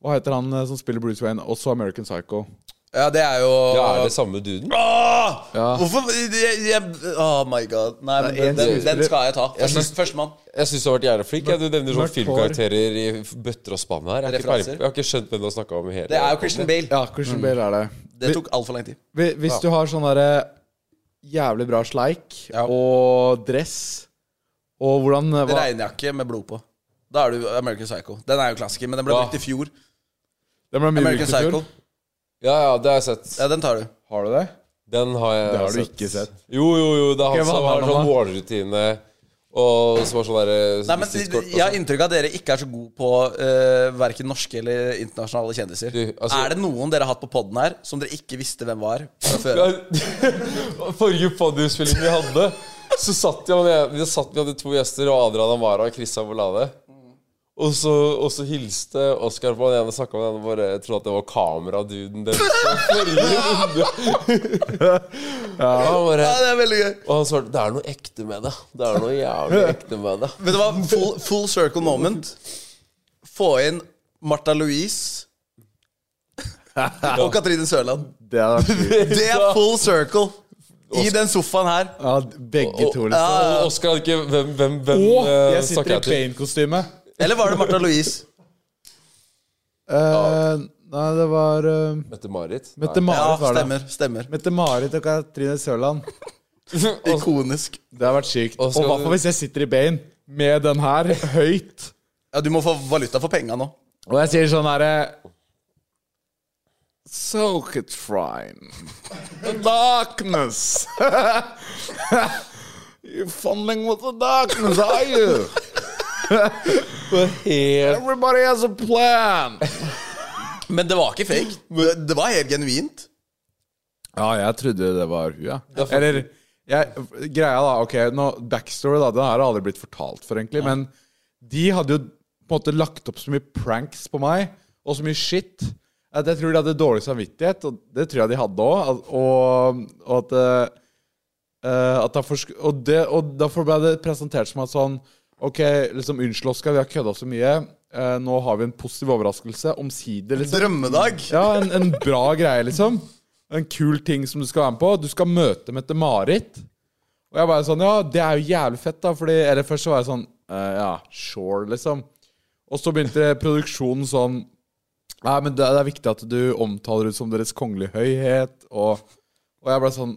Speaker 3: Hva heter han eh, som spiller Bruce Wayne? Også American Psycho.
Speaker 4: Ja, det er jo
Speaker 5: Ja, er det samme duden?
Speaker 4: Åh!
Speaker 3: Ja.
Speaker 4: Hvorfor jeg, jeg, Oh my god. Nei, men
Speaker 3: Det er en
Speaker 4: den, den,
Speaker 3: skuespiller.
Speaker 4: skal jeg ta. Først- Førstemann.
Speaker 5: Jeg syns du har vært jævlig flink. Jeg. Du nevner sånne
Speaker 3: Mørkt hår.
Speaker 5: filmkarakterer i bøtter og spann her. Jeg har, ikke
Speaker 4: Referanser.
Speaker 5: peiling på- jeg har ikke skjønt hvem du har snakka om i hele
Speaker 4: Det er jo Christian Bale.
Speaker 3: Ja, Christian Bale er det.
Speaker 4: Det tok altfor lang tid.
Speaker 3: Hvi- Mm. Hvis du har sånn derre jævlig bra sleik og dress og hvordan eh, hva,
Speaker 4: Regnjakke med blod på. Da er du American Psycho. Den er jo klassiker, men den ble
Speaker 5: Ja.
Speaker 4: brukt i fjor.
Speaker 3: Den ble mye brukt i
Speaker 4: American
Speaker 3: fjor.
Speaker 4: Psycho.
Speaker 5: Ja, ja, det har jeg sett.
Speaker 4: Ja, den tar du.
Speaker 3: Har du det?
Speaker 5: Den har jeg
Speaker 3: Det har du ikke sett.
Speaker 5: Jo, jo, jo. Det er
Speaker 3: Ok,
Speaker 5: han
Speaker 3: hva
Speaker 5: som
Speaker 3: handler
Speaker 5: har
Speaker 3: den
Speaker 5: sånn
Speaker 3: om, da?
Speaker 5: målrutine og som har sånn derre
Speaker 4: Nei, men
Speaker 5: visittkort og
Speaker 4: Jeg har
Speaker 5: sånn.
Speaker 4: inntrykk av at dere ikke er så gode på uh, verken norske eller internasjonale kjendiser.
Speaker 5: Du, altså-
Speaker 4: er det noen dere har hatt på poden her som dere ikke visste hvem var fra før?
Speaker 5: Ja, Forrige podiumspilling vi hadde, så satt jeg, vi, satt, vi hadde to gjester, og Adrian Amara og Christian Volade. Og så, og så hilste Oskar på den ene snakka med den ene bare jeg trodde at det var kameraduden deres. fra forrige runde. Og han bare,
Speaker 4: Ja, det er veldig gøy.
Speaker 5: og han svarte det er noe ekte med det. Det er noe jævlig ekte med det.
Speaker 4: Vet du hva? Full, full circle moment. Få inn Martha Louise og Katrine Sørland.
Speaker 3: Det er sykt.
Speaker 4: Det er full circle i den sofaen her.
Speaker 3: Ja, begge to, liksom.
Speaker 5: Og Oskar hadde ikke Hvem, hvem, hvem
Speaker 3: Og
Speaker 5: eh,
Speaker 3: jeg sitter i
Speaker 5: snakker jeg til?
Speaker 3: Bane-kostyme.
Speaker 4: Eller var det Martha Louise?
Speaker 3: Eh, nei, det var eh,
Speaker 5: Mette-Marit? Nei.
Speaker 4: Ja,
Speaker 3: Mette-Marit. var det.
Speaker 4: stemmer. stemmer
Speaker 3: Mette-Marit og Katrine Sørland.
Speaker 4: altså- Ikonisk.
Speaker 3: Det har vært sykt.
Speaker 5: Og
Speaker 3: Og
Speaker 5: skal
Speaker 3: hva
Speaker 5: du-
Speaker 3: hvis jeg sitter i Bane med den her høyt,
Speaker 4: Ja, Du må få valuta for penga nå.
Speaker 3: og jeg sier sånn herre So Katrine. The darkness. You're funneling with the darkness, are you? Everybody has a plan.
Speaker 4: Men det var ikke fake. Det, det var helt genuint.
Speaker 3: Ja, jeg trodde det var hun, ja. Eller jeg, Greia, da. Ok, nå, backstory, da. Den her har aldri blitt fortalt for, egentlig. Men de hadde jo på en måte lagt opp så mye pranks på meg, og så mye shit, at jeg tror de hadde dårlig samvittighet. Og det tror jeg de hadde òg. Og, og at, eh, eh, at derfor, sk- og, det, og derfor ble det presentert som at sånn Ok, liksom, unnskyld, Oskar, vi har kødda så mye. Eh, nå har vi en positiv overraskelse. Omsider, liksom.
Speaker 4: Drømmedag.
Speaker 3: Ja, en, en bra greie, liksom. en kul ting som du skal være med på. Du skal møte Mette-Marit. Og jeg bare sånn, ja, det er jo jævlig fett, da. Fordi, eller først så var jeg sånn, eh, ja, sure, liksom. Og så begynte produksjonen sånn Nei, men det, det er viktig at du omtaler det som Deres kongelige høyhet. Og, og jeg ble sånn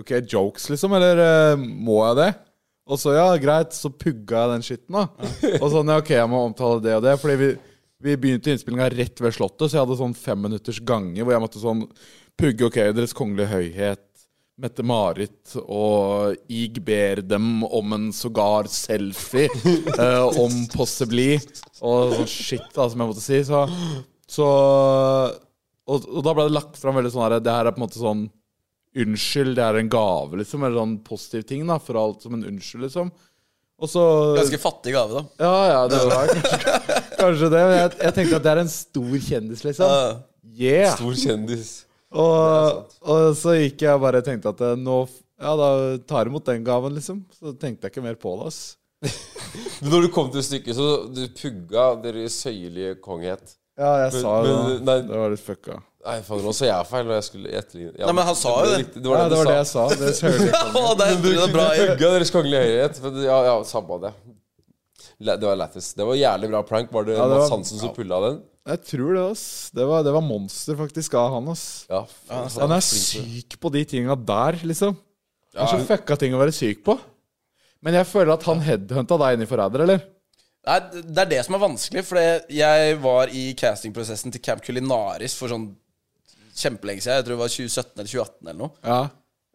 Speaker 3: OK, jokes, liksom? Eller eh, må jeg det? Og så, ja, greit, så pugga jeg den skitten, da. Og sånn, ja, OK, jeg må omtale det og det. Fordi vi, vi begynte innspillinga rett ved Slottet, så jeg hadde sånn fem minutters gange hvor jeg måtte sånn pugge OK, Deres kongelige høyhet. Mette-Marit og Ig ber dem om en sågar selfie, eh, om possibly, og sånn shit da, som jeg måtte si. Så, så og, og da ble det lagt fram veldig sånn her Det her er på en måte sånn Unnskyld, det er en gave, liksom. Eller sånn positiv ting, da, for alt som en unnskyld, liksom. Og så
Speaker 4: Ganske fattig gave, da.
Speaker 3: Ja, ja, det var kanskje, kanskje det. Men jeg, jeg tenkte at det er en stor kjendis, liksom.
Speaker 4: Ja.
Speaker 3: Yeah!
Speaker 5: Stor kjendis.
Speaker 3: Og, og så gikk jeg og bare tenkte at eh, nå f- Ja, da tar jeg imot den gaven, liksom. Så tenkte jeg ikke mer på det, ass.
Speaker 5: Men når du kom til stykket, så du pugga Deres høyelige kongehet.
Speaker 3: Ja, jeg sa jo
Speaker 5: men-
Speaker 3: det.
Speaker 5: nei.
Speaker 3: Det var litt fucka.
Speaker 5: Nei, faen, nå sa jeg feil. Og jeg skulle etterligne ja,
Speaker 4: Nei, men han sa jo det.
Speaker 5: riktig, Det
Speaker 3: Ja,
Speaker 5: var det,
Speaker 3: det var det jeg
Speaker 5: du sa.
Speaker 3: sa. Det hører jeg.
Speaker 4: Å, der endte det bra.
Speaker 5: Du pugga Deres kongelige høyhet. Men, ja, ja, samme det. Le- Det var lættis. Det var jævlig bra prank. Var det,
Speaker 3: det var-
Speaker 5: Mads Hansen som pulla den?
Speaker 3: jeg tror det, ass. Det var, det var monster faktisk av han, ass.
Speaker 5: Ja, faen,
Speaker 3: Han er syk på de tinga der, liksom. Det er så fucka ting å være syk på. Men jeg føler at han headhunta deg inn i Forræder, eller?
Speaker 4: Nei, det er det som er vanskelig, for jeg var i castingprosessen til Camp Culinaris for sånn kjempelenge siden. Jeg tror det var 2017 eller 2018 eller noe.
Speaker 3: Ja.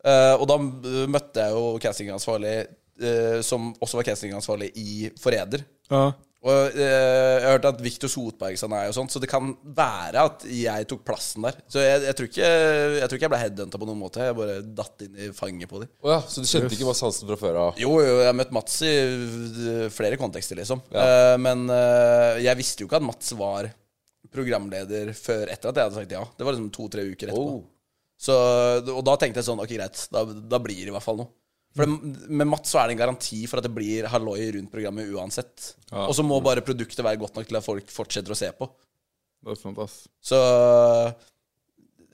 Speaker 4: Eh, og da eh, møtte jeg jo castingansvarlig, eh, som også var castingansvarlig i Forræder.
Speaker 3: ja.
Speaker 4: Og eh, jeg hørte at Viktor Sotberg sa nei, og sånt, så det kan være at jeg tok plassen der. Så jeg, jeg, tror, ikke, jeg tror ikke jeg ble headhunta på noen måte. Jeg bare datt inn i fanget på dem.
Speaker 5: Å ja, så du kjente ikke Mads Hansen fra før av?
Speaker 4: Jo, jo, jeg har møtt Mats i øh, flere kontekster, liksom. Eh, men øh, jeg visste jo ikke at Mats var programleder før etter at jeg hadde sagt ja. Det var liksom to-tre uker etterpå.
Speaker 5: Oh.
Speaker 4: Så, og da tenkte jeg sånn, ok, greit, da, da blir det i hvert fall noe. For det, med Mats så er det en garanti for at det blir halloi rundt programmet uansett. Og så må bare produktet være godt nok til at folk fortsetter å se på.
Speaker 3: Det er sant, ass.
Speaker 4: Så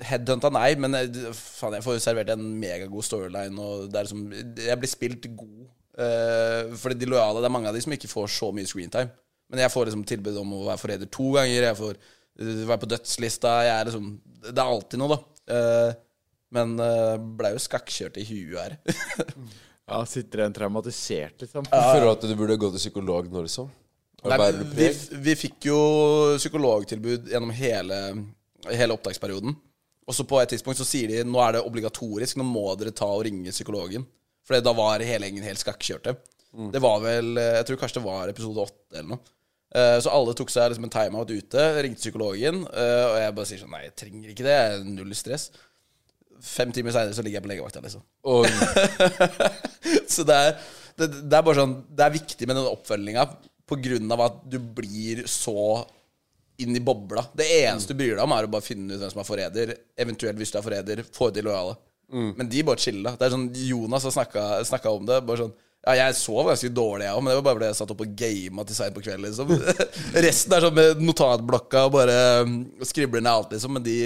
Speaker 4: Headhunta nei, men eh, faen, jeg får jo servert en megagod storyline. Og det er liksom, jeg blir spilt god. Uh, fordi de lojale, det er mange av de som ikke får så mye screentime. Men jeg får liksom tilbud om å være forræder to ganger, jeg får eh, være på dødslista. Jeg er liksom, det er alltid noe, da. Eh, men uh, blei jo skakkjørt i huet her.
Speaker 3: Ja, sitter igjen traumatisert, liksom.
Speaker 5: Føler du at du burde gå til psykolog nå, liksom? Og
Speaker 4: Nei,
Speaker 5: bære
Speaker 4: vi,
Speaker 5: preg?
Speaker 4: vi fikk jo psykologtilbud gjennom hele, hele opptaksperioden. Og så på et tidspunkt så sier de nå er det obligatorisk, nå må dere ta og ringe psykologen. For da var hele gjengen helt skakkjørte. Det var vel eh, Jeg tror kanskje det var episode åtte eller noe. Eh, Så alle tok seg liksom en timeout ute, ringte psykologen, eh, og jeg bare sier sånn Nei, jeg trenger ikke det. jeg er Null stress. Fem timer seinere så ligger jeg på legevakta, liksom.
Speaker 5: Og
Speaker 4: Så det er, det, det er bare sånn Det er viktig med den oppfølginga på grunn av at du blir så inn i bobla. Det eneste du bryr deg om, er å bare finne ut hvem som er forræder. Eventuelt, hvis du er forræder, få ut de lojale. Men de bare chilla. Det er sånn, Jonas har snakka, snakka om det. Bare sånn ja, jeg sov ganske dårlig, jeg òg, men det var bare fordi jeg satt opp og gama til seint på kvelden. Liksom. Resten er sånn med notatblokka og bare mm, skribler ned alt, liksom. Men de,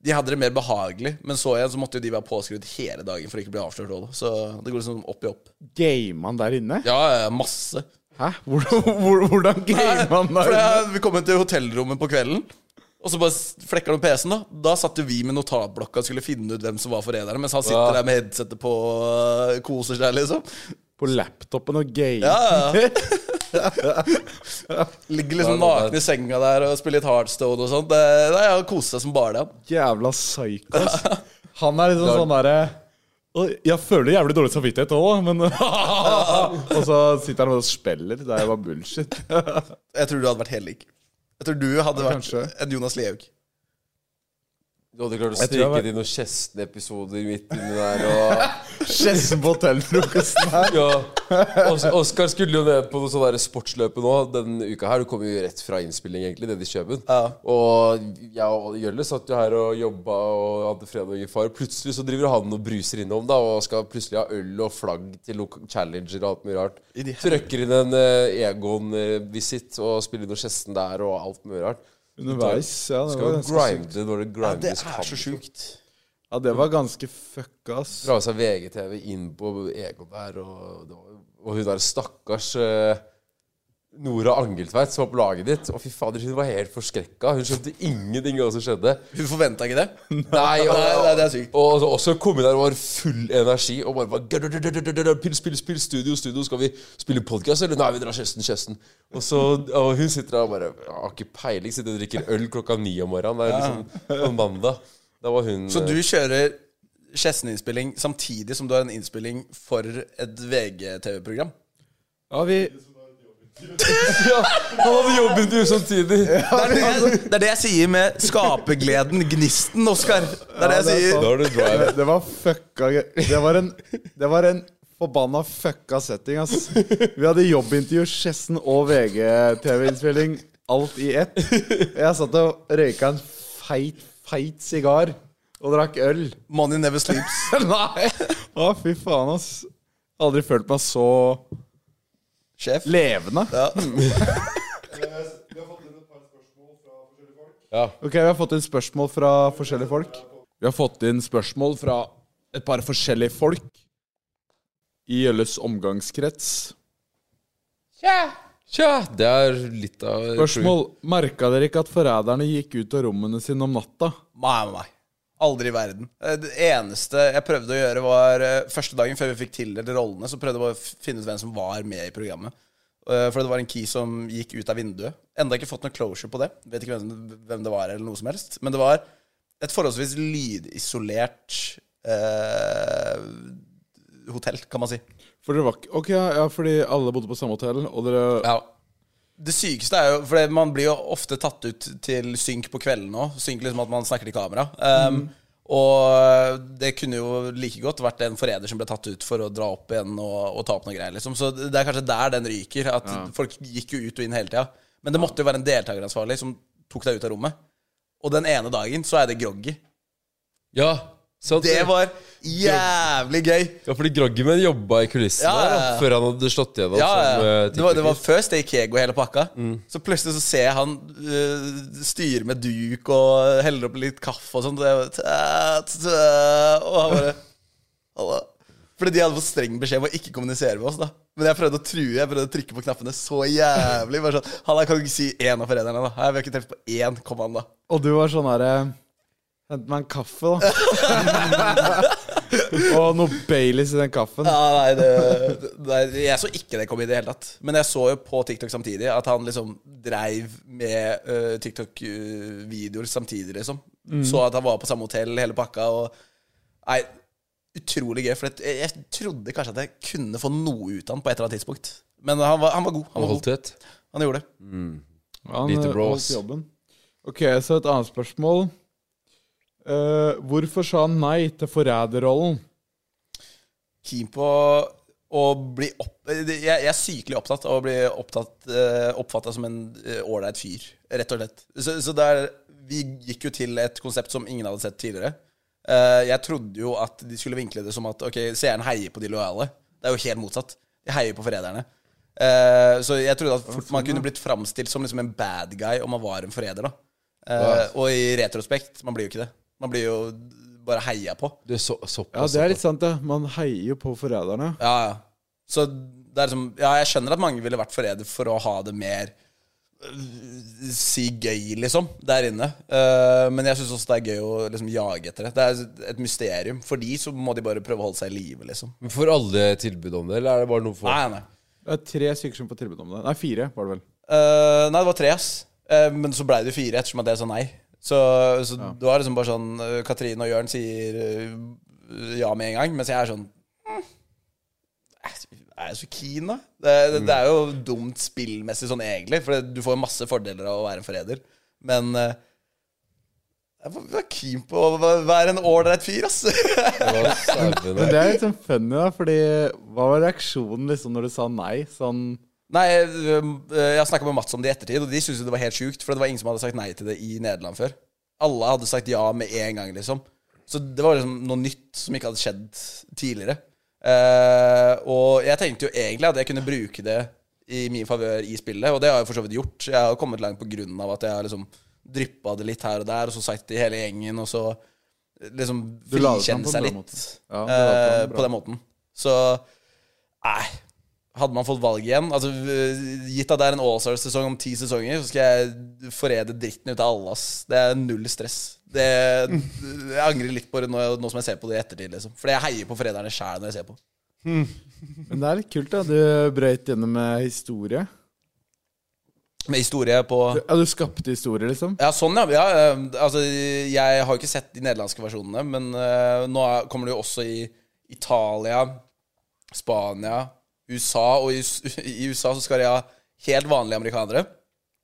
Speaker 4: de hadde det mer behagelig, men så igjen så måtte jo de være påskrevet hele dagen for å ikke bli avslørt. også, da. Så det går liksom opp i opp.
Speaker 3: Gamer han der inne?
Speaker 4: Ja, ja, masse.
Speaker 3: Hæ? Hvordan, hvor- hvordan gamer han
Speaker 4: For
Speaker 3: der inne?
Speaker 4: jeg, vi kom inn til hotellrommet på kvelden, og så bare s- flekker han opp PC-en. Da Da satt jo vi med notatblokka og skulle finne ut hvem som var forræderen, mens han sitter
Speaker 5: Ja.
Speaker 4: der med headsetet på og koser seg, liksom.
Speaker 3: På laptopen og game.
Speaker 4: Ja, ja. Ligger liksom naken i senga der og spiller litt Heartstone og sånt. Det- Nei, Han koser seg som bare det. han.
Speaker 3: Jævla psyko. ass. Han er liksom sånn derre «Å, Jeg føler jævlig dårlig samvittighet òg, men Og så sitter han og spiller. Det er jo bare bullshit.
Speaker 4: Jeg tror du hadde vært helt lik. Jeg tror du hadde vært
Speaker 3: kanskje.
Speaker 4: en Jonas Lehaug.
Speaker 5: du hadde klart å
Speaker 3: tror jeg
Speaker 5: snike
Speaker 3: var-
Speaker 5: inn noen Kjesten-episoder midt inni der. Og,
Speaker 3: Skjessen på hotellfrokosten her.
Speaker 5: ja. Os Oskar skulle jo ned på noe sånn der sportsløpe nå denne uka her. Du kom jo rett fra innspilling, egentlig, nede i Kjøben.
Speaker 4: Ja.
Speaker 5: Og jeg og Jølle satt jo her og jobba og hadde fredag i far. Plutselig så driver han og bruser innom da og skal plutselig ha øl og flagg til loka- challenger og alt mye rart.
Speaker 4: I de her-
Speaker 5: Trøkker inn en eh, Egon-visitt og spiller inn noe Kjesten der og alt mye rart.
Speaker 3: Underveis. Ja, det
Speaker 5: Skal
Speaker 3: var
Speaker 5: jo
Speaker 3: ganske sykt.
Speaker 5: grinde når det
Speaker 4: Det
Speaker 5: grindes
Speaker 4: er så
Speaker 5: kamp.
Speaker 4: sjukt.
Speaker 3: Ja, det var ganske fucka, ass.
Speaker 5: Dra med seg VGTV inn på Egon der, og, det var- og hun der stakkars eh, Nora Angeltveit som var på laget ditt. Å, fy fader, hun var helt forskrekka. Hun skjønte ingenting av hva som skjedde.
Speaker 4: Hun forventa ikke det.
Speaker 5: Nei, og,
Speaker 4: Nei, nei, det er sykt.
Speaker 5: Og, og også kom inn der og var full energi og bare var «Gududududududud, Pill, spill, spill, studio, studio. Skal vi spille podkast, eller? Nei, vi drar Kjøsten, Kjøsten. Og, så, og hun sitter der og bare har ikke peiling. Sitter og drikker øl klokka ni om morgenen. Det er liksom på mandag. Da var hun
Speaker 4: Så du kjører Skessen-innspilling samtidig som du har en innspilling for et VGTV-program?
Speaker 3: Ja, vi
Speaker 5: Ja, han eh, hadde jobben du samtidig.
Speaker 4: Det er det, det er det jeg sier med skapergleden, gnisten, Oskar. Det er det jeg
Speaker 3: det er sånn-
Speaker 4: sier.
Speaker 5: Da har du drive.
Speaker 3: Det, det var fucka gøy. Det var en, det var en forbanna fucka setting, ass. Vi hadde jobbintervju, Skjessen og VG-TV-innspilling. Alt i ett. Jeg satt og røyka en feit, feit sigar og drakk øl.
Speaker 4: Money never sleeps.
Speaker 3: Nei! Å, fy faen, ass. Aldri følt meg så
Speaker 4: Sjef.
Speaker 3: levende.
Speaker 4: Ja.
Speaker 3: Ok, vi har fått inn spørsmål fra forskjellige folk. Vi har fått inn spørsmål fra et par forskjellige folk i Gjølles omgangskrets.
Speaker 5: Tja, det er litt av
Speaker 3: Spørsmål. Merka dere ikke at forræderne gikk ut av rommene sine om natta?
Speaker 4: Nei, nei, nei. Aldri i verden. Eh, Det eneste jeg prøvde å gjøre, var eh, første dagen før vi fikk tildelt rollene, så prøvde jeg bare å f- finne ut hvem som var med i programmet. Eh, For det var en key som gikk ut av vinduet. Enda ikke fått noe closure på det. Vet ikke hvem, hvem det var, eller noe som helst. Men det var et forholdsvis lydisolert eh, hotell, kan man si.
Speaker 3: For dere var ikke Ok, ja, ja, fordi alle bodde på samme hotell, og dere
Speaker 4: Ja. Det sykeste er jo For det- man blir jo ofte tatt ut til synk på kvelden òg. Synk liksom at man snakker til kamera. Um, Og det kunne jo like godt vært en forræder som ble tatt ut for å dra opp igjen og, og ta opp noe greier. liksom Så det er kanskje der den ryker. At folk gikk jo ut og inn hele tida. Men det måtte jo være en deltakeransvarlig som tok deg ut av rommet. Og den ene dagen så er det groggy.
Speaker 5: Ja, sant
Speaker 4: Det var jævlig gøy.
Speaker 5: Ja, fordi Groggyman jobba i kulissene
Speaker 4: Ja, ja,
Speaker 5: der, da,
Speaker 4: ja.
Speaker 5: før han hadde slått igjennom.
Speaker 4: Ja,
Speaker 5: som,
Speaker 4: ja.
Speaker 5: eh,
Speaker 4: det, var, det var
Speaker 5: TikToker.
Speaker 4: før Stake Ego og hele pakka. Så plutselig så ser jeg han øh, styre med duk og heller opp litt kaffe og sånn. Og jeg bare, tæ, tæ, og han bare Halla. Fordi de hadde fått streng beskjed om å ikke kommunisere med oss. da Men jeg prøvde å true, jeg prøvde å trykke på knappene så jævlig. Bare sånn, Halla, kan du ikke si én av forenerne, da? Hei, vi har ikke truffet på én. Kom an, da.
Speaker 3: Og du var sånn herre Hent meg en kaffe, da. og noe Baileys i den kaffen.
Speaker 4: Ja, nei, det, nei, jeg så ikke det komme i det hele tatt. Men jeg så jo på TikTok samtidig at han liksom dreiv med eh, TikTok-videoer samtidig, liksom. Så at han var på samme hotell hele pakka og Nei, utrolig gøy. For det- jeg, jeg trodde kanskje at jeg kunne få noe ut av han på et eller annet tidspunkt. Men han var, han var god. Han,
Speaker 5: Og
Speaker 4: var
Speaker 5: holdt
Speaker 4: god.
Speaker 5: tett.
Speaker 4: han gjorde det.
Speaker 3: Han
Speaker 5: Lite
Speaker 3: eh,
Speaker 5: bro,
Speaker 3: holdt
Speaker 5: ass.
Speaker 3: jobben. Ok, så et annet spørsmål. Eh, hvorfor sa han nei til forræderrollen?
Speaker 4: keen på å bli opp... Jeg, jeg er sykelig opptatt av å bli opptatt, eh, oppfattet som en eh, ålreit fyr, rett og slett. Så, så der, vi gikk jo til et konsept som ingen hadde sett tidligere. Eh, jeg trodde jo at de skulle vinkle det som at ok, seeren heier på de lojale. Det er jo helt motsatt. De heier på forræderne. Eh, så jeg trodde at fort man kunne blitt framstilt som liksom en bad guy om man var en forræder. da. Eh, og i retrospekt, man blir jo ikke det. Man blir jo bare heia på.
Speaker 5: Du er så,
Speaker 3: Ja,
Speaker 5: såpass.
Speaker 3: det er litt sant, ja. Man heier jo på forræderne.
Speaker 4: Ja, ja. Så det er liksom Ja, jeg skjønner at mange ville vært forræder for å ha det mer øh, Si gøy, liksom, der inne. Eh, men jeg syns også det er gøy å liksom jage etter det. Det er et mysterium. For de så må de bare prøve å holde seg i live, liksom.
Speaker 5: Men Får alle tilbud om det, eller er det bare noe for
Speaker 4: Nei, nei.
Speaker 3: Det er tre stykker som får tilbud om det. Nei, fire var det vel.
Speaker 4: Eh, nei, det var tre, ass. Eh, men så blei det jo fire, ettersom at jeg sa nei. Så, så det var liksom bare sånn eh, Katrine og Jørn sier eh, ja med en gang, mens jeg er sånn mm, er jeg så- Er jeg så keen, da? Det, det, det er jo dumt spillmessig sånn egentlig, for det, du får masse fordeler av å være en forræder. Men eh, jeg var, var keen på å væ- være en ålreit fyr, ass.
Speaker 5: Hva serven
Speaker 3: Men
Speaker 5: er?
Speaker 3: det er litt sånn funny, da, fordi hva var reaksjonen liksom når du sa nei? Sånn
Speaker 4: Nei, øhm, øh, jeg snakka med Mats om det i ettertid, og de syntes jo det var helt sjukt. For det var ingen som hadde sagt nei til det i Nederland før. Alle hadde sagt ja med en gang, liksom. Så det var liksom noe nytt som ikke hadde skjedd tidligere. Eh, og jeg tenkte jo egentlig at jeg kunne bruke det i min favør i spillet, og det har jeg for så vidt gjort. Jeg har jo kommet langt på grunn av at jeg har liksom dryppa det litt her og der, og så sagt det i hele gjengen, og så liksom
Speaker 3: Du la det fram
Speaker 4: frikjenne
Speaker 3: på en bra
Speaker 4: seg litt
Speaker 3: måte. Ja, du la det
Speaker 4: eh,
Speaker 3: fram på en
Speaker 4: på den måten. Så nei. Hadde man fått valget igjen altså, v- Gitt at det er en allstar-sesong om ti sesonger, så skal jeg forræde dritten ut av alle. ass. Det er null stress. Det, jeg angrer litt på det nå, nå som jeg ser på det i ettertid. Liksom. Fordi jeg heier på Frederne sjæl når jeg ser på.
Speaker 3: Men det er litt kult, da. Du brøyt gjennom med historie.
Speaker 4: Med historie på
Speaker 3: Ja, du skapte historie, liksom.
Speaker 4: Ja, sånn, ja. ja eh, altså, jeg har jo ikke sett de nederlandske versjonene, men eh, nå er- kommer det jo også i Italia, Spania, USA, og i, s- i USA så skal de ha helt vanlige amerikanere.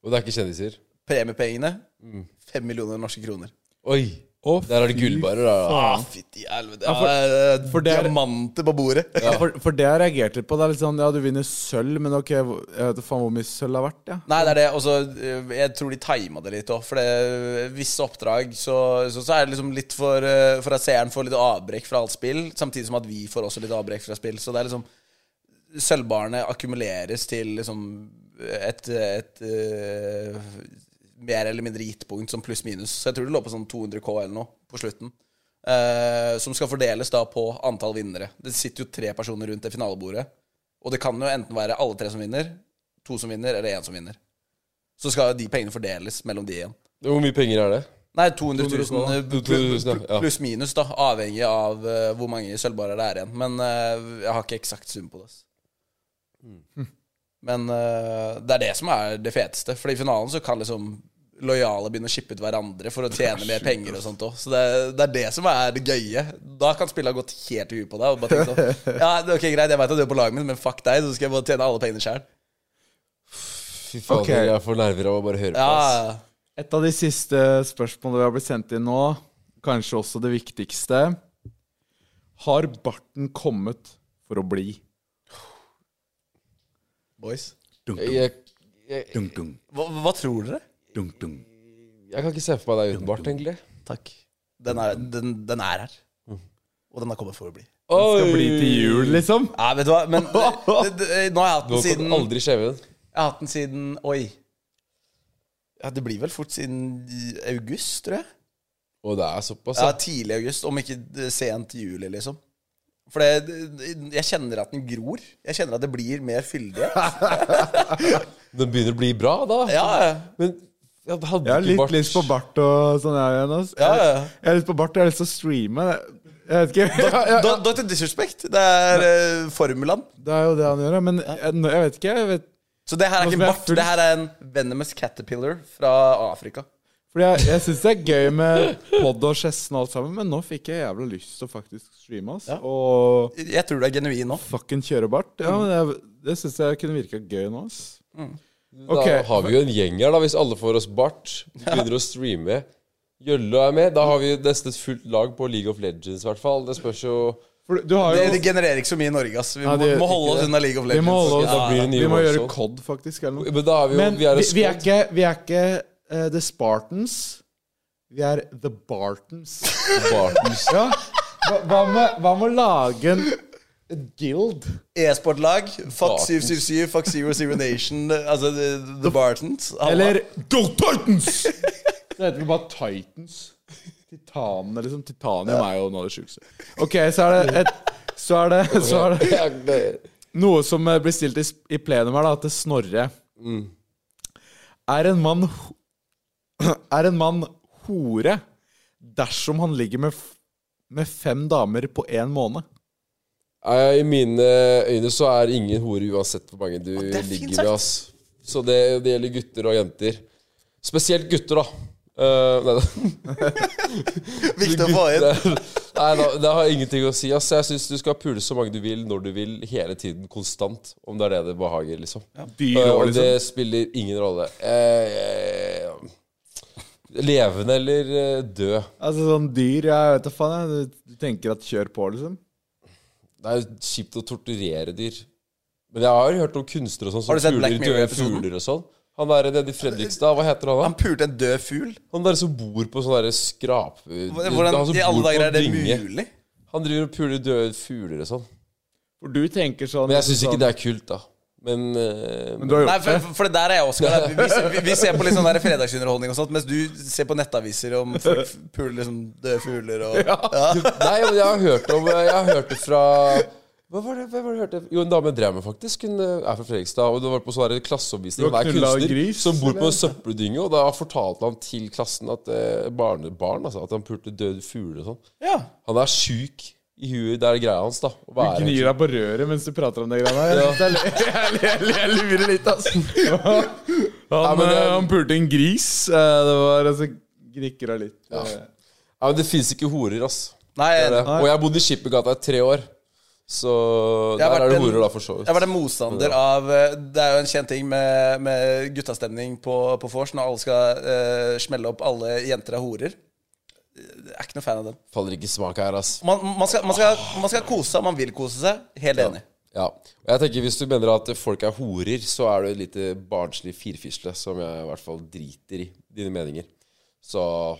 Speaker 5: Og det er ikke kjendiser.
Speaker 4: Premiepengene
Speaker 3: Mm.
Speaker 4: fem millioner norske kroner.
Speaker 5: Oi!
Speaker 3: Å,
Speaker 5: Der er det gullbarer. da.
Speaker 4: Ah, Fytti helvete. Ja, eh,
Speaker 3: for det er-
Speaker 4: Diamanter på bordet.
Speaker 3: Ja, for, for det jeg reagerte litt på. Det er litt sånn, ja, du vinner sølv, men ok, hvor- jeg vet da faen hvor mye sølv det har vært, ja.
Speaker 4: Nei, det er det. Og så, eh, jeg tror de tima det litt òg. For det, eh, visse oppdrag så, så, så er det liksom litt for, eh, for at seeren får litt avbrekk fra alt spill, samtidig som at vi får også litt avbrekk fra spill. Så det er liksom Sølvbarene akkumuleres til liksom et, et, eh, mer eller mindre gitt punkt, som pluss-minus. Så jeg tror det lå på sånn 200 K eller noe på slutten. eh, som skal fordeles da på antall vinnere. Det sitter jo tre personer rundt det finalebordet. Og det kan jo enten være alle tre som vinner, to som vinner, eller én som vinner. Så skal de pengene fordeles mellom de igjen.
Speaker 5: Hvor mye penger er det?
Speaker 4: Nei, 200 000
Speaker 5: Du- du- du- ja, ja.
Speaker 4: pluss minus, da. Avhengig av eh, hvor mange sølvbarer det er igjen. Men eh, jeg har ikke eksakt sum på det. ass. Mm. Men eh, det er det som er det feteste. For i finalen så kan liksom lojale begynne å shippe ut hverandre for å tjene mer penger og sånt òg. Så det, det er det som er det gøye. Da kan spillet ha gått helt i huet på deg og bare tenkt sånn Ja, det er ok, greit, jeg veit at du er på laget mitt, men fuck deg, så skal jeg bare tjene alle pengene sjøl.
Speaker 5: Fy fader,
Speaker 3: Ok.
Speaker 5: jeg får nerver av å bare høre på.
Speaker 4: Ja,
Speaker 5: ass.
Speaker 3: Et av de siste spørsmålene vi har blitt sendt inn nå, kanskje også det viktigste. Har barten kommet for å bli?
Speaker 4: boys.
Speaker 5: Jeg, jeg,
Speaker 4: Hva, hva tror dere?
Speaker 5: jeg kan ikke se for meg deg uten bart, egentlig.
Speaker 4: Takk. Den er, den, den er her. Og den har kommet for å bli.
Speaker 3: Skal bli til jul, liksom?
Speaker 4: Nei, vet du hva, men det, det, det, nå har jeg hatt den
Speaker 5: Nå kan
Speaker 4: siden
Speaker 5: du aldri skjeve den.
Speaker 4: Jeg har hatt den siden Oi. Ja, det blir vel fort siden i august, tror jeg.
Speaker 5: Og det er såpass,
Speaker 4: Ja,
Speaker 5: ja.
Speaker 4: Tidlig august, om ikke eh, sent juli, liksom. For det, det- jeg kjenner at den gror. Jeg kjenner at det blir mer fyldighet.
Speaker 5: Den begynner å bli bra, da.
Speaker 4: Ja, ja.
Speaker 5: Men jeg hadde
Speaker 3: Jeg har
Speaker 5: ikke
Speaker 3: litt
Speaker 5: bart.
Speaker 3: lyst på bart og sånn. Jeg, igjen, ass.
Speaker 4: Ja, ja.
Speaker 3: jeg, jeg har lyst på bart, og jeg har lyst til å streame. Jeg vet ikke. Ja, ja,
Speaker 4: Do- Dr. Disrespect. Det er eh, formulaen.
Speaker 3: Det er jo det han gjør, da, men jeg, jeg vet ikke. Jeg vet.
Speaker 4: Så det her er
Speaker 3: Nå
Speaker 4: ikke
Speaker 3: som jeg er
Speaker 4: bart.
Speaker 3: full.
Speaker 4: Det her er en venomous caterpillar fra Afrika.
Speaker 3: Fordi jeg, jeg syns det er gøy med pod og Chesson og alt sammen, men nå fikk jeg jævla lyst til å faktisk streame. Ass.
Speaker 4: Ja.
Speaker 3: Og
Speaker 4: Jeg tror du er genuin nå.
Speaker 3: fucking kjøre bart. Ja, men jeg, det syns jeg kunne virka gøy nå. Ass. Ok.
Speaker 5: Da har vi jo en gjeng her, da, hvis alle får oss bart. Begynner å streame. Jølle er med. Da har vi jo nesten et fullt lag på League of Legends, i hvert fall. Det spørs jo
Speaker 3: For du har jo
Speaker 4: Det, det genererer ikke så mye i Norge, ass. Vi
Speaker 3: Nei,
Speaker 4: må,
Speaker 3: det gjør
Speaker 4: må holde
Speaker 5: ikke
Speaker 4: oss
Speaker 5: det.
Speaker 4: unna League of
Speaker 3: Vi
Speaker 4: Legends.
Speaker 3: må holde oss
Speaker 5: Ja, da blir det nye
Speaker 3: Vi må
Speaker 5: Warzone.
Speaker 3: gjøre COD, faktisk. Eller noe.
Speaker 5: Men da er vi jo
Speaker 3: Men
Speaker 5: Vi er
Speaker 3: vi,
Speaker 5: en
Speaker 3: vi er
Speaker 5: squad.
Speaker 3: ikke, vi er ikke eh, The Spartans. Vi er The Bartons.
Speaker 5: Bartens.
Speaker 3: Ja. Hva, hva, med, hva med å lage en et guild?
Speaker 4: E-sportlag. Fuck
Speaker 5: Bartons.
Speaker 4: 777, fuck Zero Zero Nation, altså The, the Bartons. Alle-
Speaker 3: Eller Go Titans! Det heter vi bare Titans. Titanene, liksom. Titanium er jo noe av det sjukeste. Ok, så er det et så er, det, så er det
Speaker 5: Ja, det-
Speaker 3: noe som eh, blir stilt i, s- i plenum her, da, til Snorre. Er en mann ho- Er en mann hore dersom han ligger med, f- med fem damer på én måned?
Speaker 5: Nei, I mine øyne så er ingen hore uansett hvor mange du
Speaker 4: det er fint
Speaker 5: ligger
Speaker 4: sagt.
Speaker 5: med. Ass. Så det, det gjelder gutter og jenter. Spesielt gutter, da. Eh, nei, da.
Speaker 4: Viktig å få inn.
Speaker 5: nei da, det har ingenting å si. Ass. Jeg syns du skal pule så mange du vil, når du vil, hele tiden, konstant. Om det er det det behager, liksom.
Speaker 3: Dyr
Speaker 5: Eh,
Speaker 3: år,
Speaker 5: og
Speaker 3: liksom.
Speaker 5: det spiller ingen rolle. Eh, eh, levende eller eh, død.
Speaker 3: Altså sånn dyr, jeg vet da faen. jeg. Du, du tenker at kjør på, liksom?
Speaker 5: Det er jo kjipt å torturere dyr. Men jeg har hørt om kunstnere og sånn
Speaker 4: Har
Speaker 5: som
Speaker 4: du sett
Speaker 5: puler
Speaker 4: Black
Speaker 5: døde
Speaker 4: Mirror-episoden?
Speaker 5: fugler og sånn. Han der nede i Fredrikstad, hva heter han da?
Speaker 4: Han pulte en død fugl.
Speaker 5: Han der som bor på sånn derre skrap... han
Speaker 4: Hvordan
Speaker 5: som
Speaker 4: i
Speaker 5: bor
Speaker 4: alle
Speaker 5: altså på
Speaker 4: dager
Speaker 5: en
Speaker 4: er det
Speaker 5: dynge.
Speaker 4: mulig?
Speaker 5: Han driver og puler døde fugler og sånn.
Speaker 3: For du tenker sånn
Speaker 5: Men jeg syns
Speaker 3: sånn-
Speaker 5: ikke det er kult, da. Men, eh,
Speaker 3: Men du har
Speaker 4: Nei,
Speaker 3: gjort det.
Speaker 4: for, for det der er jeg Oskar. da. Vi, vi, vi ser på litt sånn der fredagsunderholdning og sånt, mens du ser på nettaviser om folk puler liksom døde fugler og ja.
Speaker 5: Nei, men jeg har hørt om Jeg har hørt det fra hva var det, hva var det jeg hørte? Jo, en dame drev med faktisk. Hun eh, er fra Fredrikstad. Og det var på sånn her klasseoppvisning.
Speaker 3: Du har
Speaker 5: Hver
Speaker 3: knulla
Speaker 5: kunstner
Speaker 3: gris,
Speaker 5: som bor på
Speaker 3: eller?
Speaker 5: en søppeldynge. Og da fortalte han til klassen at eh, barnebarn, altså, at han pulte døde fugler og sånn.
Speaker 4: ja.
Speaker 5: Han er sjuk i huet. Det er greia hans, da. Å
Speaker 3: Du
Speaker 5: være helt
Speaker 3: gnir deg på røret mens du prater om det greiene her. Jeg, jeg, jeg, jeg lurer litt, altså. Han,
Speaker 5: men det-
Speaker 3: eh, han pulte en gris. eh, Det var altså Grikra litt. eh.
Speaker 5: sjuk. Ja, men det fins ikke horer, ass.
Speaker 4: Nei,
Speaker 5: Det
Speaker 4: jeg,
Speaker 5: er det. Og jeg har bodd i Skippergata i tre år. Så
Speaker 4: Jeg har
Speaker 5: der er det
Speaker 4: vært en-
Speaker 5: horer, da, for så vidt.
Speaker 4: jeg var en motstander av eh, Det er jo en kjent ting med, med guttastemning på, på vors, når alle skal eh, smelle opp alle jenter er horer. Jeg er ikke noe fan av den.
Speaker 5: Faller ikke i smak her, ass.
Speaker 4: Man, man, skal, man, skal, man skal kose seg, man vil kose seg. Helt enig.
Speaker 5: Ja, og jeg tenker Hvis du mener at folk er horer, så er du et lite barnslig firfisle som jeg i hvert fall driter i dine meninger. Så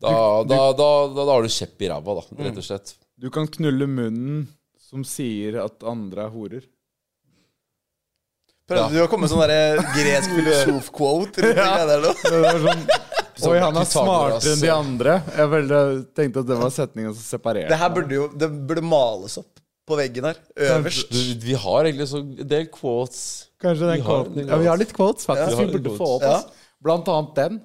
Speaker 5: da, da, da, da, da har du kjepp i ræva, da, rett og slett.
Speaker 3: Du kan knulle munnen som sier at andre er horer.
Speaker 4: Prøvde du å komme med sånn der gresk filosof-quote? rundt det der nå?
Speaker 3: Det var sånn Oi, han er
Speaker 5: Pythagoras,
Speaker 3: smartere enn de andre. Jeg veldig, tenkte at det var setningen som separerte.
Speaker 4: Det her burde jo Det burde males opp på veggen her. Øverst.
Speaker 5: Du, vi har egentlig så en del quotes.
Speaker 3: Kanskje den
Speaker 5: Vi har
Speaker 3: quoten-
Speaker 5: litt
Speaker 3: Ja, vi har litt quotes, faktisk.
Speaker 5: Ja, vi har
Speaker 3: vi
Speaker 5: litt
Speaker 3: burde få
Speaker 5: quotes.
Speaker 3: opp. ass. Blant annet den.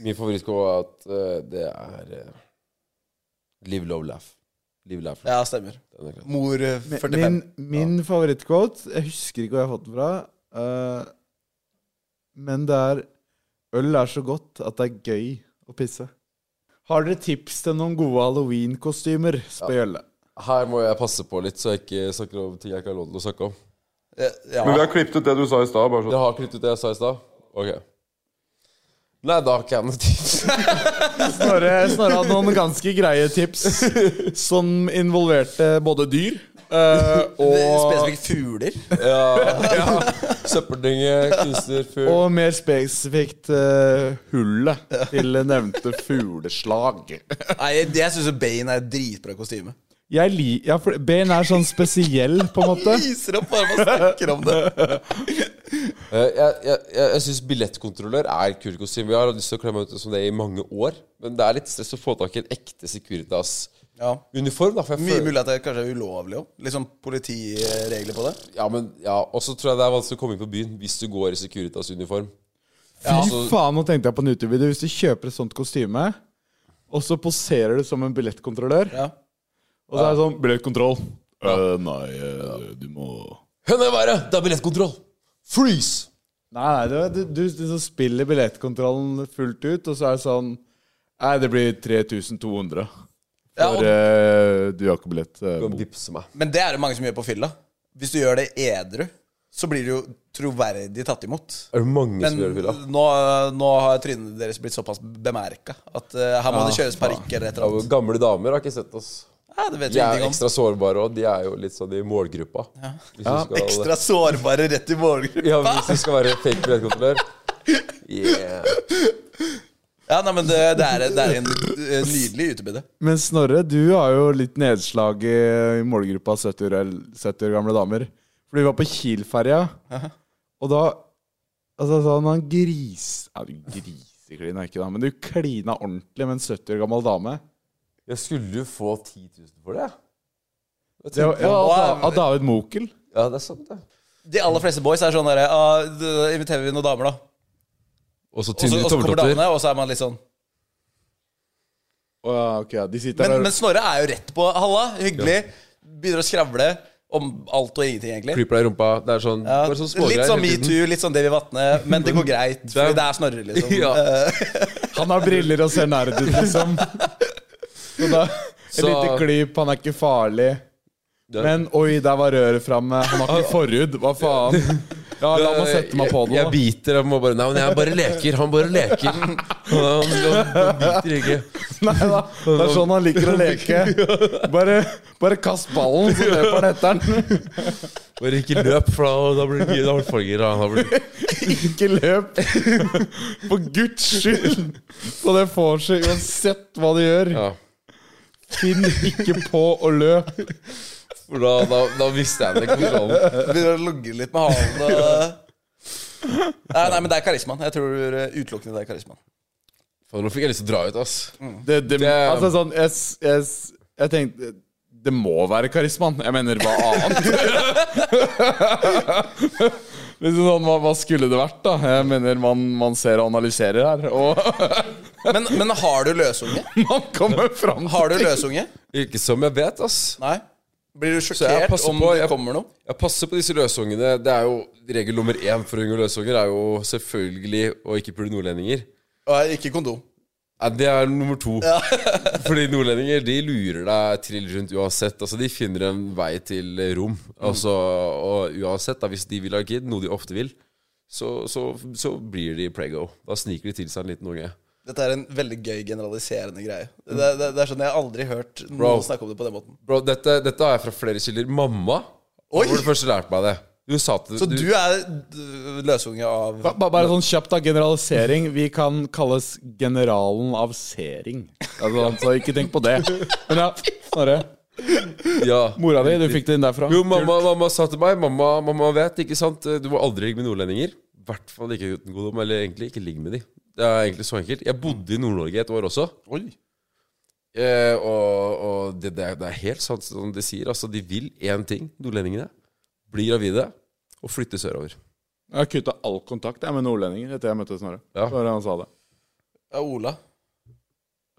Speaker 5: Min favorittquote er at eh, det er eh, Live, love, laugh. Live, laugh, laugh.
Speaker 4: Ja, stemmer.
Speaker 5: Den er klar.
Speaker 4: Mor eh, 45.
Speaker 3: Min, min favorittquote Jeg husker ikke hvor jeg har fått den fra. eh, men det er Øl er så godt at det er gøy å pisse. Har dere tips til noen gode halloween-kostymer? spør Gjølle.
Speaker 5: Her må jeg passe på litt, så jeg ikke snakker om ting jeg ikke har lov til å snakke om.
Speaker 4: Eh, Ja.
Speaker 6: Men vi har klippet ut det du sa i stad. bare sånn.
Speaker 5: Dere har klippet ut det jeg sa i stad? Ok. Nei, da har ikke jeg noe tips.
Speaker 3: Snorre Snorre hadde noen ganske greie tips som involverte både dyr eh, og,
Speaker 4: Spesifikt fugler.
Speaker 5: Søppeldynge, kunstner, fugl
Speaker 3: og mer spesifikt eh, hullet til nevnte fugleslag.
Speaker 4: Nei, jeg, jeg syns Bane er et dritbra kostyme.
Speaker 3: Jeg li ja, for Ben er sånn spesiell, på en måte.
Speaker 4: Lyser opp bare man snakker om det.
Speaker 5: Eh, Jeg, jeg, jeg, jeg syns billettkontrollør er et kult kostyme. Jeg har lyst til å kle meg ut som det i mange år, men det er litt stress å få tak i en ekte Securitas-uniform.
Speaker 4: Ja.
Speaker 5: da, for jeg
Speaker 4: Mye
Speaker 5: føler
Speaker 4: mulig at det kanskje er ulovlig òg. Litt sånn politiregler på det.
Speaker 5: Ja, men ja, Og så tror jeg det er vanskelig å komme inn på byen hvis du går i Securitas-uniform.
Speaker 3: Fy
Speaker 4: altså-
Speaker 3: faen, nå tenkte jeg på en YouTube-video. Hvis du kjøper et sånt kostyme, og så poserer du som en billettkontrollør,
Speaker 4: Ja.
Speaker 3: og så er det sånn Billettkontroll. Eh, nei, eh, du må
Speaker 5: Hønne være! Det er billettkontroll! Freeze!
Speaker 3: Nei, nei, du, du, du så spiller billettkontrollen fullt ut, og så er det sånn Nei, det blir 3200.
Speaker 4: Ja,
Speaker 3: For
Speaker 4: og,
Speaker 3: eh, du har ikke billett. eh,
Speaker 5: Du
Speaker 3: bok.
Speaker 5: kan vippse meg.
Speaker 4: men det er det mange som gjør på fylla. Hvis du gjør det edru, så blir du jo troverdig tatt imot.
Speaker 5: Er det mange
Speaker 4: Men
Speaker 5: som gjør det, Villa?
Speaker 4: nå, nå har trynene deres blitt såpass bemerka at eh, her må det kjøres parykk eller et
Speaker 5: Ja,
Speaker 4: eller annet.
Speaker 5: Gamle damer har ikke sett oss.
Speaker 4: Ja, det vet vi
Speaker 5: De er
Speaker 4: ingenting om.
Speaker 5: ekstra sårbare, og de er jo litt sånn i målgruppa. Hvis du skal-
Speaker 4: Ekstra sårbare rett i målgruppa.
Speaker 5: Ja, hvis du skal være fake billettkontrollør. Yeah.
Speaker 4: Ja, nei, men det, det, er, det er en eh, nydelig utebedre.
Speaker 3: Men Snorre, du har jo litt nedslag i, i målgruppa 70 år, el- 70 år gamle damer. For vi var på Kiel-ferja, og da Altså sånn han gris... Ja, du griseklina ikke, da, men du klina ordentlig med en 70 år gammel dame.
Speaker 5: Jeg skulle jo få 10 000 for det. jeg.
Speaker 3: Det var, ja, av,
Speaker 4: Wow.
Speaker 3: Da- av David Mokel.
Speaker 5: Ja, det er sant, det.
Speaker 4: De aller fleste boys er sånn derre ah, da Inviterer vi noen damer, da?
Speaker 5: Og så
Speaker 4: Og så og så kommer damene, og så er man litt sånn.
Speaker 3: Å ja, ok, ja, de sitter
Speaker 4: Men,
Speaker 3: der
Speaker 4: men Snorre er jo rett på. Halla, hyggelig. Begynner å skravle om alt og ingenting, egentlig.
Speaker 5: Klyper deg i rumpa. Det er sånn,
Speaker 4: Ja,
Speaker 5: bare sånn smågreier.
Speaker 4: litt sånn
Speaker 5: hele tiden.
Speaker 4: metoo, litt sånn Davy Vatne, men det går greit. Fordi det er Snorre, liksom.
Speaker 5: Ja.
Speaker 3: Han har briller og ser nerd ut, liksom. Så da, Et
Speaker 5: Så-
Speaker 3: lite klyp, han er ikke farlig.
Speaker 5: Det-
Speaker 3: Men oi, der var røret framme. Han har ikke forhud. Hva faen? Ja, la meg sette meg på
Speaker 5: Jeg,
Speaker 3: det.
Speaker 5: jeg
Speaker 3: da.
Speaker 5: biter og må bare Nei, men jeg bare leker. Han bare leker. Han, han, han biter ikke.
Speaker 3: Nei da, det er sånn han liker å leke. Bare, bare kast ballen, så løper han etter den.
Speaker 5: Bare ikke løp, for da, da blir det- da blir det farger. da. Da blir det-
Speaker 3: Ikke løp! For guds skyld! Så det får seg uansett hva de gjør.
Speaker 5: Ja.
Speaker 3: Finn ikke på å løpe.
Speaker 5: For da, da, da visste jeg det. Kontrollen.
Speaker 4: Begynner å logge litt med halen. Og... Nei, nei, men det er karismaen. Jeg tror eh, utelukkende det er karismaen.
Speaker 5: Faen, nå fikk jeg lyst til å dra ut, ass.
Speaker 3: Det, det,
Speaker 5: Det-
Speaker 3: altså sånn jeg, s- jeg, s- jeg tenkte Det må være karismaen. Jeg mener, hva annet? liksom sånn, hva, hva skulle det vært, da? Jeg mener, man, man ser og analyserer her. Og
Speaker 4: Men, men har du løsunge?
Speaker 3: man kommer fram til
Speaker 4: Har du løsunge?
Speaker 5: Ikke som jeg vet, ass.
Speaker 4: Nei? Blir du
Speaker 5: jeg
Speaker 4: sjokkert
Speaker 5: passer
Speaker 4: om
Speaker 5: på,
Speaker 4: det
Speaker 5: jeg-
Speaker 4: kommer noe?
Speaker 5: Jeg passer på disse løsungene. Det er jo Regel nummer én for å unngå løsunger er jo selvfølgelig å ikke pule nordlendinger.
Speaker 4: Og ikke kondom.
Speaker 5: Nei, det er nummer to. Fordi nordlendinger de lurer deg trill rundt uansett. Altså De finner en vei til rom.
Speaker 4: Mm.
Speaker 5: Altså, og uansett, da, hvis de vil ha kid, noe de ofte vil, så, så, så blir de prego. Da sniker de til seg en liten unge.
Speaker 4: Dette er en veldig gøy generaliserende greie. Det, det, det er sånn Jeg har aldri hørt noen
Speaker 5: Bro.
Speaker 4: snakke om det på den måten.
Speaker 5: Bro, dette, dette har jeg fra flere kilder. Mamma
Speaker 4: Oi!
Speaker 5: var det første lærte meg det. Hun sa til
Speaker 4: Så du er d- løsunge av
Speaker 3: Ba- ba- Bare sånn kjapt, da. Generalisering. Vi kan kalles generalen av sering. Altså, så ikke tenk på det. Men ja, Snorre.
Speaker 5: ja.
Speaker 3: Mora di, du fikk den derfra.
Speaker 5: Jo, mamma, mamma sa til meg Mamma, mamma vet, ikke sant? Du må aldri ligge med nordlendinger. I hvert fall ikke uten godom. Eller egentlig ikke ligge med de. Det er egentlig så enkelt. Jeg bodde i Nord-Norge et år også. Eh, og og det, det, er, det er helt sant som de sier. Altså, de vil én ting, nordlendingene. Bli gravide og flytte sørover.
Speaker 3: Jeg har kutta all kontakt jeg, med nordlendinger etter jeg møtte Snorre.
Speaker 5: Ja.
Speaker 3: Bare han sa det.
Speaker 4: av Ola.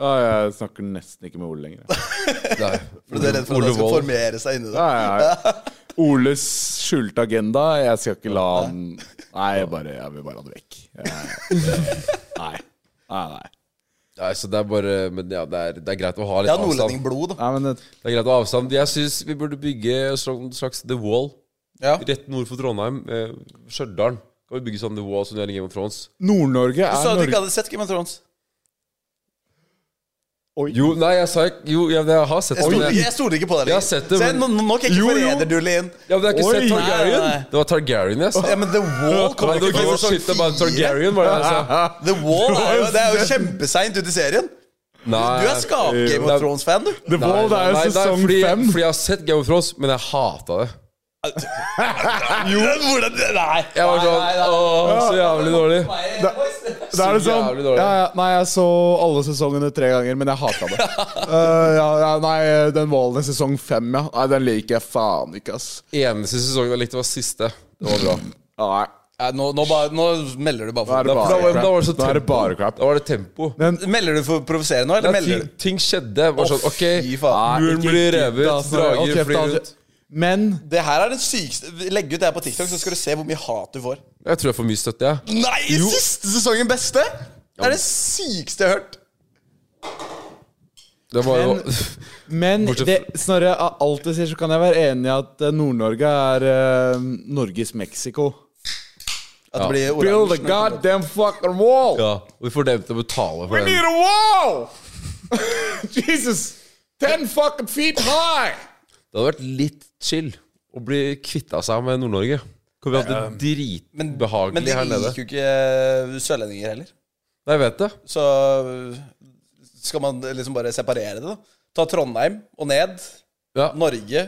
Speaker 3: Ja, jeg snakker nesten ikke med Ole lenger.
Speaker 5: Nei.
Speaker 4: For du er redd for at
Speaker 5: Ole
Speaker 4: han skal
Speaker 5: Wold.
Speaker 4: formere seg inni deg.
Speaker 3: Nei, nei. Oles skjulte agenda. Jeg skal ikke la han Nei, jeg, bare, jeg vil bare ha det vekk. Jeg- Nei. Nei, nei.
Speaker 5: Nei, så det er bare Men ja, det er, det er greit å ha litt
Speaker 4: Jeg har
Speaker 5: avstand.
Speaker 4: nordlendingblod, da.
Speaker 3: nei men det,
Speaker 5: Det er greit å ha avstand. Jeg syns vi burde bygge en sånn slags The Wall
Speaker 4: Ja.
Speaker 5: rett nord for Trondheim. Eh, Stjørdal. Kan vi bygge sånn The Wall som de har i Game of Thrones?
Speaker 3: Nord-Norge
Speaker 4: Du
Speaker 3: er
Speaker 4: sa at du ikke
Speaker 3: Norge
Speaker 4: hadde sett Game of Thrones.
Speaker 5: Jo, nei, jeg sa ikke Jo, ja, jeg har sett
Speaker 4: Jeg
Speaker 5: det.
Speaker 4: stoler
Speaker 5: men
Speaker 4: ikke,
Speaker 5: jeg-
Speaker 4: jeg stoler ikke på deg
Speaker 5: Jeg har
Speaker 4: lenger.
Speaker 5: sett det,
Speaker 4: Se,
Speaker 5: men-
Speaker 4: nå, nå kan jeg ikke
Speaker 3: Jo, jo.
Speaker 4: forrede Duelin.
Speaker 5: Ja, men jeg har ikke
Speaker 3: Oi!
Speaker 5: sett Targaryen.
Speaker 4: Nei, nei.
Speaker 5: Det var Targaryen, jeg sa.
Speaker 4: Ja, men The Wall
Speaker 5: Nei,
Speaker 4: kommer
Speaker 5: det
Speaker 4: ikke fra
Speaker 5: var ikke
Speaker 3: sånn
Speaker 5: noe
Speaker 4: sesong
Speaker 5: shit about
Speaker 4: fire.
Speaker 5: Targaryen, var det jeg sa.
Speaker 4: The Wall er jo, det er jo kjempeseint ute i serien.
Speaker 5: Nei.
Speaker 4: Du er skap-Game
Speaker 5: Nei.
Speaker 4: of Thrones-fan, du.
Speaker 3: The Wall, det er jo sesong
Speaker 5: fordi,
Speaker 3: fem.
Speaker 5: Fordi jeg har sett Game of Thrones, men jeg hata det.
Speaker 4: Jo, hvordan Nei.
Speaker 5: Jeg var sånn Åh, så jævlig dårlig.
Speaker 3: Det er det
Speaker 5: så
Speaker 3: sånn
Speaker 5: jævlig dårlig.
Speaker 3: ja, ja, Nei, jeg så alle sesongene tre ganger, men jeg hata det. Eh, ja, ja, nei, den Wallen i sesong fem, ja. Nei, den liker jeg faen ikke, ass.
Speaker 5: Eneste sesongen jeg likte, var siste. Det var bra.
Speaker 3: Nei,
Speaker 4: Nei, Nå, nå, bare, nå melder du bare
Speaker 3: da er det
Speaker 4: for
Speaker 5: Da var,
Speaker 3: bare
Speaker 5: da var det så
Speaker 3: crap. Da er det
Speaker 5: tempo.
Speaker 3: bare crap.
Speaker 5: Da var det tempo.
Speaker 4: Melder du for å provosere nå,
Speaker 5: Da
Speaker 4: eller melder
Speaker 5: ting,
Speaker 4: du?
Speaker 5: ting skjedde. Det Var sånn, ok,
Speaker 4: fy faen.
Speaker 5: muren
Speaker 3: Ikke
Speaker 5: blir
Speaker 3: gitt,
Speaker 5: revet,
Speaker 3: altså. Og
Speaker 5: drager
Speaker 3: kjeft,
Speaker 5: flyr
Speaker 3: altså.
Speaker 5: rundt.
Speaker 3: Men
Speaker 4: Det her er den sykeste Legg ut det her på TikTok, så skal du se hvor mye hat du får.
Speaker 5: Jeg tror jeg får mye støtte, jeg.
Speaker 4: Nei, siste sesongen beste! Det er det sykeste jeg har hørt.
Speaker 5: Det var jo
Speaker 3: Men
Speaker 5: Bortsett
Speaker 3: det, Snorre, av alt du sier, så kan jeg være enig i at eh, Nord-Norge er eh, Norges Mexico.
Speaker 4: At det blir
Speaker 3: Build a
Speaker 4: oransje.
Speaker 3: goddamn fucking wall!
Speaker 5: Ja, og vi får dem til å betale for
Speaker 3: We need
Speaker 5: den.
Speaker 3: a wall! Jesus! Ten fucking feet high!
Speaker 5: Det hadde vært litt chill å bli kvitta seg med Nord-Norge. Kan vi ha det
Speaker 4: Men, men
Speaker 5: dritbehagelig
Speaker 4: de
Speaker 5: her nede?
Speaker 4: liker jo ikke eh, sørlendinger heller.
Speaker 5: Nei, jeg vet det.
Speaker 4: Så skal man liksom bare separere det, da. Ta Trondheim og ned.
Speaker 5: Ja.
Speaker 4: Norge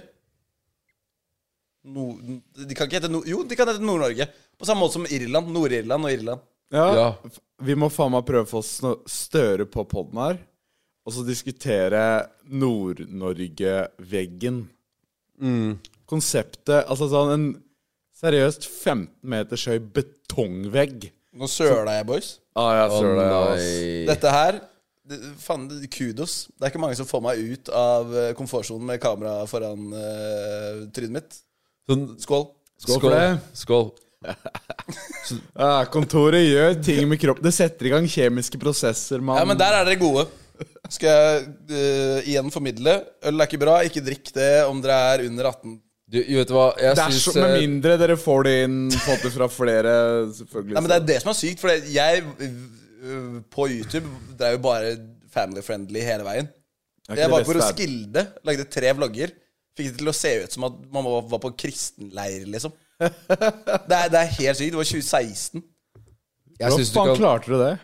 Speaker 4: Nord... De kan ikke hete Nord... Jo, de kan hete Nord-Norge. På samme måte som Irland. Nord-Irland og Irland.
Speaker 3: Ja.
Speaker 5: Ja.
Speaker 3: Vi må faen meg prøve å få Sno- Støre på poden her, og så diskutere Nord-Norge-veggen.
Speaker 4: Mm.
Speaker 3: Konseptet Altså sånn en seriøst 15 meters høy betongvegg.
Speaker 4: Nå søla jeg, boys.
Speaker 3: Ah, jeg
Speaker 5: Å,
Speaker 3: ser det, ja, ass.
Speaker 5: nei.
Speaker 4: Dette her det- Faen, det- kudos. Det er ikke mange som får meg ut av eh, komfortsonen med kamera foran eh, trynet mitt.
Speaker 5: Sånn,
Speaker 4: Skål.
Speaker 5: skål,
Speaker 3: for det.
Speaker 5: Skål.
Speaker 3: Ja, kontoret gjør ting med kroppen. Det setter i gang kjemiske prosesser. Man.
Speaker 4: Ja, men der er dere gode. Skal jeg eh, igjen formidle? Øl er ikke bra. Ikke drikk det om dere er under 18.
Speaker 5: Du, jo, vet du hva, jeg
Speaker 3: det er
Speaker 5: syns
Speaker 3: så,
Speaker 5: eh,
Speaker 3: med mindre dere får det inn på en måte fra flere, selvfølgelig.
Speaker 4: Nei, men Det er det som er sykt, for det- jeg øh, på YouTube drev jo bare family-friendly hele veien.
Speaker 3: Det er ikke
Speaker 4: Jeg
Speaker 3: det
Speaker 4: var
Speaker 3: beste
Speaker 4: på
Speaker 3: her.
Speaker 4: Roskilde, lagde tre vlogger. Fikk det til å se ut som at man var- var på kristenleir, liksom. Det er, det er helt sykt. Det var 2016.
Speaker 5: jeg syns du
Speaker 3: Hvordan
Speaker 5: kan
Speaker 3: klarte du det?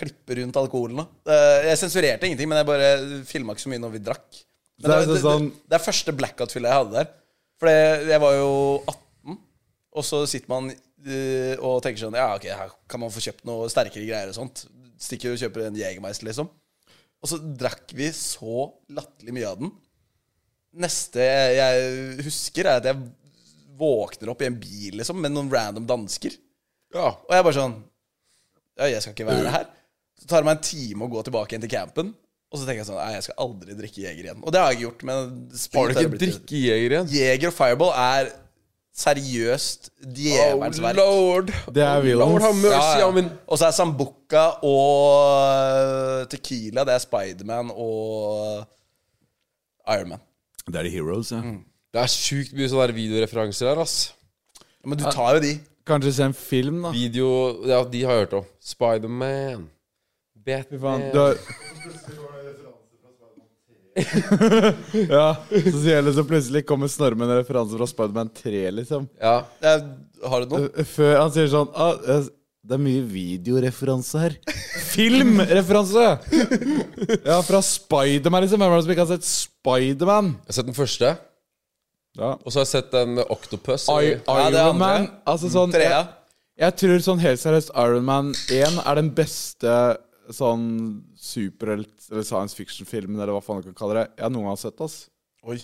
Speaker 4: Klippe rundt alkoholen. da. Eh, Jeg sensurerte ingenting, men jeg bare filma ikke så mye når vi drakk. Men det,
Speaker 3: Så det
Speaker 4: det,
Speaker 3: er
Speaker 4: det,
Speaker 3: sånn-
Speaker 4: det er første blackout-fylla jeg hadde der. For det- jeg var jo 18, og så sitter man eh, og tenker sånn Ja, ok, her kan man få kjøpt noe sterkere greier og sånt. Stikker og kjøper en Jegermeister, liksom. Og så drakk vi så latterlig mye av den. Neste jeg husker, er at jeg våkner opp i en bil liksom med noen random dansker.
Speaker 5: Ja.
Speaker 4: Og jeg bare sånn Ja, jeg skal ikke være her. Så tar det meg en time å gå tilbake igjen til campen. Og så tenker jeg sånn Nei, jeg skal aldri drikke Jeger igjen. Og det har jeg ikke gjort. Men sprit
Speaker 5: Har du
Speaker 4: har jeg
Speaker 5: ikke
Speaker 4: blitt til.
Speaker 5: drikkejeger igjen?
Speaker 4: Jeger og Fireball er seriøst djevelens verk.
Speaker 5: Oh, lord.
Speaker 3: Det er vi, da.
Speaker 5: Lord have mercy,
Speaker 4: Ja, ja.
Speaker 5: ja, men
Speaker 4: Og så er Sambuca og Tequila Det er Spiderman og Ironman.
Speaker 3: Det er de heroes, ja.
Speaker 5: det er sjukt mye sånne der videoreferanser her, ass.
Speaker 4: Men du tar jo de.
Speaker 3: Kanskje se en film, da.
Speaker 5: Video Ja, de har jeg hørt om. Spiderman.
Speaker 3: Fy faen,
Speaker 4: Eh.
Speaker 5: Batman
Speaker 3: du har... ja, så sier jeg så plutselig kommer Snorre med en referanse fra Spiderman 3, liksom.
Speaker 5: Ja.
Speaker 4: Jeg, har du
Speaker 5: Eh,
Speaker 4: noe?
Speaker 3: Før han sier sånn ah, eh, Det er mye videoreferanse her. Filmreferanse! ja, fra Spiderman, liksom. Hvem er det som ikke har sett Spiderman?
Speaker 5: Jeg har sett den første,
Speaker 3: Ja.
Speaker 5: og så har jeg sett den med Octopus.
Speaker 4: Ja,
Speaker 5: eller-
Speaker 4: det er andre.
Speaker 3: Ironman. Altså sånn
Speaker 4: Trea?
Speaker 3: jeg, jeg tror sånn helt seriøst Ironman 1 er den beste sånn superhelt- eller science fiction-filmen eller hva faen du kan kalle det, jeg noen gang har sett. ass
Speaker 4: Oi.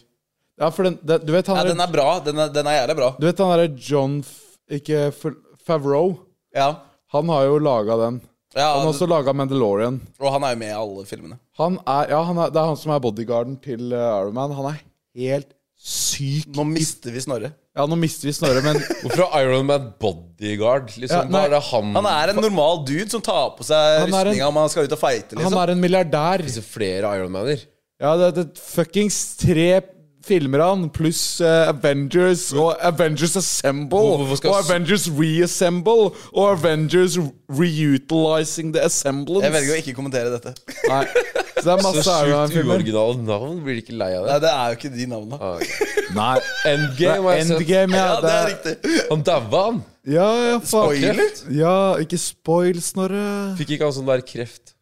Speaker 3: Ja, for den, den, du vet han
Speaker 4: Ja,
Speaker 3: er,
Speaker 4: den er bra. Den er, den er jævlig bra.
Speaker 3: Du vet han derre John F Ikke F Favreau.
Speaker 4: Ja.
Speaker 3: Han har jo laga den.
Speaker 4: ja
Speaker 3: Han har også laga Mandalorian.
Speaker 4: Og han er jo med i alle filmene.
Speaker 3: Han er, ja, han er, det er han som er bodyguarden til eh, Iron Man. Han er helt syk.
Speaker 4: Nå mister vi Snorre.
Speaker 3: Ja, nå mister vi Snorre, men
Speaker 5: Hvorfor er Iron Man bodyguard? Liksom,
Speaker 3: Ja,
Speaker 5: Hva
Speaker 3: nei.
Speaker 5: er det han,
Speaker 4: Han er en normal dude som tar på seg
Speaker 3: Han er en-
Speaker 4: rustninga om han skal ut og fighte,
Speaker 3: han
Speaker 4: liksom.
Speaker 3: er en milliardær.
Speaker 5: Disse flere Ironmaner.
Speaker 3: Ja, det, det fuckings tre filmer av han, pluss eh, Avengers og Avengers Assemble
Speaker 5: Hvorfor skal-
Speaker 3: og Avengers Reassemble og Avengers Reutilizing the Assemblance.
Speaker 4: Jeg velger å ikke kommentere dette.
Speaker 3: Nei, så det er
Speaker 5: Så
Speaker 3: masse Altså, Iron
Speaker 5: sjukt
Speaker 3: Man-filmer.
Speaker 5: uoriginale navn. Blir de ikke lei av
Speaker 4: Nei,
Speaker 5: det?
Speaker 4: det er jo ikke de navnene.
Speaker 5: Ah, ok.
Speaker 3: Nei, det
Speaker 5: Endgame
Speaker 3: er
Speaker 5: har jeg sett.
Speaker 3: Endgame, ja.
Speaker 4: Ja, det er
Speaker 3: det er-
Speaker 4: riktig.
Speaker 5: Han daua, han.
Speaker 3: Ja, ja, faen.
Speaker 4: Spoiler?
Speaker 3: Ja, ikke spoil, Snorre.
Speaker 5: Fikk ikke han sånn der kreft?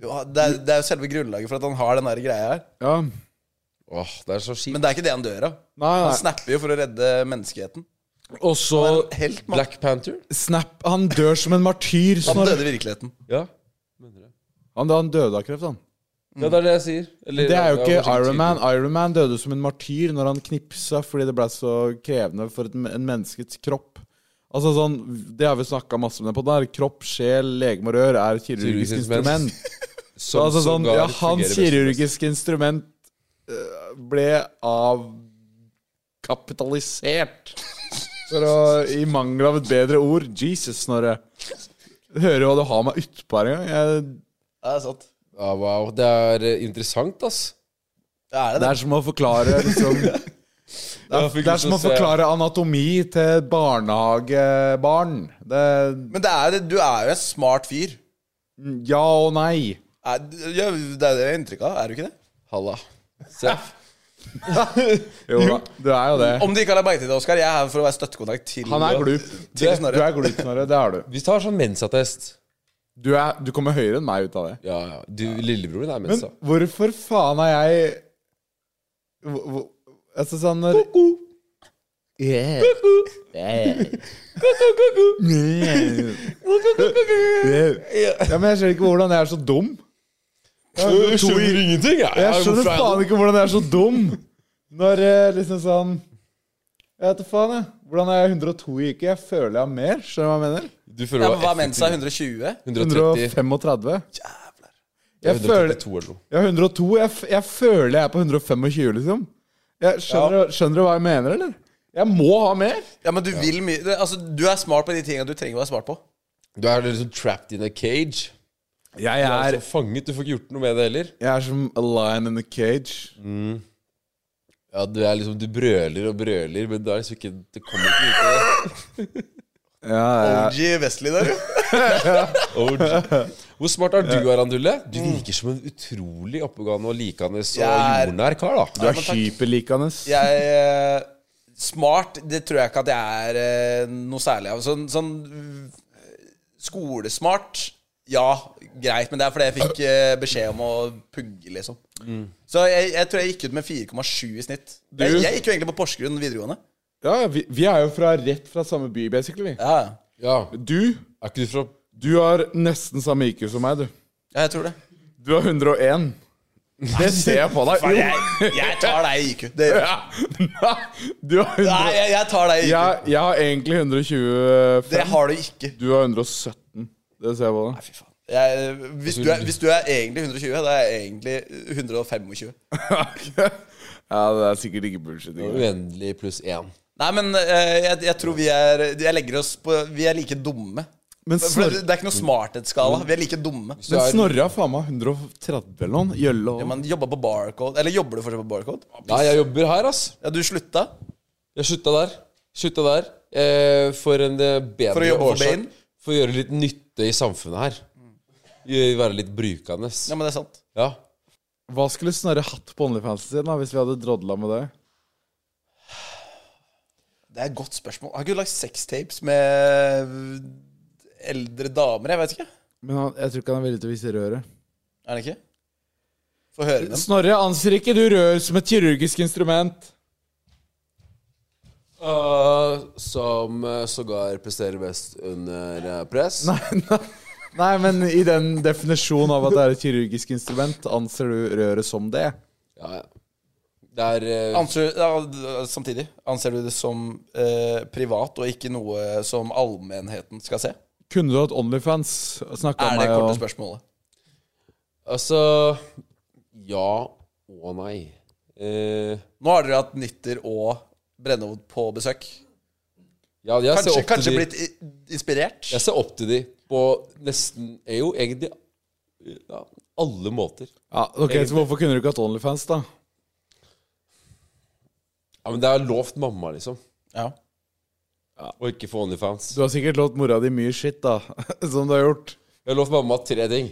Speaker 4: Ja, det, er, det er jo selve grunnlaget for at han har den der greia her.
Speaker 3: Ja.
Speaker 5: Åh, det er så kjipt.
Speaker 4: Men det er ikke det han dør av.
Speaker 3: Nei,
Speaker 4: Han
Speaker 3: nei.
Speaker 4: snapper jo for å redde menneskeheten.
Speaker 3: Og så
Speaker 4: En helt, mann.
Speaker 5: Black Panther?
Speaker 3: Snap Han dør som en martyr.
Speaker 4: Han
Speaker 3: Snorre.
Speaker 4: døde i virkeligheten.
Speaker 5: Ja.
Speaker 3: Han, han døde av kreft, han.
Speaker 5: ja, det er det jeg sier. Eller,
Speaker 3: Mm. Det er jo
Speaker 5: ja,
Speaker 3: ikke
Speaker 5: kanskje
Speaker 3: Iron Man. Iron Man døde som en martyr når han knipsa fordi det ble så krevende for et, en menneskets kropp. Altså sånn, Det har vi snakka masse om det på. Der. Kropp, sjel, legeme og rør er kirurgisk
Speaker 5: Kirurgisk
Speaker 3: instrument.
Speaker 5: instrument. tydelig. Som
Speaker 3: altså sånn,
Speaker 5: sågar
Speaker 3: ja, Hans
Speaker 5: fungerer best.
Speaker 3: kirurgiske instrument eh, ble avkapitalisert. For å, I mangel av et bedre ord. Jesus, Snorre. Hører jo hva du har meg utpå her engang. Jeg-
Speaker 4: Ja, det er sant.
Speaker 5: Ja, Ah, wow. Det er eh, interessant, ass.
Speaker 4: Det er
Speaker 3: Det
Speaker 4: det, det.
Speaker 3: er som å forklare liksom Det er,
Speaker 5: Jeg fikk
Speaker 3: det er
Speaker 5: lyst til
Speaker 3: som å
Speaker 5: å se-
Speaker 3: forklare anatomi til barnehagebarn. Det,
Speaker 4: Men det er, det- du er jo en smart fyr.
Speaker 3: ja og nei.
Speaker 4: Er, ja, det er det jeg har inntrykk av, er du ikke det?
Speaker 5: Halla. Se.
Speaker 3: Jo da, du er jo det.
Speaker 4: Om du ikke har lagt merke til det, Oskar, jeg er her for å være støttekontakt til
Speaker 3: Han er glup. Du,
Speaker 4: Til Snorre.
Speaker 3: du er glup, Snorre. Det er du.
Speaker 5: Vi tar sånn mensattest.
Speaker 3: Du, er, du kommer høyere enn meg ut av det.
Speaker 5: Ja, ja. Du, lillebroren er
Speaker 3: Men
Speaker 5: mensa.
Speaker 3: hvorfor faen er jeg hvor, hvor, Altså sånn når Yeah. Yeah. Ja, men jeg skjønner ikke hvordan jeg er så dum.
Speaker 5: Jeg skjønner ingenting, jeg.
Speaker 3: Jeg skjønner faen ikke hvordan jeg er så dum når eh, liksom sånn Jeg vet da faen, jeg. Hvordan er jeg 102 i IQ? Jeg føler jeg har mer. Skjønner du hva jeg mener?
Speaker 5: Du føler
Speaker 4: Ja,
Speaker 5: du
Speaker 4: men Hva
Speaker 5: var
Speaker 4: er mensa? 120?
Speaker 5: 130.
Speaker 3: 135.
Speaker 4: Jævler.
Speaker 3: Jeg føler
Speaker 5: 132 eller noe.
Speaker 3: Jeg er 102. Jeg, f jeg føler jeg er på 125, liksom. Jeg skjønner, skjønner du hva jeg mener, eller? Jeg må ha mer.
Speaker 4: Ja, men du vil mye det- Altså, du er smart på de tinga du trenger å være smart på.
Speaker 5: Du er liksom trapped in a cage.
Speaker 3: Jeg
Speaker 5: Du er
Speaker 3: er,
Speaker 5: altså fanget. Du får ikke gjort noe med det heller.
Speaker 3: jeg er som a lion in a cage.
Speaker 5: Ja, Du er liksom, du brøler og brøler, men det er liksom ikke Det kommer ikke ut av det.
Speaker 3: Ja, jeg,
Speaker 4: OG Vestli der, jo.
Speaker 5: OG. Hvor smart er du, Arandulle? Du virker som en utrolig oppegående og likende og
Speaker 4: Jeg er-
Speaker 5: jordnær kar, da.
Speaker 3: du
Speaker 4: Ja,
Speaker 3: er
Speaker 4: men takk.
Speaker 3: hyperlikende.
Speaker 4: Jeg eh, Smart, det tror jeg ikke at jeg er eh, noe særlig av. Sånn, sånn eh, skolesmart Ja, greit, men det er fordi jeg fikk eh, beskjed om å pugge, liksom.
Speaker 5: Mm.
Speaker 4: Så jeg, jeg tror jeg gikk ut med 4,7 i snitt. Jeg, jeg gikk jo egentlig på Porsgrunn videregående.
Speaker 3: Ja, ja, vi, vi er jo fra, rett fra samme by, basically.
Speaker 4: Ja,
Speaker 5: Ja.
Speaker 3: Du
Speaker 5: Er ikke du fra
Speaker 3: du har nesten samme IQ som meg, du.
Speaker 4: ja jeg tror det.
Speaker 3: Du har 101. Det ser jeg på deg. Jo.
Speaker 4: Jeg, jeg tar deg i IQ. Det, gjør jeg.
Speaker 3: Ja. Du har 100...
Speaker 4: nei, jeg, jeg tar deg i IQ.
Speaker 3: jeg, jeg har egentlig 125.
Speaker 4: Det har du ikke.
Speaker 3: Du har 117. Det ser jeg på deg.
Speaker 4: Fy faen. Jeg, hvis, Altså, du er, hvis du er egentlig 120, da er jeg egentlig 125.
Speaker 3: ja, det er sikkert ikke bullshit. Ikke?
Speaker 5: uendelig pluss én?
Speaker 4: Nei, men eh, jeg, jeg tror vi er Jeg legger oss på Vi er like dumme.
Speaker 3: Men
Speaker 4: For
Speaker 3: Snorre,
Speaker 4: det, det er ikke noe smarthetsskala. Vi er like dumme.
Speaker 5: Du er-
Speaker 3: men Snorre har faen meg 130 eller noe. Gjølle
Speaker 4: Ja,
Speaker 3: og
Speaker 4: men jobba på Barcode. Eller jobber du fortsatt på Barcode?
Speaker 5: Nei, jeg jobber her, ass.
Speaker 4: Ja, du slutta?
Speaker 5: Jeg slutta der. Slutta der eh, for en eh, bedre
Speaker 4: For å jobbe for
Speaker 5: årsak.
Speaker 4: Bane? Mm.
Speaker 5: For å gjøre litt nytte i samfunnet her. Gjø- Være litt brukende.
Speaker 4: Ja, men det er sant.
Speaker 5: Ja.
Speaker 3: Hva skulle Snorre hatt på OnlyFansen sin da, hvis vi hadde drodla med det?
Speaker 4: Det er et godt spørsmål. Har ikke du lagd sextapes med eldre damer? Jeg vet ikke.
Speaker 3: Men han, jeg tror ikke han er villig til å vise røret.
Speaker 4: Er det ikke? Få høre dem.
Speaker 3: Snorre, anser ikke du rør som et kirurgisk instrument?
Speaker 5: Uh, som uh, sågar presterer best under eh, press.
Speaker 3: Nei, men i den definisjonen av at det er et kirurgisk instrument, anser du røret som det?
Speaker 5: Ja, ja. Det er eh,
Speaker 4: Anser, ja, d- samtidig, anser du det som eh, privat og ikke noe som allmennheten skal se?
Speaker 3: Kunne du hatt Onlyfans? Snakka
Speaker 4: Er
Speaker 3: meg
Speaker 4: det korte
Speaker 3: og
Speaker 4: spørsmålet?
Speaker 5: Altså Ja og nei. Eh,
Speaker 4: Nå har dere hatt Nitter og Brennhoved på besøk.
Speaker 5: ja, jeg ser
Speaker 4: Kanskje,
Speaker 5: opp
Speaker 4: kanskje
Speaker 5: til de.
Speaker 4: blitt i- inspirert?
Speaker 5: Jeg ser opp til de på nesten er jo egentlig ja, alle måter.
Speaker 3: ja, ok, Så hvorfor kunne du ikke hatt Onlyfans, da?
Speaker 5: Ja, men det er lovt mamma, liksom.
Speaker 4: Ja.
Speaker 5: Å ikke få Onlyfans.
Speaker 3: Du har sikkert lovt mora di mye skitt, da. Som du har gjort.
Speaker 5: Jeg har lovt mamma tre ting.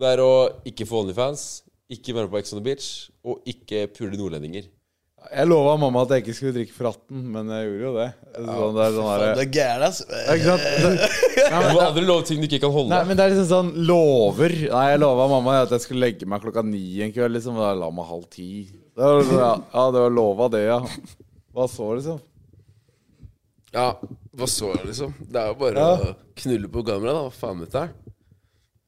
Speaker 5: Det er å ikke få Onlyfans, ikke være med på Ex on the Beach, og ikke pule nordlendinger.
Speaker 3: Jeg lova mamma at jeg ikke skulle drikke for 18, men jeg gjorde jo det. Sånn, det er sånn
Speaker 4: Faen,
Speaker 3: der,
Speaker 4: Du er gæren, ass.
Speaker 3: Ja, ikke sant? Det, nei,
Speaker 5: Du
Speaker 3: men,
Speaker 5: må aldri love ting du ikke kan holde.
Speaker 3: nei, men det er liksom sånn lover. Nei, jeg lova mamma at jeg skulle legge meg klokka ni en kveld. Liksom, og da la meg halv ti. Det var, sånn, ja, ja, det var lova det, ja. Hva så, liksom?
Speaker 5: Ja, hva så, liksom? Det er jo bare å knulle på kamera, da. Hva faen vet jeg?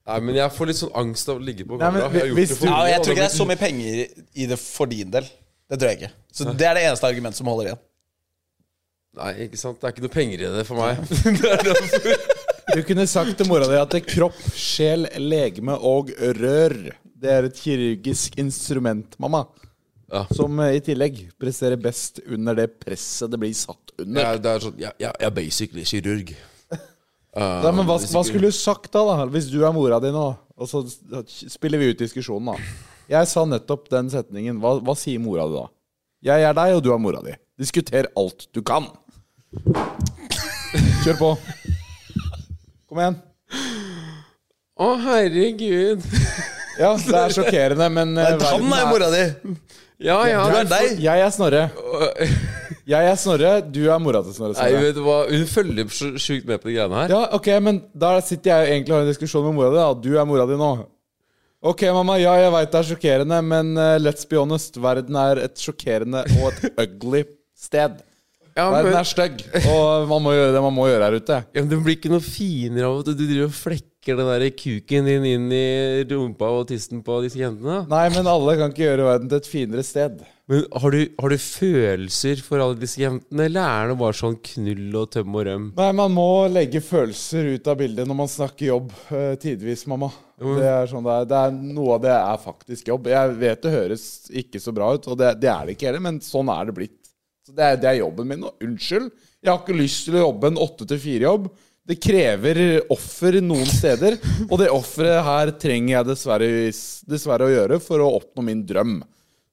Speaker 5: Nei, men jeg får litt sånn angst av å ligge på
Speaker 3: Nei, men
Speaker 5: kamera. jeg har gjort
Speaker 3: hvis
Speaker 5: det
Speaker 3: du-
Speaker 5: for
Speaker 4: Ja,
Speaker 5: mye,
Speaker 4: jeg
Speaker 5: og
Speaker 4: tror
Speaker 5: det
Speaker 4: ikke det
Speaker 5: har
Speaker 4: er så mye penger i det for din del. Det tror jeg ikke. Så det er det eneste argumentet som holder igjen.
Speaker 5: blitt- Nei, ikke sant. Det er ikke noe penger i det for meg.
Speaker 3: Du kunne sagt til mora di at det er kropp, sjel, legeme og rør. Det er et kirurgisk instrument, mamma.
Speaker 5: Ja.
Speaker 3: Som eh, i tillegg presterer best under det presset det blir satt
Speaker 5: Det
Speaker 3: under.
Speaker 5: er, det er sånn, jeg, jeg, jeg er basically kirurg.
Speaker 3: Nei, men hva, hva skulle du sagt da, da? Hvis du er mora di nå, og så s- spiller vi ut diskusjonen, da. Jeg sa nettopp den setningen. Hva, hva sier mora di da? Jeg er deg, og du er mora di. Diskuter alt du kan. Kjør på. Kom igjen.
Speaker 5: Å, herregud.
Speaker 3: Ja, det er sjokkerende, men eh, verden
Speaker 4: Han er mora di!
Speaker 5: Ja, ja.
Speaker 4: Du er deg!
Speaker 3: Jeg er Snorre. Jeg er Snorre, du er mora til Snorre.
Speaker 5: Nei,
Speaker 3: Snorre.
Speaker 5: vet du hva? Hun følger så sjukt med på de greiene her.
Speaker 3: Ja, ok, men da sitter jeg egentlig og har en diskusjon med mora di. da. Du er mora di nå. Ok, mamma, ja, jeg veit det er sjokkerende, men eh, let's be honest. Verden er et sjokkerende og et ugly sted.
Speaker 5: Ja,
Speaker 3: Verden
Speaker 5: men,
Speaker 3: er stygg, og man må gjøre det man må gjøre her ute.
Speaker 5: ja, men det blir ikke noe finere av at du driver og flekker den der kuken din inn i rumpa og tissen på disse jentene.
Speaker 3: Nei, men alle kan ikke gjøre verden til et finere sted.
Speaker 5: Men har du, har du følelser for alle disse jentene, eller er det bare sånn knull og tøm og røm?
Speaker 3: Nei, man må legge følelser ut av bildet når man snakker jobb, eh, tidvis, mamma. Det er sånn det er. det er. Noe av det er faktisk jobb. Jeg vet det høres ikke så bra ut, og det, det er det ikke heller, men sånn er det blitt. Så det, er, det er jobben min nå. Unnskyld. Jeg har ikke lyst til å jobbe en åtte til fire-jobb. Det krever offer noen steder, og det offeret her trenger jeg dessverre, dessverre å gjøre for å oppnå min drøm.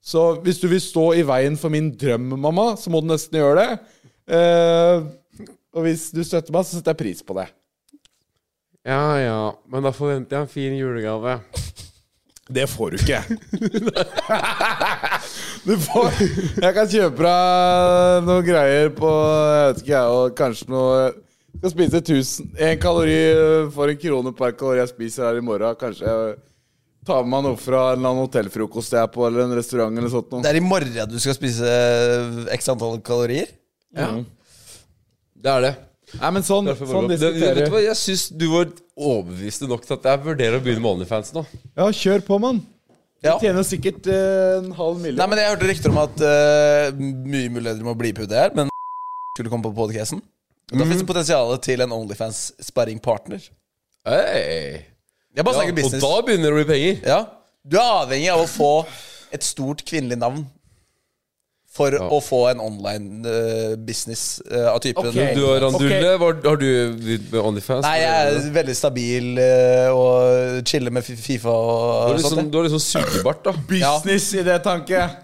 Speaker 3: Så hvis du vil stå i veien for min drøm, mamma, så må du nesten gjøre det. Eh, og hvis du støtter meg, så setter jeg pris på det.
Speaker 5: Ja ja, men da forventer jeg en fin julegave.
Speaker 3: Det får du ikke. du får Jeg kan kjøpe deg noen greier på Jeg vet ikke, jeg, og kanskje noe Skal spise 1000 En kalori eh, for en krone per kalori jeg spiser her i morgen. Kanskje jeg tar med meg noe fra en eller annen hotellfrokost jeg er på, eller en restaurant eller sånt noe.
Speaker 4: Det er i morgen du skal spise eh, x antall kalorier?
Speaker 5: Det er det.
Speaker 3: Nei, men sånn, sånn
Speaker 5: Det- det- vet
Speaker 3: diskuterer
Speaker 5: du
Speaker 3: vi.
Speaker 5: hva, Jeg syns du var overbevisende nok til at jeg vurderer å begynne med Onlyfans nå.
Speaker 3: Ja, kjør på, mann. Du
Speaker 4: Ja.
Speaker 3: tjener sikkert eh, en halv
Speaker 4: Nei,
Speaker 3: million.
Speaker 4: men Jeg hørte rykter om at eh, mye muligheter med å bli på det her, men skulle komme på podcasten. Da
Speaker 5: Mhm.
Speaker 4: finnes det potensial til en Onlyfans-sparringpartner.
Speaker 5: Hey.
Speaker 4: Jeg bare
Speaker 5: Ja,
Speaker 4: snakker
Speaker 5: og
Speaker 4: business.
Speaker 5: da begynner det å bli penger.
Speaker 4: Ja. Du er avhengig av å få et stort kvinnelig navn for å få en online eh, business eh, av typen
Speaker 3: Ok.
Speaker 5: Du og Randulle, var- har du begynt med Onlyfans?
Speaker 4: Nei, jeg er veldig stabil eh, og chiller med Fi- Fifa
Speaker 5: Du har
Speaker 4: og
Speaker 5: litt sånn,
Speaker 4: sånt.
Speaker 5: du har litt sånn sugebart, da.
Speaker 3: Business i det tanke.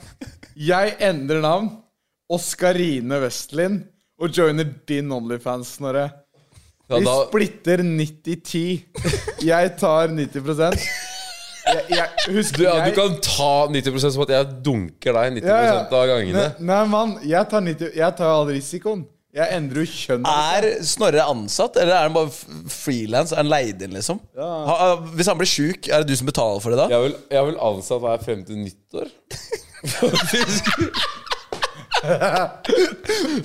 Speaker 3: Jeg endrer navn. Oskarine Westlin. Og joiner din Onlyfans, Snorre.
Speaker 5: Ja,
Speaker 3: Vi
Speaker 5: da
Speaker 3: splitter 90-10. Jeg tar 90 jeg, jeg, Husk
Speaker 5: du, ja, du
Speaker 3: jeg-
Speaker 5: kan ta 90 som at jeg dunker deg 90
Speaker 3: Ja, ja.
Speaker 5: av gangene.
Speaker 3: Nei, nei, mann. Jeg tar, 90, jeg tar all risikoen. Jeg endrer jo kjønn.
Speaker 5: Ah.
Speaker 4: Er Snorre ansatt, eller er han bare frilans? Er han leid inn, liksom? Ha- Hvis han blir sjuk, er det du som betaler for det da?
Speaker 5: Jeg vil, jeg vil ansatt være frem til nyttår.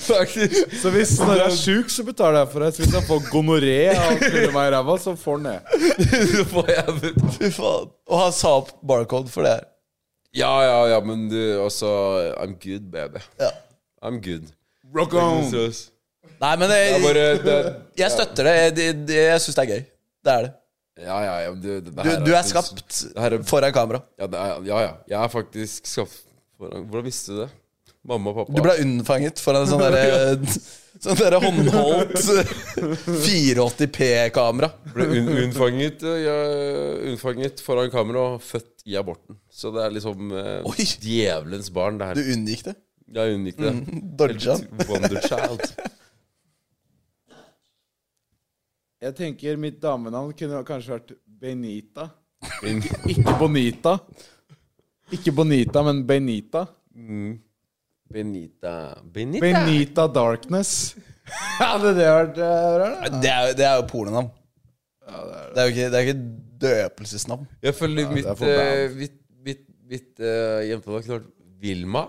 Speaker 5: Faktisk.
Speaker 3: Så hvis Snorre er sjuk, så betaler jeg for det. Så hvis han får gonoré av å knulle meg i ræva, så får han det.
Speaker 5: Så får jeg
Speaker 4: Fy faen. Og han sa opp barcode for det her.
Speaker 5: Ja, ja, ja, men du, altså I'm good, baby.
Speaker 4: Ja.
Speaker 5: I'm good.
Speaker 3: Rock on!
Speaker 4: Nei, men
Speaker 5: Det er bare
Speaker 4: jeg,
Speaker 5: det,
Speaker 4: jeg støtter det. Jeg, det- det- jeg syns det er gøy. Det er det.
Speaker 5: Ja, ja, ja. men Du, det, det
Speaker 4: Du,
Speaker 5: her
Speaker 4: du er skapt
Speaker 5: Det her er,
Speaker 4: foran kamera.
Speaker 5: ja, det er, ja, ja. Jeg er faktisk skapt Hvordan hvordan visste du det? Mamma og pappa.
Speaker 4: Du ble unnfanget foran en sånn derre Sånn derre håndholdt 480p-kamera.
Speaker 5: Ble unn- unnfanget, eh, jeg- unnfanget foran kamera og født i aborten. Så det er liksom eh,
Speaker 4: Oi.
Speaker 5: djevelens barn, det
Speaker 4: Du Mm.
Speaker 5: her.
Speaker 4: unngikk det.
Speaker 5: Jeg unngikk det.
Speaker 4: Dodja.
Speaker 5: Wonder Child.
Speaker 3: Jeg tenker mitt damenavn kunne kanskje vært Benita.
Speaker 5: Min,
Speaker 3: Ikke Bonita. Ikke Bonita, men Benita.
Speaker 5: Benita Benita?
Speaker 3: Benita Darkness. Hadde det vært eh, rart? da?
Speaker 4: Det er, jo- det er jo pornonavn. Det er jo ikke, det er ikke døpelsesnavn.
Speaker 5: Jeg føler mitt,
Speaker 3: det er for
Speaker 5: eh, mitt, mitt, mitt eh, jentenavn kunne vært Vilma.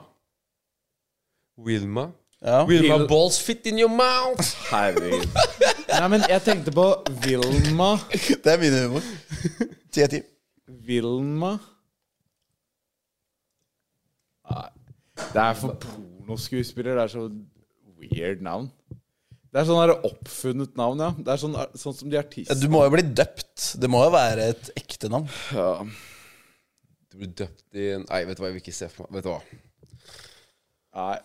Speaker 5: Wilma.
Speaker 4: Ja.
Speaker 5: Wilma balls fit in your mouth!
Speaker 3: Herregud. Nei, men jeg tenkte på Vilma.
Speaker 4: Det er min humor. Ti av ti.
Speaker 3: Vilma Nei. Det er for pornoskuespiller. Det er så weird navn. Det er sånn der oppfunnet navn, ja. Det er sånn, sånn som de
Speaker 4: Ja, Du
Speaker 3: artistene
Speaker 4: må jo bli døpt. Det må jo være et ekte navn.
Speaker 3: ja.
Speaker 5: Du blir døpt i en Nei, vet du hva, jeg vil ikke se for meg Vet du hva.
Speaker 3: Nei.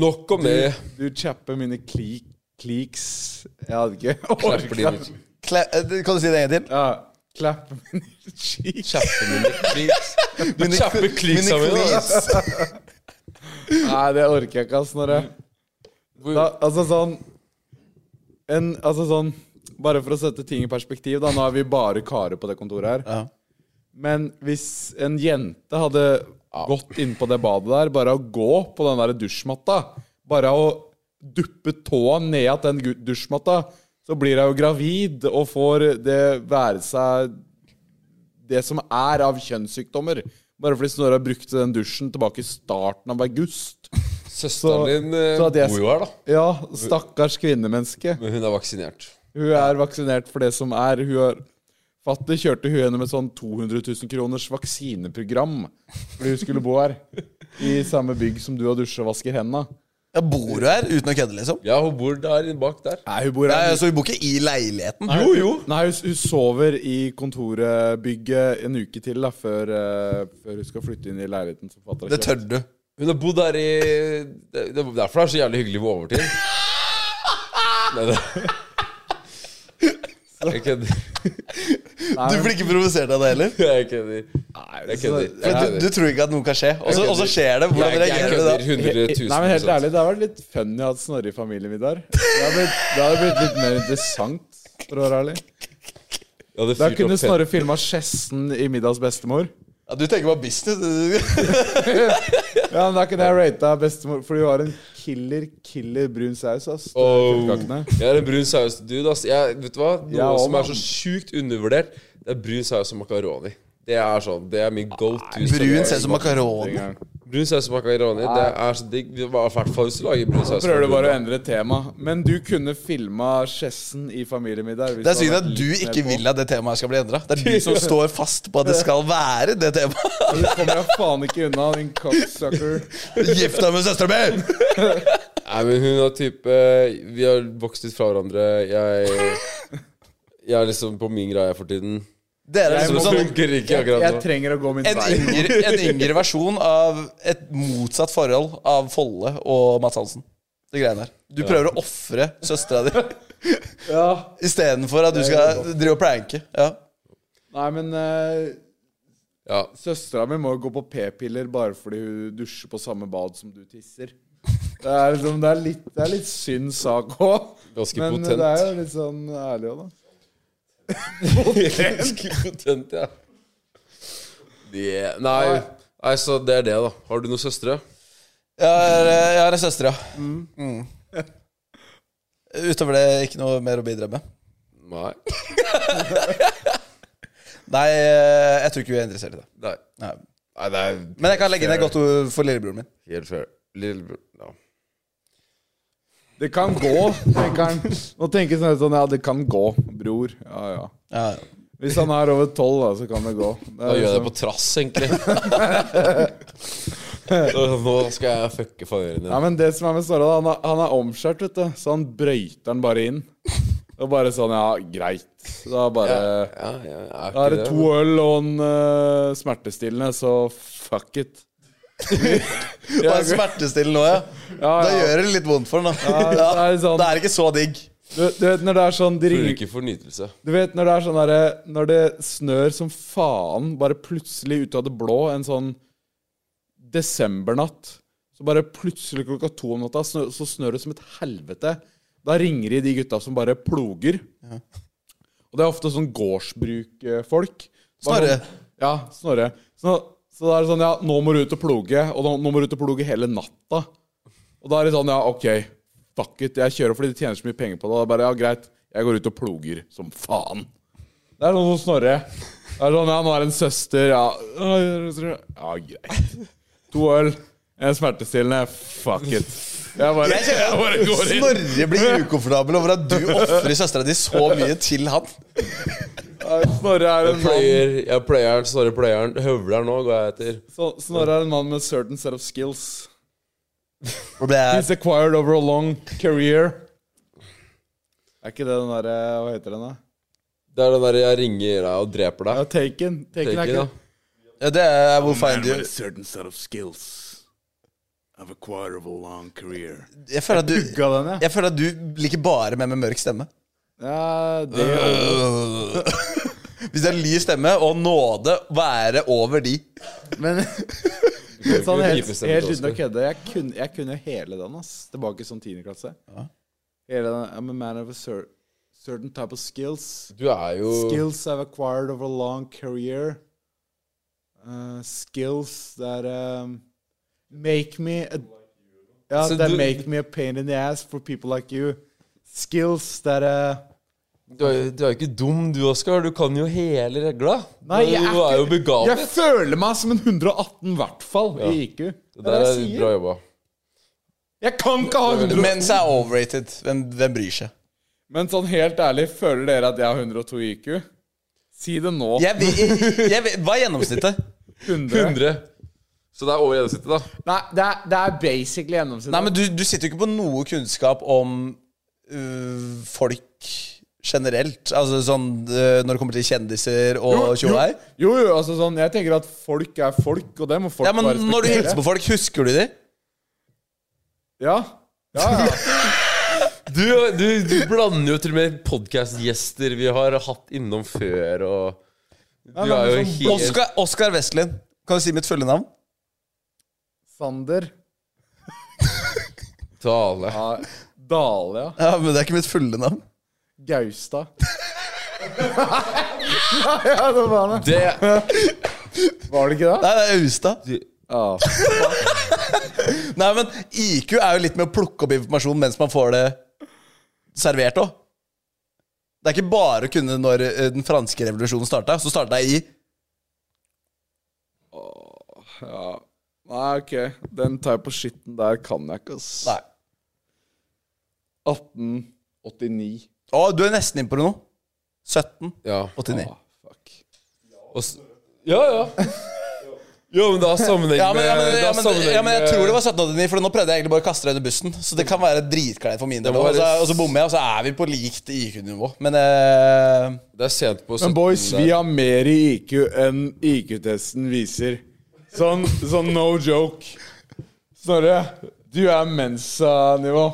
Speaker 5: Nok om det.
Speaker 3: Du chapper mine kli kliks Jeg hadde ikke
Speaker 5: Klapper
Speaker 3: orket
Speaker 5: dine
Speaker 3: det.
Speaker 4: Kla eh, kan du si det en gang til?
Speaker 3: Ja. Klapper mine cheeks.
Speaker 5: Kjappe mine kliks. Du kjappe kliks
Speaker 4: Mine
Speaker 5: sammen. da.
Speaker 4: klis.
Speaker 3: Nei, det orker jeg ikke, ass, Snorre. Da, altså sånn en, Altså sånn Bare for å sette ting i perspektiv, da. Nå er vi bare karer på det kontoret her.
Speaker 4: Ja.
Speaker 3: Men hvis en jente hadde gått inn på det badet der, bare å gå på den der dusjmatta Bare å duppe tåa ned at den gu- dusjmatta, så blir hun jo gravid og får det være seg det som er av kjønnssykdommer. Bare fordi Snorre brukte den dusjen tilbake i starten av august. Så-
Speaker 5: Søsteren din eh,
Speaker 3: så at jeg-
Speaker 5: bor jo her, da.
Speaker 3: Ja, stakkars kvinnemenneske.
Speaker 5: Men hun er vaksinert.
Speaker 3: Hun er vaksinert for det som er. Hun er Fatter kjørte hun gjennom et sånn 200 000 kroners vaksineprogram fordi hun skulle bo her. I samme bygg som du og dusjer og vasker hendene.
Speaker 4: Jeg bor jo her uten å kødde, liksom.
Speaker 5: Ja, hun bor der inne bak der.
Speaker 3: Nei, hun bor
Speaker 4: Ja,
Speaker 3: her.
Speaker 4: ja, så vi bor ikke i leiligheten.
Speaker 3: Nei, Nei, hun, hun sover i kontorbygget en uke til da, før, eh, før hun skal flytte inn i leiligheten som fatter
Speaker 4: Det tør du.
Speaker 5: Hun har bodd der i Det det er derfor det er så jævlig hyggelig med overtid. Nei, det Jeg kødder.
Speaker 4: Du blir ikke provosert av det heller.
Speaker 5: Jeg kødder. Jeg
Speaker 4: For
Speaker 5: kødder. Jeg
Speaker 4: Du, du
Speaker 5: kødder.
Speaker 4: tror ikke at noe kan skje, og så, og så skjer det. Hvordan
Speaker 5: Jeg- Jeg
Speaker 4: reagerer du da?
Speaker 5: kødder 100 000
Speaker 3: Nei, men helt ærlig, Det hadde vært litt funny å ha Snorre i familiemiddag. Det hadde blitt, det hadde blitt litt mer interessant. for å være ærlig.
Speaker 5: Jeg hadde
Speaker 3: Da
Speaker 5: fyrt
Speaker 3: kunne
Speaker 5: opp fett.
Speaker 3: Snorre filma Skjessen i Middags bestemor.
Speaker 4: Ja, du tenker bare business. du.
Speaker 3: Ja, men Da kunne jeg rata bestemor, for hun har en killer, killer brun saus, ass. Det er
Speaker 5: Oh.
Speaker 3: kjøttkakene.
Speaker 5: Jeg er en brun saus-dude, ass. Jeg, vet du hva? Noe
Speaker 3: Ja,
Speaker 5: som
Speaker 3: mann.
Speaker 5: er så sjukt undervurdert, det er brun saus og makaroni. Det er sånn, det er min go to.
Speaker 4: Brun ser ut som makaroni.
Speaker 5: Brun saus og makaroni, det er så digg. I hvert fall hvis du lager brun saus.
Speaker 3: Prøver du bare å endre tema. Men du kunne filma Skjessen i familiemiddag. hvis
Speaker 4: Det
Speaker 3: du
Speaker 4: er
Speaker 3: hadde
Speaker 4: synd at
Speaker 3: vært
Speaker 4: du
Speaker 3: litt mer
Speaker 4: ikke
Speaker 3: på.
Speaker 4: vil at det temaet skal bli endra. Det er du som står fast på at det skal være det temaet.
Speaker 3: Du kommer deg faen ikke unna, din cocksucker.
Speaker 4: Gift deg med søstera mi!
Speaker 5: Nei, men hun har type Vi har vokst litt fra hverandre. Jeg Jeg er liksom på min greie for tiden.
Speaker 4: Dere er
Speaker 5: Som
Speaker 4: liksom sånn
Speaker 5: funker ikke
Speaker 3: Jeg
Speaker 5: akkurat nå.
Speaker 3: trenger å gå min
Speaker 4: en
Speaker 3: vei.
Speaker 4: yngre, en yngre versjon av et motsatt forhold av Folle og Mads Hansen. De greiene der. Du prøver å ofre søstera di
Speaker 3: Ja.
Speaker 4: istedenfor at du skal drive og pranke. Ja.
Speaker 3: Nei, men uh,
Speaker 5: Ja.
Speaker 3: søstera mi må jo gå på p-piller bare fordi hun dusjer på samme bad som du tisser. Det er, liksom, det er, litt, det er litt synd sak òg.
Speaker 5: Ganske
Speaker 3: Men
Speaker 5: potent.
Speaker 3: det er jo litt sånn ærlig òg, da.
Speaker 5: Ganske potent, ja. Det- Nei. Nei, så det er det, da. Har du noen søstre?
Speaker 4: Jeg har, jeg har en søster, ja. Mm. Utover det ikke noe mer å bidra med.
Speaker 5: Nei.
Speaker 4: Nei, jeg tror ikke vi er interessert i det.
Speaker 5: Nei,
Speaker 4: Nei.
Speaker 5: Nei det er
Speaker 4: Men jeg kan legge inn et godt ord for lillebroren min.
Speaker 5: helt fair. Lillebror ja.
Speaker 3: Det kan gå, tenker han. Nå tenker jeg sånn Ja, det kan gå, bror. Ja, ja.
Speaker 4: Ja, ja.
Speaker 3: Hvis han er over tolv, da, så kan det gå. Det
Speaker 5: Da
Speaker 3: er
Speaker 5: gjør jeg det
Speaker 3: liksom-
Speaker 5: på trass, egentlig. Nå skal jeg fucke favøren din.
Speaker 3: liksom- Ja, men det som er med Snorre, da, han er, han er omskjært, vet du. Så han brøyter den bare inn. Og bare sånn Ja, greit. Da bare
Speaker 5: Eh, Ja, ja,
Speaker 3: Da
Speaker 5: er ikke
Speaker 3: er det to øl og en eh, smertestillende, så fuck it.
Speaker 4: Og en smertestillende òg, ja.
Speaker 3: Ja,
Speaker 4: Da
Speaker 3: ja.
Speaker 4: gjør det litt vondt for den, da.
Speaker 3: Ja,
Speaker 4: Ja,
Speaker 3: det er sånn.
Speaker 4: Det er ikke så digg.
Speaker 3: Du, du vet når det er sånn de
Speaker 5: Tror
Speaker 3: ringer,
Speaker 5: ikke for nytelse.
Speaker 3: Du vet når det er sånn derre Når det snør som faen, bare plutselig ut av det blå, en sånn desembernatt Så bare plutselig klokka to om natta snø, så snør det som et helvete. Da ringer de de gutta som bare ploger. Og det er ofte sånn gårdsbrukfolk. Bare
Speaker 4: Snorre.
Speaker 3: sånn- Ja, Snorre. Så, så da er det sånn Ja, nå må du ut og ploge. Og nå, nå må du ut og ploge hele natta. Og da er det sånn, ja, ok, fuck it, jeg kjører fordi de tjener så mye penger på det. Og da bare, ja, greit, jeg går ut og ploger som faen. Det er sånn som Snorre. Det er sånn, ja, nå er det en søster, ja. Ja, greit. To øl, en smertestillende, fuck it. Jeg bare, jeg bare går inn.
Speaker 4: Snorre blir ukomfortabel over at du ofrer søstera di så mye til han.
Speaker 3: Ja, Snorre er en mann,
Speaker 5: Player, jeg player den, Snorre player den. Høvler nå, går jeg etter.
Speaker 3: så, Snorre er en mann med a certain set of skills.
Speaker 4: Hvor ble
Speaker 3: He's
Speaker 4: jeg
Speaker 3: acquired over a long career. Er ikke det den der, eh, hva heter den da?
Speaker 5: Det er den der jeg ringer deg og dreper
Speaker 3: Ja,
Speaker 5: deg.
Speaker 3: Taken. Taken er
Speaker 5: Take it,
Speaker 3: ikke
Speaker 5: da.
Speaker 3: det.
Speaker 4: ja, Det er I will find you.
Speaker 7: certain set of skills I've acquired over a long career.
Speaker 4: Jeg føler at du
Speaker 3: Ga den, ja.
Speaker 4: jeg føler at du liker bare med med mørk stemme.
Speaker 3: Ja, det
Speaker 4: Hvis det er lys stemme og nåde, være over de.
Speaker 3: Men men sånn
Speaker 5: ikke
Speaker 3: helt,
Speaker 5: knipe stemmen
Speaker 3: helt
Speaker 5: til
Speaker 3: uten å
Speaker 5: Oscar.
Speaker 3: kødde, jeg kunne, jeg kunne hele den, ass. Tilbake som tiendeklasse. Hele den I'm a man of a cer certain type of skills.
Speaker 5: Du er jo
Speaker 3: Skills I've acquired over a long career. Uh, skills that um, make me a, yeah,
Speaker 5: Så
Speaker 3: that
Speaker 5: du-
Speaker 3: make me a pain in the ass for people like you. Skills that uh,
Speaker 5: Du er, du er jo ikke dum, du, Oskar. Du kan jo hele regla.
Speaker 3: Nei, jeg er
Speaker 5: du er jo
Speaker 3: Jeg
Speaker 5: begavet.
Speaker 3: føler meg som en 118 i hvert fall
Speaker 5: Ja.
Speaker 3: i IQ.
Speaker 5: Det
Speaker 3: Det er
Speaker 5: der
Speaker 3: det
Speaker 5: er
Speaker 3: jeg
Speaker 5: bra
Speaker 3: sier.
Speaker 5: jobba.
Speaker 3: Jeg kan ikke ha 100
Speaker 4: Mens jeg er overrated. Hvem, hvem bryr seg?
Speaker 3: Men sånn helt ærlig, føler dere at jeg har 102 IQ? Si det nå.
Speaker 4: Jeg vet, jeg vet, hva er gjennomsnittet?
Speaker 3: 100.
Speaker 5: 100. Så det er over gjennomsnittet, da.
Speaker 3: Nei, det er, det er basically gjennomsnittet.
Speaker 4: Nei, men du, du sitter jo ikke på noe kunnskap om øh, folk generelt. Altså sånn øh, når det kommer til kjendiser og
Speaker 3: jo,
Speaker 4: tjohei.
Speaker 3: jo, jo, altså sånn, jeg tenker at folk er folk, og det må folk
Speaker 4: Ja, men
Speaker 3: bare
Speaker 4: når du hilser på folk, husker du de?
Speaker 3: Ja. Ja, ja.
Speaker 5: Du, du, du blander jo til og med podkastgjester vi har hatt innom før, og Du
Speaker 3: men
Speaker 5: er jo
Speaker 3: sånn
Speaker 5: helt
Speaker 4: Oskar, Oskar Vestlin. Kan du si mitt fulle navn?
Speaker 3: Sander
Speaker 5: tale.
Speaker 3: ja, Dale, ja.
Speaker 4: Ja, men det er ikke mitt fulle navn.
Speaker 3: Gaustad. Nei, ja, det var det.
Speaker 5: Det
Speaker 3: Var det ikke det?
Speaker 4: Nei, det er Austad.
Speaker 5: du-
Speaker 3: Ja.
Speaker 4: Nei, men IQ er jo litt med å plukke opp informasjon mens man får det servert òg. Det er ikke bare å kunne når eh, den franske revolusjonen starta. Så starta jeg i
Speaker 3: Nei, ok. Den tar jeg på skitten der kan jeg ikke, ass.
Speaker 4: Nei.
Speaker 3: 1889.
Speaker 4: Å, du er nesten inne på noe. 17.
Speaker 5: Ja.
Speaker 4: 89.
Speaker 3: Ah, fuck.
Speaker 5: Og s ja, ja. Jo, men det har sammenheng
Speaker 4: Ja men, ja, men,
Speaker 5: med- det
Speaker 4: ja,
Speaker 5: har
Speaker 4: men,
Speaker 5: sammenheng
Speaker 4: ja, men jeg
Speaker 5: med-
Speaker 4: tror det var 1789, for nå prøvde jeg egentlig bare å kaste deg under bussen. Så det kan være dritkleint for min del,
Speaker 5: må
Speaker 4: og så,
Speaker 5: være-
Speaker 4: og så bommer jeg, og så er vi på likt IQ-nivå. Men eh,
Speaker 5: Det er sent på
Speaker 3: Men boys,
Speaker 5: 17 der.
Speaker 3: vi har mer i IQ enn IQ-testen viser. Sånn, sånn no joke. Snorre, du er Mensa-nivå.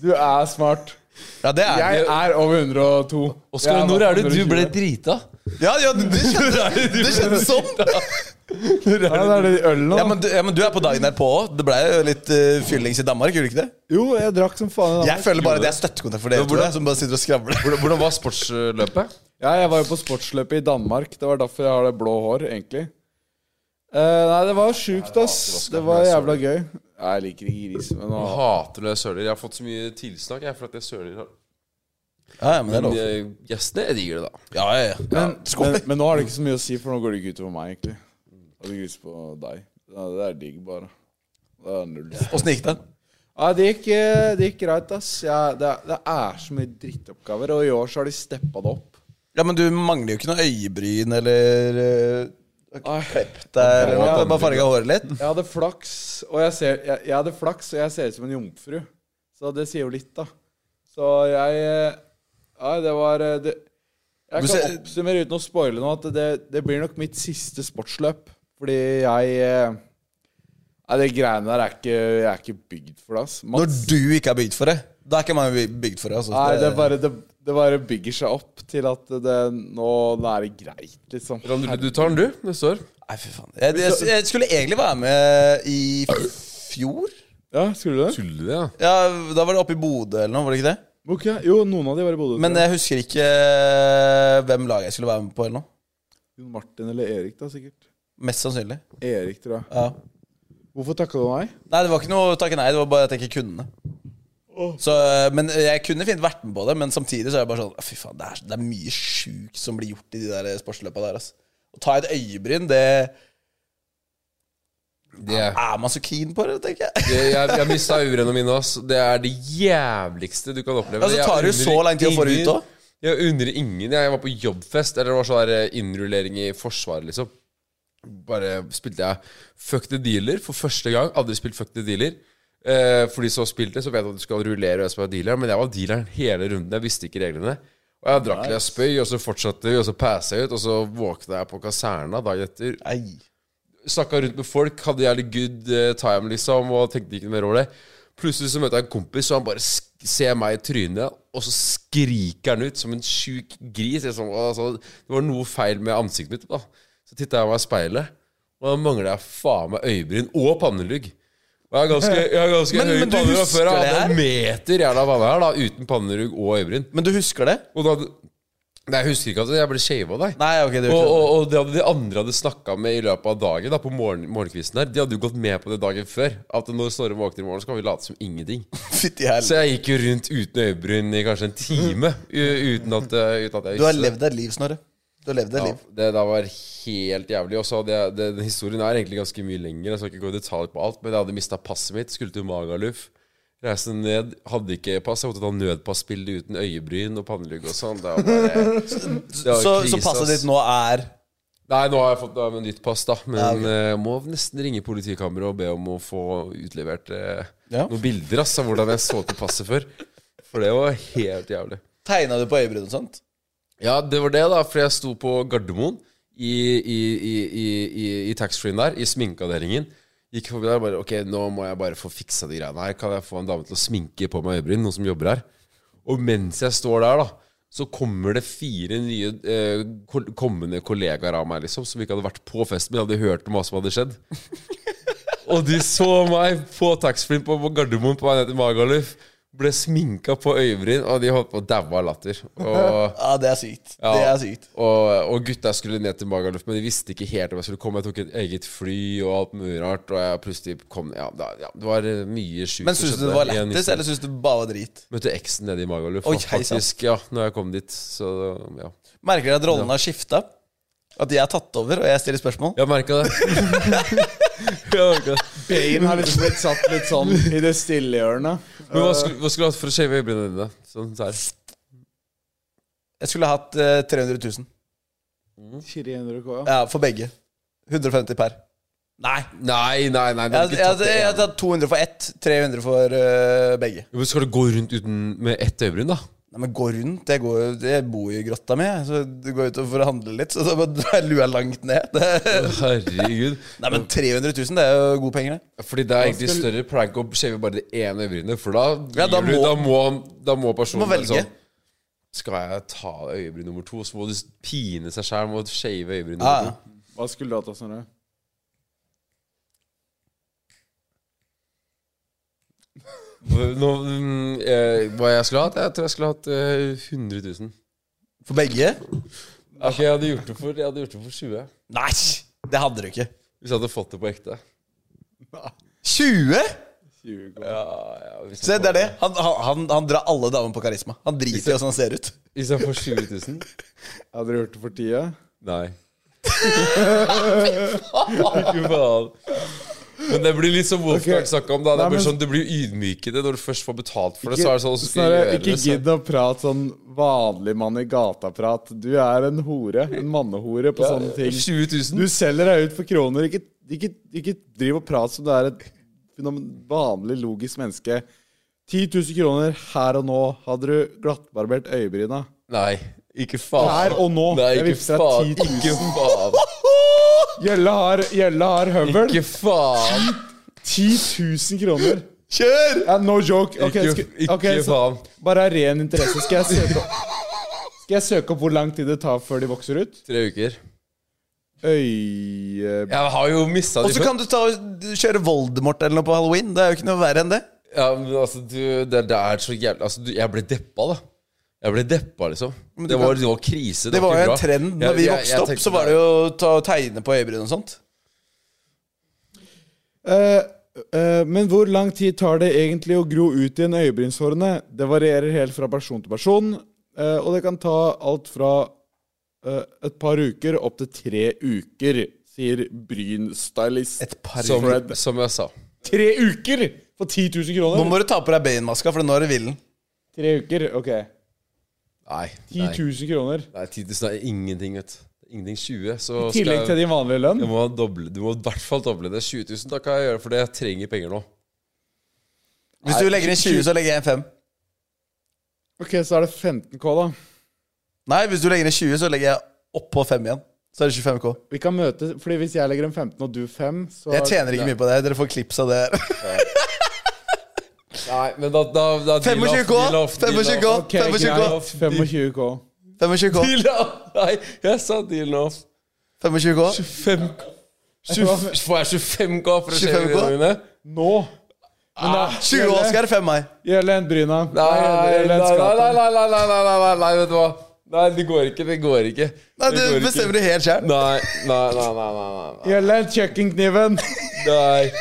Speaker 3: Du er smart.
Speaker 4: ja, det er
Speaker 3: Jeg er over 102.
Speaker 5: Oskar,
Speaker 3: Jeg
Speaker 5: når er det du
Speaker 3: 120.
Speaker 5: ble drita?
Speaker 4: Ja, ja det, det kjennes- det kjennes sånn!
Speaker 3: Ja, det er det de ølene, da.
Speaker 4: Ja men, du, ja, men du er på dagen derpå òg. Det ble jo litt eh, fyllings i Danmark, gjorde det ikke det?
Speaker 3: Jo, jeg drakk som faen. i dag.
Speaker 4: Jeg føler bare det er støttekontakt for dere to, jeg, som bare sitter og skravler.
Speaker 5: Hvordan, hvordan var sportsløpet?
Speaker 3: Ja, jeg var jo på sportsløpet i Danmark. Det var derfor jeg har det blå hår, egentlig. Eh, nei, det var sjukt, ass. Det var jævla gøy. Nei, Jeg liker ikke gris, men nå
Speaker 5: Jeg hater når jeg søler. Jeg har fått så mye tilsnakk jeg, for at jeg søler.
Speaker 4: Ja, ja, men det er
Speaker 5: Men
Speaker 4: lov.
Speaker 5: eh, gjestene jeg digger det, da.
Speaker 4: Ja, ja, ja.
Speaker 3: men, men, men nå har det ikke så mye å si, for nå går det ikke utover meg, egentlig. Og det griser på deg. Ja, det er digg, bare. Det er null.
Speaker 4: Åssen gikk det?
Speaker 3: Ja, det gikk, eh, det gikk greit, ass. Jeg, det, er- det er så mye drittoppgaver, og i år så har de steppa det opp.
Speaker 4: Ja, men du mangler jo ikke noe øyebryn eller eh, Klept der, eller noe.
Speaker 3: Ja.
Speaker 4: Bare farga håret litt.
Speaker 3: Jeg hadde flaks, og jeg, ser, jeg, jeg hadde flaks, og jeg ser ut som en jomfru. Så det sier jo litt, da. Så jeg eh, Ja, det var eh, det, Jeg
Speaker 4: Du
Speaker 3: kan
Speaker 4: ser-
Speaker 3: oppsummere uten å spoile noe, at det, det blir nok mitt siste sportsløp. Fordi jeg eh, Nei, det greiene der er ikke Jeg er ikke bygd for det, ass.
Speaker 4: Når
Speaker 3: Mats,
Speaker 4: du ikke er bygd for det, da er ikke man bygd for det. Altså.
Speaker 3: nei, det bare, det, det bare bygger seg opp til at det Nå, nå er det greit, liksom.
Speaker 5: Randru, du tar den, du, neste år.
Speaker 4: Nei, fy faen. Jeg, jeg, jeg skulle egentlig være med i fjor.
Speaker 3: Ja, skulle du det?
Speaker 5: Tuller du, ja?
Speaker 4: Ja, Da var det oppe i Bodø eller noe, var det ikke det?
Speaker 3: Ok, Jo, noen av de var i Bodø.
Speaker 4: Men
Speaker 3: tror jeg.
Speaker 4: jeg husker ikke eh, hvem lag jeg skulle være med på eller noe.
Speaker 3: Jon Martin eller Erik, da, sikkert.
Speaker 4: Mest sannsynlig.
Speaker 3: Erik, tror jeg.
Speaker 4: Ja.
Speaker 3: Hvorfor takka du meg?
Speaker 4: Nei, det var ikke noe takke nei, det var bare at jeg ikke kunne. Så, eh, men Jeg kunne fint vært med på det, men samtidig så er jeg bare sånn Fy faen, det er, det er mye sjukt som blir gjort i de der sportsløpa der. ass. Å ta et øyebryn, det
Speaker 5: Det
Speaker 4: Er man så keen på det, tenker jeg?
Speaker 5: Det, jeg jeg mista øyebrynene mine. Ass. Det er det jævligste du kan oppleve.
Speaker 4: Ja, så
Speaker 5: Jeg
Speaker 4: tar det jo
Speaker 5: unner
Speaker 4: så lang tid å få det ut
Speaker 5: ingen-
Speaker 4: også.
Speaker 5: Jeg unner ingen. Jeg var på jobbfest, eller det var sånn der, eh, innrullering i Forsvaret, liksom. Bare spilte jeg Fuck the Dealer for første gang. Aldri spilt Fuck the Dealer. Eh, for de som har spilt det, så vet jeg at du skal rullere hvem som er dealeren, men jeg var dealeren hele runden. Jeg visste ikke reglene. Og jeg drakk til jeg spøy, og så fortsatte vi, og så passa jeg ut, og så våkna jeg på kaserna dagen etter
Speaker 4: Nei.
Speaker 5: snakka rundt med folk, hadde jævlig good eh, time, liksom, og tenkte ikke noe mer over det. Plutselig så møter jeg en kompis, og han bare sk ser meg i trynet, og så skriker han ut som en sjuk gris. Jeg sånn, altså, det var noe feil med ansiktet mitt. da Så titta jeg meg i speilet, og da mangla jeg faen meg øyebryn og pannelugg. Og jeg har ganske, jeg har ganske
Speaker 4: Men-
Speaker 5: høy
Speaker 4: men du
Speaker 5: panne fra
Speaker 4: husker
Speaker 5: før. Jeg
Speaker 4: det
Speaker 5: hadde
Speaker 4: her?
Speaker 5: en meter jævla panne her, da, uten pannelugg og øyebryn.
Speaker 4: Men du husker det?
Speaker 5: Og da Nei, jeg husker ikke at jeg ble shava, nei.
Speaker 4: Nei, ok, det gjør
Speaker 5: Og,
Speaker 4: ikke
Speaker 5: og, og det hadde de andre hadde snakka med i løpet av dagen, da, på morgen, morgenkvisten her, de hadde jo gått med på det dagen før. At når Snorre våkner i morgen, så kan vi late som ingenting.
Speaker 4: Fytti helvete.
Speaker 5: Så jeg gikk jo rundt uten øyebryn i kanskje en time u- uten at, uh, uten at jeg
Speaker 4: Du har levd et liv, Snorre. Du har levd et
Speaker 5: ja,
Speaker 4: liv.
Speaker 5: det der var helt jævlig. Og så hadde jeg det, Den historien er egentlig ganske mye lenger. Jeg skal ikke gå i detalj på alt, men jeg hadde mista passet mitt. Skulle til Magaluf. Reiste ned, hadde ikke pass. Jeg måtte ta nødpassbilde uten øyebryn og pannelugg og sånn. Det var bare det var
Speaker 4: Så,
Speaker 5: krise,
Speaker 4: så passet
Speaker 5: ass.
Speaker 4: ditt nå er
Speaker 5: Nei, nå har jeg fått nå har jeg nytt pass, da. Men eh, må nesten ringe politikammeret og be om å få utlevert eh,
Speaker 4: Ja.
Speaker 5: noen bilder ass, av hvordan jeg så til passet før. For det var helt jævlig.
Speaker 4: Tegna du på øyebryn og sånt?
Speaker 5: Ja, det var det, da. For jeg sto på Gardermoen i, i, i, i, i, i taxfree-en der, i sminkeavdelingen. Gikk forbi der og bare Ok, nå må jeg bare få fiksa de greiene her. Kan jeg få en dame til å sminke på meg øyebryn, noen som jobber her? Og mens jeg står der, da, så kommer det fire nye eh, kol- kommende kollegaer av meg, liksom, som ikke hadde vært på festen, men hadde hørt om hva som hadde skjedd. Og de så meg på taxfree på, på Gardermoen på vei ned til Magaluf. ble sminka på øyebryn, og de holdt på å daue av latter. Og,
Speaker 4: Ja, det er sykt.
Speaker 5: ja,
Speaker 4: Det er sykt.
Speaker 5: Og, og gutta skulle ned til Magaluf, men de visste ikke helt om jeg skulle komme. Jeg tok et eget fly og alt mulig rart, og jeg plutselig kom ja, da, ja, Det var eh, mye sjukt.
Speaker 4: Men
Speaker 5: som
Speaker 4: syns du
Speaker 5: skjedde
Speaker 4: det var
Speaker 5: i en
Speaker 4: lættis,
Speaker 5: historie.
Speaker 4: eller syns du det bare var drit?
Speaker 5: Møtte eksen nede i Magaluf,
Speaker 4: Oi,
Speaker 5: da,
Speaker 4: hei, sant.
Speaker 5: faktisk. Ja, når jeg kom dit. Så ja.
Speaker 4: Merker dere at rollene har skifta? At jeg er tatt over, og jeg stiller spørsmål?
Speaker 5: Jeg merka det. jeg merket det.
Speaker 3: Bane har liksom blitt satt litt sånn i det stille hjørnet.
Speaker 5: Men hva skulle, hva skulle du hatt for å shave øyebrynene dine? Sånn der.
Speaker 4: Jeg skulle ha hatt eh, 300 000.
Speaker 3: Mm. 400 K, ja.
Speaker 4: Ja, for begge. 150 per. Nei.
Speaker 5: Nei, nei, nei. Du
Speaker 4: Jeg jeg-
Speaker 5: har ikke tatt
Speaker 4: jeg-
Speaker 5: det
Speaker 4: jeg har
Speaker 5: igjen.
Speaker 4: tatt 200 for ett, 300 for eh, begge.
Speaker 5: Men skal du gå rundt uten med ett øyebryn, da?
Speaker 4: Nei, men gå rundt. Jeg, går, jo- jeg bor jo i grotta mi, jeg, så du går ut og får handle litt. Så da bare drar jeg lua langt ned. Det-
Speaker 5: Herregud.
Speaker 4: Nei, men 300 000, det er jo gode penger, det.
Speaker 5: Fordi det er egentlig større prank å shave bare det ene øyebrynet, for da,
Speaker 4: Ja, da
Speaker 5: blir du,
Speaker 4: må-
Speaker 5: da, må, da må personen
Speaker 4: Må velge.
Speaker 5: være sånn, Skal jeg ta øyebryn nummer to, så må du s- pine seg sjæl med å shave øyebryn nummer
Speaker 4: Ja, ja.
Speaker 5: to.
Speaker 3: Hva skulle du hatt, da, Snorre?
Speaker 5: Nå, mm, eh, hva jeg skulle hatt? Jeg tror jeg skulle hatt eh, 100 000.
Speaker 4: For begge?
Speaker 5: Ok, jeg hadde gjort det for, jeg hadde gjort det for 20.
Speaker 4: Nei! Det hadde du ikke.
Speaker 5: Hvis jeg hadde fått det på ekte.
Speaker 4: 20?
Speaker 3: 20 K.
Speaker 5: Ja, ja, hvis,
Speaker 4: Se,
Speaker 5: jeg
Speaker 4: det er
Speaker 5: får,
Speaker 4: det. Han, han, han, han drar alle damene på karisma. Han driter i åssen han ser ut.
Speaker 5: hvis jeg får 20 000?
Speaker 3: Hadde du gjort det for 10?
Speaker 5: Nei. Fy faen. Men det blir litt som Wolfgang
Speaker 3: Ok.
Speaker 5: snakka om. da Det
Speaker 3: Nei,
Speaker 5: blir
Speaker 3: men-
Speaker 5: sånn, det blir ydmykende når du først får betalt for det.
Speaker 3: Ikke-
Speaker 5: Så er det sånn, så skal
Speaker 3: Snorre,
Speaker 5: jeg gjøre
Speaker 3: ikke
Speaker 5: det så-
Speaker 3: gidd å prate sånn vanlig mann i gata-prat. Du er en hore. En mannehore på sånne ting.
Speaker 5: 20 000?
Speaker 3: Du selger deg ut for kroner. Ikke, ikke, ikke driv og prat som du er et fenomen- vanlig, logisk menneske. 10 000 kroner her og nå. Hadde du glattbarbert øyebryna?
Speaker 5: Nei, ikke faen.
Speaker 3: Her og nå.
Speaker 5: Nei,
Speaker 3: Jeg
Speaker 5: ikke
Speaker 3: vippser deg
Speaker 5: faen.
Speaker 3: 10 000.
Speaker 5: Ikke faen.
Speaker 3: Gjelle har, Gjelle har høvel.
Speaker 5: Ikke faen.
Speaker 3: 10 000 kroner.
Speaker 4: Kjør!
Speaker 3: Ja, no joke. Ok,
Speaker 5: Ikke,
Speaker 3: sku-
Speaker 5: ikke
Speaker 3: ok, så
Speaker 5: faen.
Speaker 3: bare av ren interesse skal jeg søke opp Skal jeg søke opp hvor lang tid det tar før de vokser ut? eh,
Speaker 5: Tre uker.
Speaker 3: Øye...
Speaker 5: Jeg har jo mista
Speaker 4: Og
Speaker 5: de
Speaker 4: så kan du ta og kjøre Voldemort eller noe på halloween. Det er jo ikke noe verre enn det.
Speaker 5: Ja, men altså, du, det, det er så jævlig Altså, du, jeg ble deppa, da. Jeg ble deppa, liksom. Det var, det var krise.
Speaker 4: Det var jo
Speaker 5: ikke
Speaker 4: en
Speaker 5: bra.
Speaker 4: trend
Speaker 5: Jeg-
Speaker 4: når vi
Speaker 5: jeg-
Speaker 4: vokste
Speaker 5: jeg
Speaker 4: opp.
Speaker 5: tenkte
Speaker 4: Så var det jo å ta og tegne på øyebryn og sånt.
Speaker 3: Eh, eh, men hvor lang tid tar det egentlig å gro ut igjen øyebrynshårene? Det varierer helt fra person til person, eh, og det kan ta alt fra eh, et par uker opp til tre uker, sier brynstylist.
Speaker 4: Et par
Speaker 5: som,
Speaker 3: Fred.
Speaker 5: som jeg sa.
Speaker 3: Tre uker for 10 000
Speaker 4: Nå
Speaker 3: kroner?
Speaker 4: må du ta på deg Bane-maska, for nå er det villen.
Speaker 3: Tre uker, ok.
Speaker 5: Nei.
Speaker 3: 10
Speaker 5: nei.
Speaker 3: 000 kroner.
Speaker 5: Nei, 10 000 er ingenting, vet du. Ingenting 20, så
Speaker 3: I tillegg til
Speaker 5: jeg,
Speaker 3: din vanlige lønn.
Speaker 5: jeg må ha doble, Du må i hvert fall doble det. 20 000, da kan jeg gjøre det, for jeg trenger penger nå.
Speaker 4: Hvis du legger inn 20, så legger jeg inn 5.
Speaker 3: Ok, så er det 15K, da.
Speaker 4: Nei, hvis du legger inn 20, så legger jeg oppå 5 igjen. Så er det 25 K.
Speaker 3: Vi kan møtes, fordi hvis jeg legger en 15 og du 5, så
Speaker 4: Jeg tjener ikke mye på det. Dere får klips av det her.
Speaker 5: Nei, men da, da, da
Speaker 4: 25 K! 25 K!
Speaker 3: Ok,
Speaker 4: 25 K!
Speaker 3: greit. 25K.
Speaker 4: 25 K!
Speaker 5: Deal off! Nei, jeg sa deal off.
Speaker 4: 25 K.
Speaker 5: 25 20, Får jeg 25 K for å
Speaker 4: 25
Speaker 5: skjeve
Speaker 4: K?
Speaker 5: øynene mine?
Speaker 3: Nå! Men da,
Speaker 4: 20 Oscar, 5 meg.
Speaker 3: Gjelen Bryna.
Speaker 5: Nei, nei, nei,
Speaker 3: Gjelen
Speaker 5: nei,
Speaker 3: Skapen.
Speaker 5: nei, nei, nei, nei, nei, nei, nei, nei, vet du hva. Nei, det går ikke. Det går ikke.
Speaker 4: Nei, det
Speaker 5: går ikke.
Speaker 4: bestemmer du helt sjøl.
Speaker 5: Nei, nei, nei, nei, nei, nei,
Speaker 3: Gjelle, hent kjøkkenkniven.
Speaker 5: nei.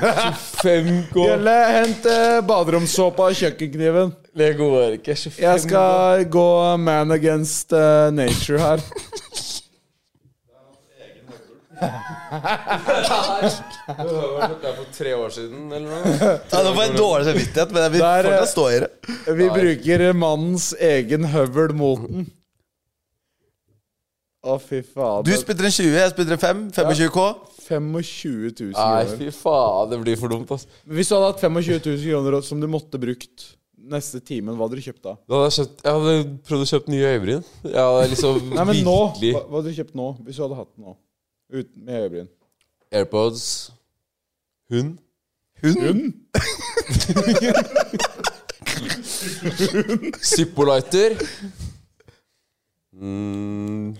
Speaker 5: 25 K.
Speaker 3: Gjelle, hent eh, baderomssåpa og kjøkkenkniven.
Speaker 5: Det går ikke. 25
Speaker 3: Jeg skal gå man against eh, nature her.
Speaker 5: Det er for tre år siden, eller noe?
Speaker 4: Ja, nå får jeg dårlig samvittighet, men jeg vil
Speaker 3: Der, eh,
Speaker 4: fortsatt stå i det.
Speaker 3: Vi bruker mannens egen høvel mot den. Å, fy
Speaker 4: Du
Speaker 3: faen.
Speaker 4: spytter en 20, jeg spytter en 5. 25 K.
Speaker 3: 25 000
Speaker 5: Nei,
Speaker 3: kroner.
Speaker 5: fy faen, det blir for dumt, ass.
Speaker 3: Hvis du hadde hatt 25 000 kroner som du måtte brukt neste timen, hva hadde du kjøpt da?
Speaker 5: Da hadde jeg, kjøpt, jeg hadde prøvd å kjøpe nye øyebryn. Jeg hadde liksom
Speaker 3: Nei, men nå,
Speaker 5: virkelig
Speaker 3: hva, hva hadde du kjøpt nå, hvis du hadde hatt den nå? Ut, med øyebryn.
Speaker 5: AirPods, hund
Speaker 3: Hund?
Speaker 5: Zippo-lighter. Mm,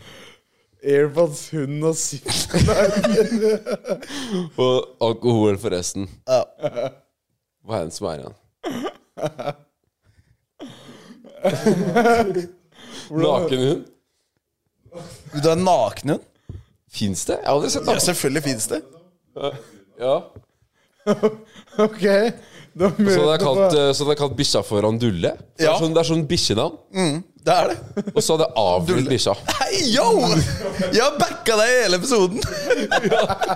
Speaker 3: Airpods, hund og sitt.
Speaker 5: og alkohol, forresten.
Speaker 4: Ja.
Speaker 5: Hva er det som er igjen? Naken hund?
Speaker 4: Vil du ha en nakenhund?
Speaker 5: Fins det? Jeg har aldri sett
Speaker 4: Ja,
Speaker 5: naken.
Speaker 4: selvfølgelig fins det.
Speaker 5: Ja.
Speaker 3: Ok. Det var
Speaker 5: Så
Speaker 3: mulig.
Speaker 5: hadde jeg kalt, eh, så hadde jeg kalt bikkja for Randulle. Det er
Speaker 4: Ja.
Speaker 5: sånn, det er sånn bikkjenavn.
Speaker 4: Det er det.
Speaker 5: Og så hadde jeg avlivet bikkja.
Speaker 4: Hei, yo! Jeg har backa deg i hele episoden.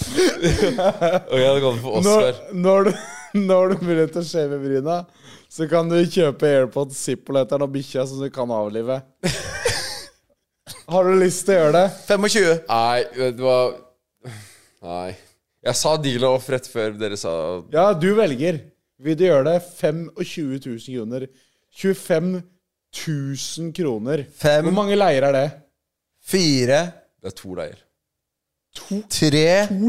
Speaker 5: Og jeg hadde kalt den for
Speaker 3: når,
Speaker 5: Oscar.
Speaker 3: når, du, når du mulighet til å shave bryna, så kan du kjøpe AirPods Zippo etter den bikkja som du kan avlive. Har du lyst til å gjøre det?
Speaker 4: 25.
Speaker 5: Nei, vet du hva Nei. Jeg sa deal off rett før dere sa
Speaker 3: Ja, du velger. Vil du gjøre det? 25 000 kroner. 25 000 kroner.
Speaker 4: Fem.
Speaker 3: Hvor mange leier er det?
Speaker 4: Fire.
Speaker 5: Det er to leier.
Speaker 4: Tre.
Speaker 3: To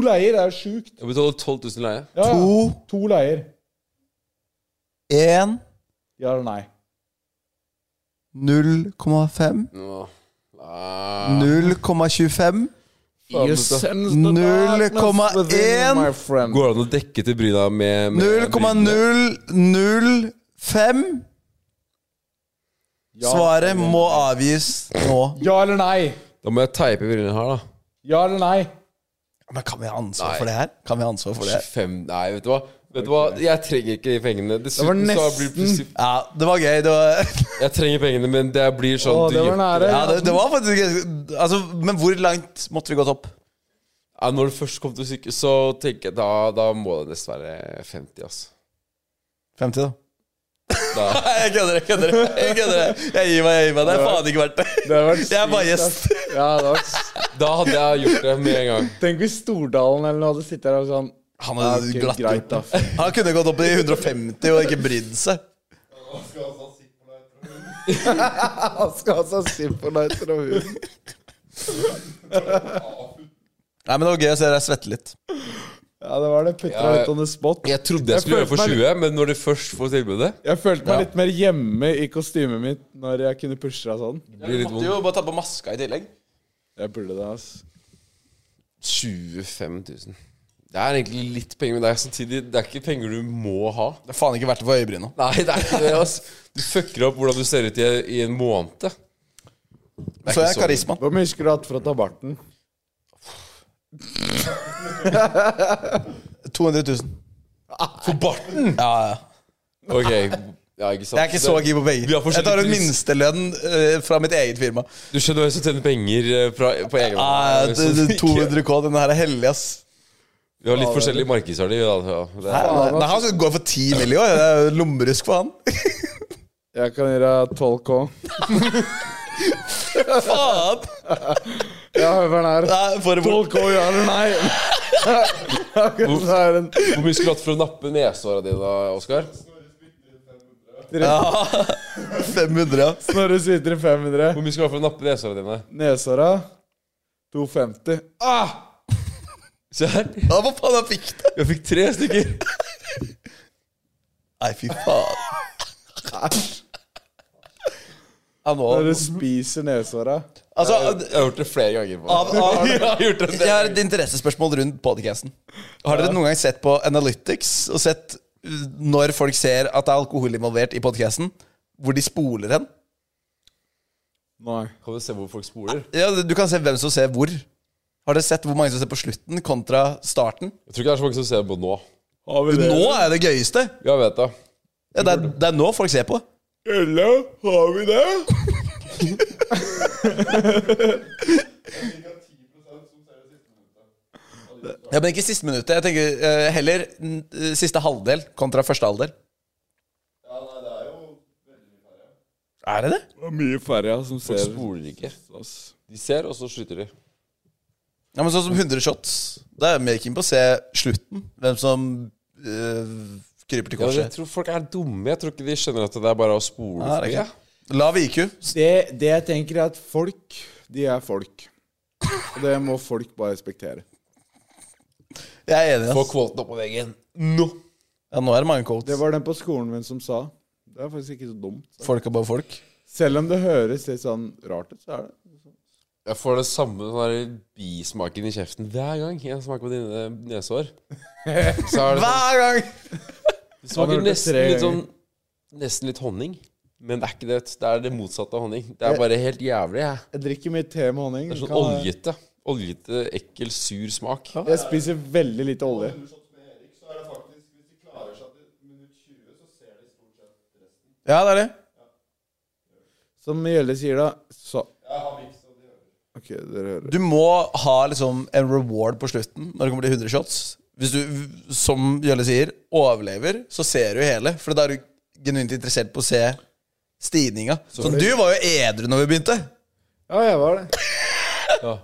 Speaker 3: leier? Det er jo sjukt.
Speaker 5: Jeg betaler 12 000 leie.
Speaker 3: Ja, ja.
Speaker 4: To.
Speaker 3: To leier.
Speaker 4: En.
Speaker 3: Ja eller nei?
Speaker 4: 0,5.
Speaker 5: Nå.
Speaker 4: 0,25.
Speaker 3: You sense the darkness
Speaker 4: 0,1.
Speaker 3: within, my friend.
Speaker 5: Går det an å dekke til bryna med, med brynene?
Speaker 4: 0,005. Svaret må avgis nå.
Speaker 3: Ja eller nei?
Speaker 5: Da må jeg teipe brynene her, da.
Speaker 3: Ja eller nei?
Speaker 4: Men kan vi ha ansvar for det her? Kan vi ha ansvar for det?
Speaker 5: 25 Nei, vet du hva? Vet du hva? Jeg trenger ikke de pengene. Dessuten
Speaker 3: Det
Speaker 5: så
Speaker 3: var
Speaker 5: blir det
Speaker 3: nesten.
Speaker 5: plutselig-
Speaker 4: Ja, det var gøy. Det var,
Speaker 5: Jeg trenger pengene, men det blir sånn
Speaker 3: Å,
Speaker 5: du
Speaker 3: det var
Speaker 5: gjør-
Speaker 3: nære.
Speaker 4: ja, det, det var faktisk ganske- altså, Men hvor langt måtte vi gått opp?
Speaker 5: Ja, Når det først kom til syke, så tenker jeg da, da må det nesten være 50, altså.
Speaker 4: 50, da.
Speaker 5: Da.
Speaker 4: Nei, jeg kødder, jeg kødder. Jeg kødder. Jeg gir meg, jeg gir meg. Det er faen ikke verdt det.
Speaker 3: Det var
Speaker 4: Jeg er bare gjest.
Speaker 3: Ja, det var
Speaker 5: da hadde jeg gjort det med en gang.
Speaker 3: Tenk hvis Stordalen eller noe hadde sittet der og sånn
Speaker 4: Han
Speaker 3: ja,
Speaker 4: hadde
Speaker 3: ok,
Speaker 4: glatt
Speaker 3: greit,
Speaker 4: gjort det.
Speaker 3: da.
Speaker 4: Han kunne gått opp i 150 og ikke brydd seg.
Speaker 3: Han skal altså ha Symphonizer og hund.
Speaker 4: Nei, men Det var gøy å se deg svette litt.
Speaker 3: Ja, det var det. Putter
Speaker 5: Ja,
Speaker 3: deg
Speaker 5: ja.
Speaker 3: litt on the spot.
Speaker 5: Jeg trodde jeg skulle
Speaker 3: Jeg
Speaker 5: gjøre det for
Speaker 3: følte
Speaker 5: 20, men når du først får tilbudet
Speaker 3: Jeg følte meg litt mer hjemme i kostymet mitt når jeg kunne pushe deg sånn.
Speaker 5: blir det litt vondt.
Speaker 4: jo bare ta på maska i tillegg.
Speaker 3: Jeg burde det, ass.
Speaker 5: 25 000. Det er egentlig litt penger, men det er samtidig Det er ikke penger du må ha.
Speaker 4: Det er faen ikke verdt det for øyebryna.
Speaker 5: Nei, det er ikke det, altså. Du fucker opp hvordan du ser ut i, i en måned.
Speaker 4: Så
Speaker 5: ikke
Speaker 4: jeg
Speaker 5: så-
Speaker 4: karismaen.
Speaker 3: Hvor mye skulle du hatt for å ta barten?
Speaker 4: 200 000. Ah,
Speaker 5: For barten!
Speaker 4: Ja, ja.
Speaker 5: Ok. Ja, ikke
Speaker 4: Jeg
Speaker 5: sant.
Speaker 4: er ikke så gira på penger.
Speaker 5: Vi har
Speaker 4: Jeg tar
Speaker 5: forskjellig
Speaker 4: ut
Speaker 5: pris.
Speaker 4: minstelønnen eh, fra mitt eget firma.
Speaker 5: Du skjønner hvem som tjener penger eh, fra, på egen
Speaker 4: Ah, det,
Speaker 5: hånd, som
Speaker 4: det, 200
Speaker 5: ikke-
Speaker 4: K, den her er hellig, ass.
Speaker 5: Vi har litt forskjellig markedsverdi. vi, da. Ja, det er-
Speaker 4: Nei, han skal gå for 10 mill. i år. Det er jo lommerusk for han.
Speaker 3: Jeg kan gi deg 12K.
Speaker 4: Faen!
Speaker 3: Ja, hør den her.
Speaker 4: Nei, for det bort.
Speaker 3: 12K, ja eller nei? Akkurat så er den
Speaker 5: Hvor mye skulle du hatt for å nappe nesehåra dine, Oskar?
Speaker 4: 500. ass.
Speaker 3: Snorre Svitre 500.
Speaker 5: Hvor mye skulle du hatt for å nappe nesehåra dine?
Speaker 3: Nesåra 250. Ah!
Speaker 5: Se her.
Speaker 4: Ja, hva faen han fikk det?
Speaker 5: Jeg fikk tre stykker.
Speaker 4: Nei, fy faen. Ja, nå
Speaker 3: Når du spiser nesåra.
Speaker 4: Altså,
Speaker 5: Jeg har gjort det flere ganger. på
Speaker 4: av, av,
Speaker 5: Jeg har gjort det
Speaker 4: jeg har et interessespørsmål rundt podcasten. Har dere noen gang sett på Analytics og sett uh, når folk ser at det er alkohol involvert i podcasten, hvor de spoler hen?
Speaker 3: Nei.
Speaker 5: Kan du se hvor folk spoler?
Speaker 4: Ja, du kan se hvem som ser hvor. Har dere sett hvor mange som ser på slutten kontra starten?
Speaker 5: Jeg tror ikke det er så mange som ser på nå.
Speaker 3: Har vi det?
Speaker 4: Nå er det gøyeste!
Speaker 5: Jeg vet det.
Speaker 4: Ja, det, er, det er nå folk ser på.
Speaker 3: Ella, har vi det?
Speaker 4: Ja, Men ikke siste minuttet. Jeg tenker eh, heller mm, siste halvdel kontra første halvdel. Ja, nei, det er jo Er det det?
Speaker 3: Det er mye færre som
Speaker 5: Folk
Speaker 3: ser
Speaker 5: spoler ikke.
Speaker 3: oss.
Speaker 5: De ser, og så skyter de.
Speaker 4: Ja, men Sånn som 100 shots. Da er jeg mer keen på å se slutten. Hvem som eh, kryper til
Speaker 5: Ja, jeg
Speaker 4: korset.
Speaker 5: tror folk er dumme. Jeg tror ikke de skjønner at det er bare å spole
Speaker 4: Ja,
Speaker 5: for
Speaker 4: det
Speaker 5: mye.
Speaker 4: er ikke- Lav IQ.
Speaker 3: Det, det jeg tenker, er at folk, de er folk. Og det må folk bare respektere.
Speaker 4: Jeg er enig.
Speaker 5: Få
Speaker 4: ass.
Speaker 5: kvoten opp på veggen nå!
Speaker 4: Ja, nå er det mange quotes.
Speaker 3: Det var den på skolen min som sa. Det er faktisk ikke så dumt.
Speaker 4: Folk er bare folk.
Speaker 3: Selv om det høres litt sånn rart ut, så er det
Speaker 5: Jeg får det samme sånn der bismaken i kjeften hver gang jeg smaker på dine nesehår. Så er det sånn,
Speaker 4: Hver gang!
Speaker 5: det smaker
Speaker 3: hørt det
Speaker 5: nesten
Speaker 3: tre
Speaker 5: litt sånn
Speaker 3: ganger.
Speaker 5: nesten litt honning. Men det er ikke det. vet du. Det er det motsatte av honning. Det er bare helt jævlig. Jeg.
Speaker 3: Jeg drikker mye te med honning.
Speaker 5: Det er sånn
Speaker 3: Kan-
Speaker 5: oljete. Oljete, ekkel, sur smak.
Speaker 3: Jeg spiser veldig lite olje.
Speaker 4: Ja, det er det.
Speaker 3: Som Gjelle sier, da så. Ok, dere hører.
Speaker 4: Du må ha liksom en reward på slutten når det kommer til 100 shots. Hvis du, som Jølle sier, overlever, så ser du hele. For da er du genuint interessert på å se stigninga. Så du var jo edru når vi begynte.
Speaker 3: Ja, jeg var det.
Speaker 5: Ja.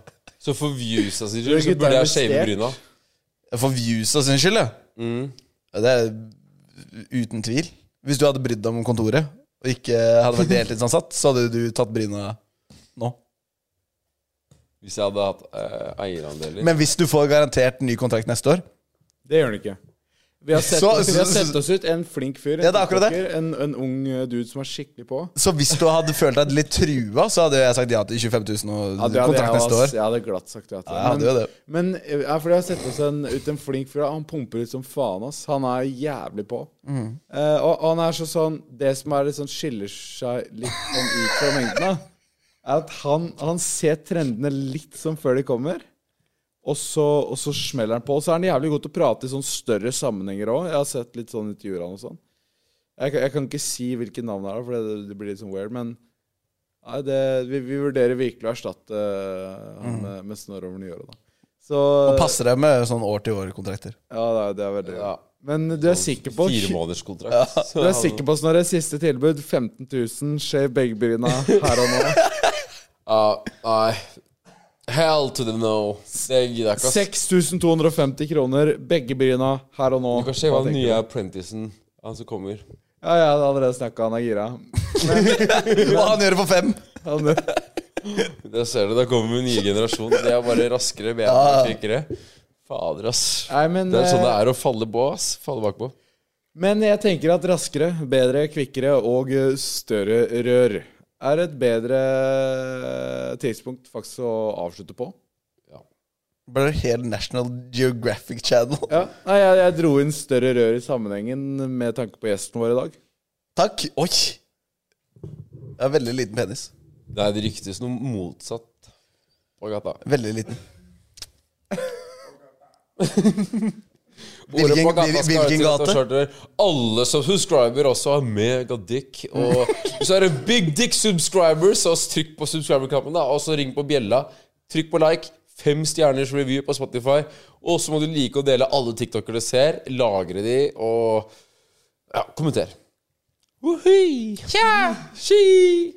Speaker 5: Så for views av sin skyld så
Speaker 3: Gutta
Speaker 5: burde
Speaker 3: er
Speaker 5: jeg shave
Speaker 3: investert.
Speaker 5: bryna.
Speaker 4: For viewsa sin skyld, ja.
Speaker 5: Mm.
Speaker 4: Ja, Det er uten tvil. Hvis du hadde brydd deg om kontoret, og ikke hadde vært deltidsansatt, så hadde du tatt bryna nå.
Speaker 5: Hvis jeg hadde hatt eh, eierandeler.
Speaker 4: Men hvis du får garantert ny kontrakt neste år
Speaker 3: Det gjør den ikke. Vi har sett,
Speaker 4: Så-
Speaker 3: oss, vi har sett oss ut en flink fyr. en
Speaker 4: Ja, det er akkurat det.
Speaker 3: TikToker, En, en ung eh, dude som er skikkelig på.
Speaker 4: Så hvis du hadde følt deg litt trua, så hadde jeg sagt ja til 25 000 og
Speaker 3: Ja, det hadde
Speaker 4: kontrakt
Speaker 3: jeg,
Speaker 4: neste
Speaker 3: ass.
Speaker 4: år.
Speaker 3: jeg hadde glatt sagt ja til
Speaker 4: Ja, jeg hadde jo det.
Speaker 3: Men eh, ja, for jeg har sett oss en, ut en flink fyr. da. Han pumper ut som faen, ass. Han er jævlig på. Eh, og, og han er så sånn Det som er litt sånn skiller seg litt sånn ut fra mengden, da, er at han, han ser trendene litt som før de kommer. Og så, og så smeller han på. Og så er han jævlig god til å prate i sånn større sammenhenger òg. Jeg har sett litt sånn intervjuer av han og sånn. Jeg, kan- jeg kan ikke si hvilke navn det er, for det, det blir litt sånn weird. Men nei, det, vi, vi vurderer virkelig å erstatte eh, han med, med Snorre over nyåret, da. Så
Speaker 4: Og passer deg med sånn år til år-kontrakter.
Speaker 3: Ja, det er, det er veldig bra. Men du er sikker på
Speaker 5: Fire måneders kontrakt.
Speaker 3: du er sikker på Snorre, siste tilbud 15 000, shave begge bryna her og nå.
Speaker 5: Ja, nei. Hell to the no. Det gidder jeg ikke. ass.
Speaker 3: 6250 kroner, begge bryna her og nå.
Speaker 5: Du kan se hva
Speaker 3: Hva
Speaker 5: den
Speaker 3: tenker
Speaker 5: nye
Speaker 3: du?
Speaker 5: apprenticen han som kommer.
Speaker 3: Ja, jeg hadde allerede snakka, han er gira.
Speaker 4: Og han gjør det for fem!
Speaker 3: Han,
Speaker 5: Der ser du, da kommer en ny generasjon. Det er bare raskere, bedre og kvikkere. Fader, ass.
Speaker 3: nei, men,
Speaker 5: Det er sånn det
Speaker 3: eh,
Speaker 5: er å falle på, ass. Falle bakpå.
Speaker 3: men jeg tenker at raskere, bedre, kvikkere og eh, større rør er et bedre eh, tidspunkt faktisk å avslutte på.
Speaker 4: Ble det helt National Geographic Channel.
Speaker 3: Ja, nei, jeg, jeg dro inn større rør i sammenhengen med tanke på gjesten vår i dag.
Speaker 4: Takk. Oi! Jeg har veldig liten penis.
Speaker 5: Nei, det ryktes noe motsatt på gata.
Speaker 4: Veldig liten.
Speaker 5: Ordet
Speaker 4: Hvilken,
Speaker 5: på gata skal
Speaker 4: hvilken
Speaker 5: til at det
Speaker 4: gate?
Speaker 5: er skjorter. Alle som subscriber også har megadick. Og hvis du er en big dick subscriber, så trykk på subscriber-knappen, da. Og så ring på bjella. Trykk på like. Fem stjerners review på Spotify. Og så må du like å dele alle TikToker du ser. Lagre de, og ja, kommenter. Wohoi! Tja! Ski!